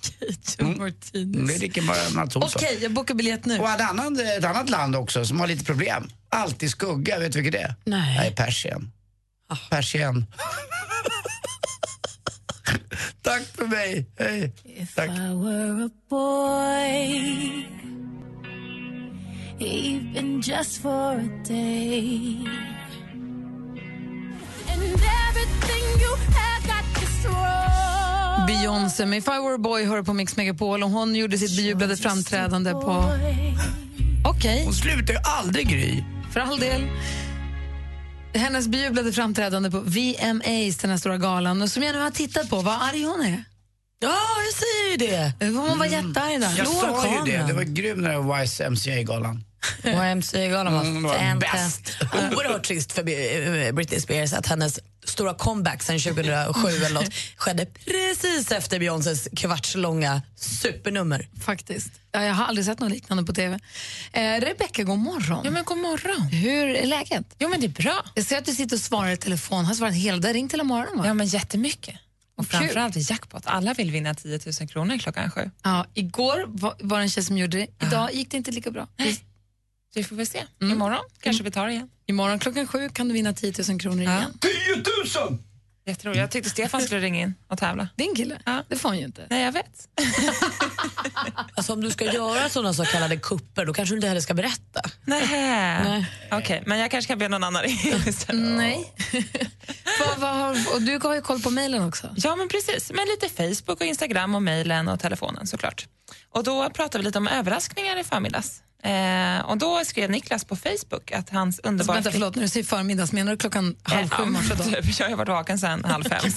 Speaker 2: Cajun martinis.
Speaker 4: Mm. Vi dricker bara Mats Olsson.
Speaker 2: Okej, jag bokar biljett nu.
Speaker 4: Och ett annat, eh, ett annat land också som har lite problem. Alltid skugga, vet du vilket det är?
Speaker 2: Nej.
Speaker 4: Nej, Persien.
Speaker 2: Ah,
Speaker 4: Persien. Tack för mig. Hej. Tack.
Speaker 9: I were a boy, even just for a day. And everything you have got destroyed.
Speaker 2: Beyoncé med If I Were A Boy hör på Mix Megapol och hon gjorde sitt bejublade framträdande på... Okej.
Speaker 4: Hon slutar ju aldrig, Gry.
Speaker 2: För all del. Hennes bejublade framträdande på VMAs, den här stora galan, och som jag nu har tittat på. Vad arg hon är.
Speaker 3: Ja, jag säger ju det. Hon var jättearg där.
Speaker 4: Mm. Jag sa ju det, det var grym den där YMCA-galan.
Speaker 3: YMCA-galan
Speaker 4: Mm, det
Speaker 3: var
Speaker 4: var
Speaker 3: fint.
Speaker 4: bäst.
Speaker 3: Oerhört trist för eh, Britney Spears att hennes stora comeback sen
Speaker 4: Mm.
Speaker 3: 2007 eller något skedde precis efter Beyoncés kvartslånga supernummer.
Speaker 2: Faktiskt. Ja, Jag har aldrig sett något liknande på tv. Eh, Rebecka, god morgon. Ja, men god morgon. Hur är läget? Jo, men det är bra. Jag ser att du sitter och svarar i telefon. Har svarat hela dagen. Ringt hela morgonen, va? Ja, men jättemycket.
Speaker 22: Och framförallt är jackpot. Alla vill vinna 10 000 kronor klockan sju.
Speaker 2: Ja, igår var, var det en tjej som gjorde det. Idag gick det inte lika bra. Mm.
Speaker 22: Vi får väl se. Imorgon kanske vi tar det igen.
Speaker 2: Imorgon klockan sju kan du vinna 10 000 kronor igen.
Speaker 22: 10 000! Jätteroligt. Jag tyckte Stefan skulle ringa in och tävla.
Speaker 2: Din kille? Det får han ju inte.
Speaker 22: Nej, jag vet.
Speaker 3: Alltså om du ska göra sådana så kallade kupper då kanske du inte heller ska berätta.
Speaker 22: Nej. Okej, men jag kanske kan be någon annan ringa istället.
Speaker 2: Nej. Vad- vad har- och du har ju koll på mejlen också.
Speaker 22: Ja, men precis. Men lite Facebook och Instagram och mejlen och telefonen såklart. Och då pratade vi lite om överraskningar i förmiddags. Eh, och då skrev Niklas på Facebook att hans underbara...
Speaker 2: Vänta, förlåt, när du säger förmiddags, menar du klockan halv sju i morse då?
Speaker 22: Typ, jag har varit vaken sen halv fem.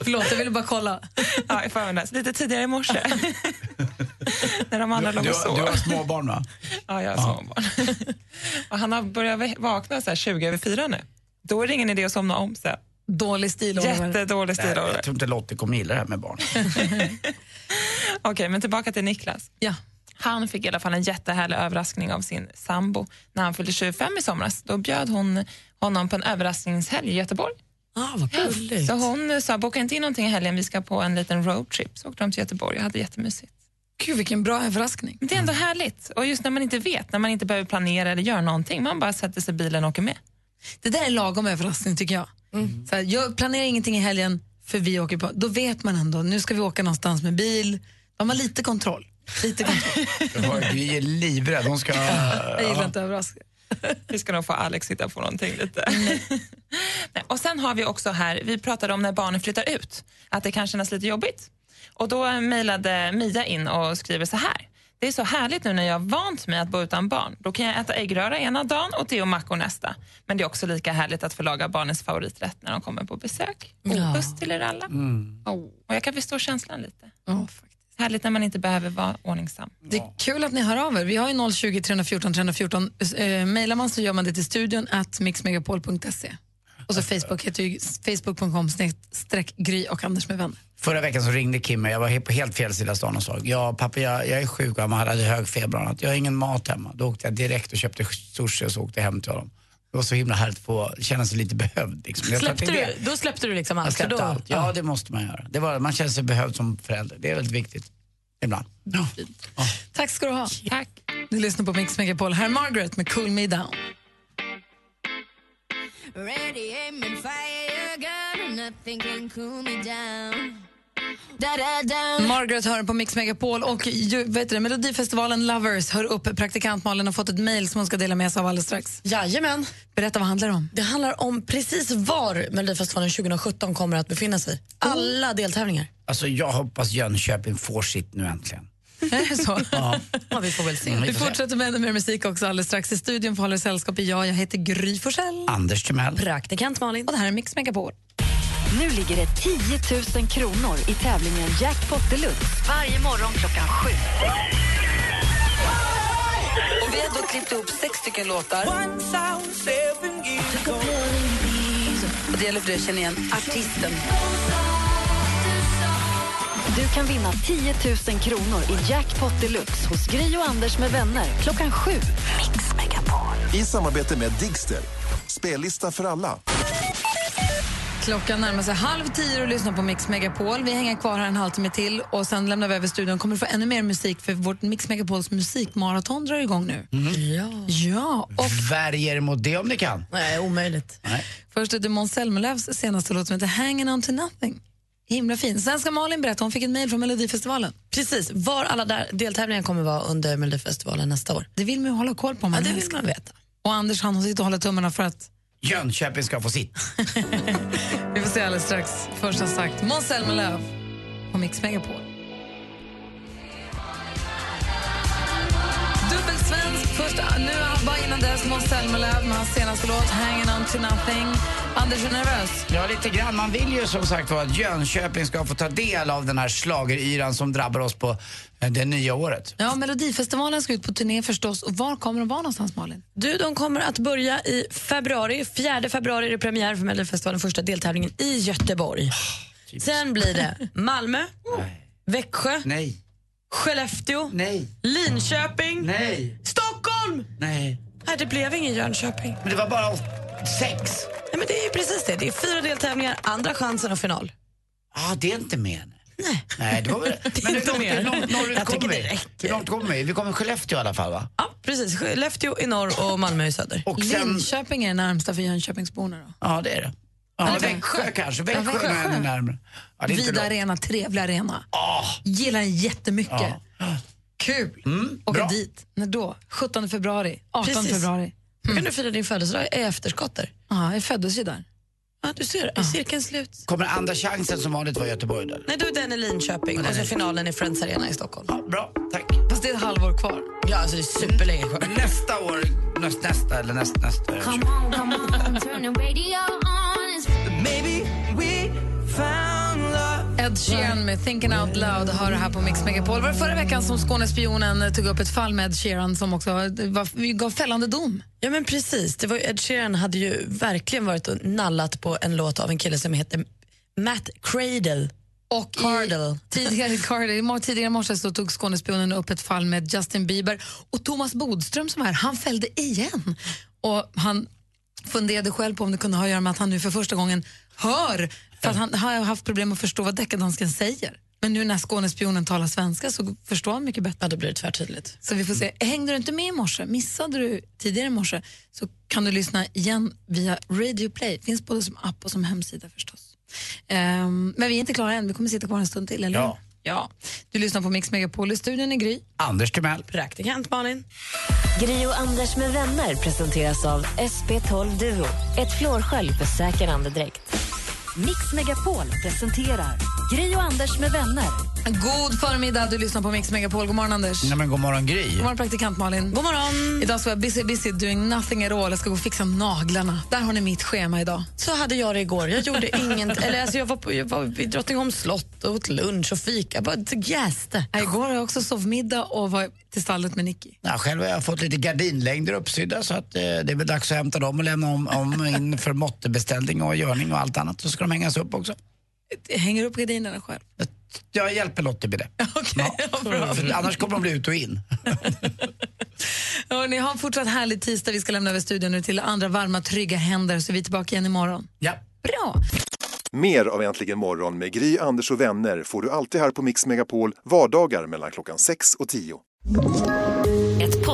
Speaker 2: Förlåt, jag ville bara kolla.
Speaker 22: ja, i förmiddags. Lite tidigare i morse. När de
Speaker 4: Du,
Speaker 22: andra
Speaker 4: du,
Speaker 22: låg och sov.
Speaker 4: du har småbarn va?
Speaker 22: Ja, jag har småbarn. och han har börjat vä- vakna så här 20 över fyra nu. Då är det ingen idé att somna om sen.
Speaker 2: Dålig stil, Oliver.
Speaker 22: Jättedålig stil,
Speaker 4: Nej,
Speaker 22: Oliver.
Speaker 4: Jag tror inte Lottie kommer gilla det här med barn.
Speaker 22: Okej, men tillbaka till Niklas.
Speaker 2: Ja.
Speaker 22: Han fick i alla fall en jättehärlig överraskning av sin sambo när han fyllde 25 i somras. Då bjöd hon honom på en överraskningshelg i Göteborg.
Speaker 3: Ah, vad gulligt.
Speaker 22: Så hon sa, boka inte in någonting i helgen, vi ska på en liten roadtrip. Så åkte de till Göteborg och hade jättemysigt.
Speaker 2: Gud, vilken bra överraskning.
Speaker 22: Det är ändå härligt. Och just när man inte vet, när man inte behöver planera eller göra någonting, man bara sätter sig i bilen och åker med.
Speaker 2: Det där är lagom överraskning tycker jag. Mm.
Speaker 22: Mm.
Speaker 2: Så här, jag planerar ingenting i helgen för vi åker på, då vet man ändå, nu ska vi åka någonstans med bil. Då har man lite kontroll. Lite kontroll.
Speaker 4: Vi är livrädd. Hon ska...
Speaker 2: jag gillar inte överraskningar.
Speaker 22: Vi ska nog få Alex hitta på någonting lite. Nej, och sen har vi också här, vi pratade om när barnen flyttar ut, att det kan kännas lite jobbigt. Och då mejlade Mia in och skriver så här. Det är så härligt nu när jag har vant mig att bo utan barn. Då kan jag äta äggröra ena dagen och te och mackor nästa. Men det är också lika härligt att få laga barnens favoriträtt när de kommer på besök.
Speaker 2: Ja.
Speaker 22: Puss till er alla.
Speaker 2: Mm.
Speaker 22: Och jag kan förstå känslan lite.
Speaker 2: Ja,
Speaker 22: Härligt när man inte behöver vara ordningsam.
Speaker 2: Det är kul att ni hör av er. Vi har ju 020 314 314. Eh, mailar man så gör man det till studion at mixmegapol.se. Och så Facebook heter ju facebook.com streck gry och Anders med vänner.
Speaker 4: Förra veckan så ringde Kim mig, jag var he- på helt fel sida av stan och sa ja pappa jag, jag är sjuk och han hade hög feber och annat. Jag har ingen mat hemma. Då åkte jag direkt och köpte sushi och så åkte jag hem till honom. Det var så himla härligt att få känna sig lite behövd. Liksom. Jag
Speaker 3: Släppte
Speaker 4: tänkte det.
Speaker 3: du, då släppte du liksom allt?
Speaker 4: Jag släppte
Speaker 3: för då,
Speaker 4: allt. Ja, det måste man göra. Det var, man känner sig behövd som förälder. Det är väldigt viktigt. Ibland.
Speaker 2: Tack ska du ha.
Speaker 22: Tack.
Speaker 2: Du lyssnar på Mix Megapol. Här är Margaret med Cool Me Down.
Speaker 9: Ready, aim, and fire your gun, and nothing can cool me down. Da da down.
Speaker 2: Margaret hör på Mix Megapol och ju, vet du, det, Melodifestivalen Lovers hör upp. Praktikant Malin har fått ett mejl som hon ska dela med sig av alldeles strax.
Speaker 3: Jajamän.
Speaker 2: Berätta, vad handlar det om?
Speaker 3: Det handlar om precis var Melodifestivalen 2017 kommer att befinna sig.
Speaker 2: Oh.
Speaker 3: Alla deltävlingar.
Speaker 4: Alltså jag hoppas Jönköping får sitt nu äntligen.
Speaker 3: Mm,
Speaker 2: Är det så?
Speaker 4: Ja.
Speaker 3: Ja, vi får väl se.
Speaker 4: Mm, vi
Speaker 2: Vi
Speaker 4: får se.
Speaker 2: fortsätter med ännu mer musik också alldeles strax. I studion för Håller sällskap är jag, jag heter Gry Forssell.
Speaker 4: Anders Timell.
Speaker 3: Praktikant Malin.
Speaker 2: Och det här är Mix Megapol.
Speaker 1: Nu ligger det 10 000 kronor i tävlingen Jackpot Deluxe. Varje morgon klockan sju.
Speaker 13: Och vi har då klippt ihop sex stycken låtar.
Speaker 1: Och det gäller för dig att känna igen artisten. Du kan vinna 10 000 kronor i Jackpot Deluxe hos Gry och Anders med vänner klockan sju. Mix Megapol.
Speaker 7: I samarbete med Digster. Spellista för alla.
Speaker 2: Klockan närmar sig halv tio och lyssnar på Mix Megapol. Vi hänger kvar här en halvtimme till och sen lämnar vi över studion. Kommer du få ännu mer musik för vårt Mix Megapols musikmaraton drar igång nu.
Speaker 4: Mm.
Speaker 3: Ja.
Speaker 2: Ja, och
Speaker 4: Värj er mot det om ni kan.
Speaker 3: Nej, omöjligt.
Speaker 2: Först är det Måns Zelmerlöws senaste låt som heter Hanging on to nothing. Himla fin. Sen ska Malin berätta, hon fick ett mejl från Melodifestivalen.
Speaker 3: Precis, var alla där deltävlingar kommer vara under Melodifestivalen nästa år.
Speaker 2: Det vill man ju hålla koll på. Man
Speaker 3: ja, det vill man veta.
Speaker 2: Och Anders han sitter och håller tummarna för att
Speaker 4: Jönköping ska få sitt.
Speaker 2: vi får se alldeles strax. Först som sagt, Måns Zelmerlöw på Mix Megapol. Dubbelsvensk. Först nu ABBA, innan dess Måns Zelmerlöw med hans senaste låt Hanging on to nothing. Anders, är du nervös?
Speaker 4: Ja, lite grann. Man vill ju som sagt vara att Jönköping ska få ta del av den här schlageryran som drabbar oss på eh, det nya året.
Speaker 2: Ja, Melodifestivalen ska ut på turné förstås. Och var kommer de vara någonstans, Malin?
Speaker 3: Du, de kommer att börja i februari. 4 februari är det premiär för Melodifestivalen, första deltävlingen i
Speaker 4: Ah,
Speaker 3: Göteborg. Sen blir det Malmö, Växjö,
Speaker 4: Nej.
Speaker 3: Skellefteå,
Speaker 4: Nej.
Speaker 3: Linköping,
Speaker 4: Nej.
Speaker 3: Stockholm!
Speaker 4: Nej.
Speaker 3: Nej, det blev ingen Jönköping.
Speaker 4: Men det var bara sex.
Speaker 3: Nej, men det är ju precis det. Det är fyra deltävlingar, andra chansen och final.
Speaker 4: Ja, ah, det är inte mer. Nej. Nej, det var väl...
Speaker 3: Det är
Speaker 4: Men hur
Speaker 3: inte
Speaker 4: långt,
Speaker 3: mer.
Speaker 4: hur långt norrut
Speaker 3: Jag tycker
Speaker 4: kommer
Speaker 3: det
Speaker 4: vi? Hur långt kommer vi? Vi kommer Skellefteå i alla fall, va?
Speaker 3: Ja, precis. Skellefteå i norr och Malmö i söder.
Speaker 4: Och
Speaker 2: Linköping är det närmsta för Jönköpingsborna. Då.
Speaker 4: Ja, det är det. Ja,
Speaker 2: Eller
Speaker 4: Växjö kanske.
Speaker 2: Ja,
Speaker 4: Växjö är ännu närmare. Ja, det är inte
Speaker 2: Vid
Speaker 4: långt. Ah,
Speaker 2: arena, trevlig arena. Gillar den jättemycket. Kul!
Speaker 4: Mm,
Speaker 2: Åka
Speaker 4: bra.
Speaker 2: dit. När då? 17 februari, 18
Speaker 3: Precis.
Speaker 2: februari. Mm.
Speaker 3: Då kan du fira din födelsedag i efterskott där.
Speaker 2: Ja, jag föddes ju där.
Speaker 3: Ja, du ser. Är cirkeln slut?
Speaker 4: Kommer andra chansen som vanligt vara i Göteborg då?
Speaker 3: Nej, då är den i Linköping och så finalen i Friends Arena i Stockholm.
Speaker 4: bra, tack.
Speaker 2: Fast det är ett halvår kvar.
Speaker 3: Ja, alltså det är superlänge kvar.
Speaker 4: Men Mm. nästa år, näst, nästa eller näst, nästa.
Speaker 9: Come on, come on, turn the radio on. It's Maybe we found love.
Speaker 2: Ed Sheeran med Thinking Out Loud har det här på Mix Megapol. Var det förra veckan som Skånespionen tog upp ett fall med Ed Sheeran som också var, gav fällande dom?
Speaker 3: Ja men precis, det var ju, Ed Sheeran hade ju verkligen varit och nallat på en låt av en kille som heter Matt Cradle.
Speaker 2: Och
Speaker 3: Cardle.
Speaker 2: Tidigare, Carl, i mor- tidigare i morse så tog Skånespionen upp ett fall med Justin Bieber och Thomas Bodström som är här, han fällde igen. Och han funderade själv på om det kunde ha att göra med att han nu för första gången hör, för att han har haft problem att förstå vad deckardansken säger. Men nu när Skånespionen talar svenska så förstår han mycket bättre.
Speaker 3: Ja, då blir det tvärtydligt.
Speaker 2: Så vi får se. Hängde du inte med i morse, missade du tidigare i morse så kan du lyssna igen via Radio Play. Finns både som app och som hemsida förstås. Ehm, men vi är inte klara än, vi kommer sitta kvar en stund till, eller
Speaker 4: Ja.
Speaker 2: ja. Du lyssnar på Mix Megapol i studion i Gry.
Speaker 4: Anders Timell.
Speaker 3: Praktikant Malin.
Speaker 8: Gri och Anders med vänner presenteras av SP12 Duo. Ett flårskölj för säker andedräkt.
Speaker 1: Mix Megapol presenterar Gri och Anders med vänner.
Speaker 2: God förmiddag, du lyssnar på Mix Megapol. God morgon Anders.
Speaker 4: Nej, men god morgon, Gry.
Speaker 2: God morgon praktikant Malin. God morgon. Idag så är jag busy, busy doing nothing at all. Jag ska gå och fixa naglarna. Där har ni mitt schema idag.
Speaker 3: Så hade jag det igår. Jag gjorde inget, eller alltså jag var, på, jag var vid Drottningholms slott och åt lunch och fika. Jag bara jäste.
Speaker 2: Nej, Igår har jag också sovmiddag och var till stallet med Nicky.
Speaker 4: Ja, själv har jag fått lite gardinlängder uppsydda så att eh, det är väl dags att hämta dem och lämna om, om in för måttebeställning och görning och allt annat. Så ska de hängas upp också.
Speaker 2: Jag hänger upp gardinerna själv.
Speaker 4: Jag hjälper Lottie med det. ja, för Annars kommer de bli ut och in.
Speaker 2: Hörrni, ha en fortsatt härlig tisdag. Vi ska lämna över studion nu till andra varma, trygga händer så vi är tillbaka igen imorgon.
Speaker 4: Ja.
Speaker 2: Bra!
Speaker 6: Mer av Äntligen morgon med Gry, Anders och vänner får du alltid här på Mix Megapol vardagar mellan klockan 6 och 10.
Speaker 10: Ett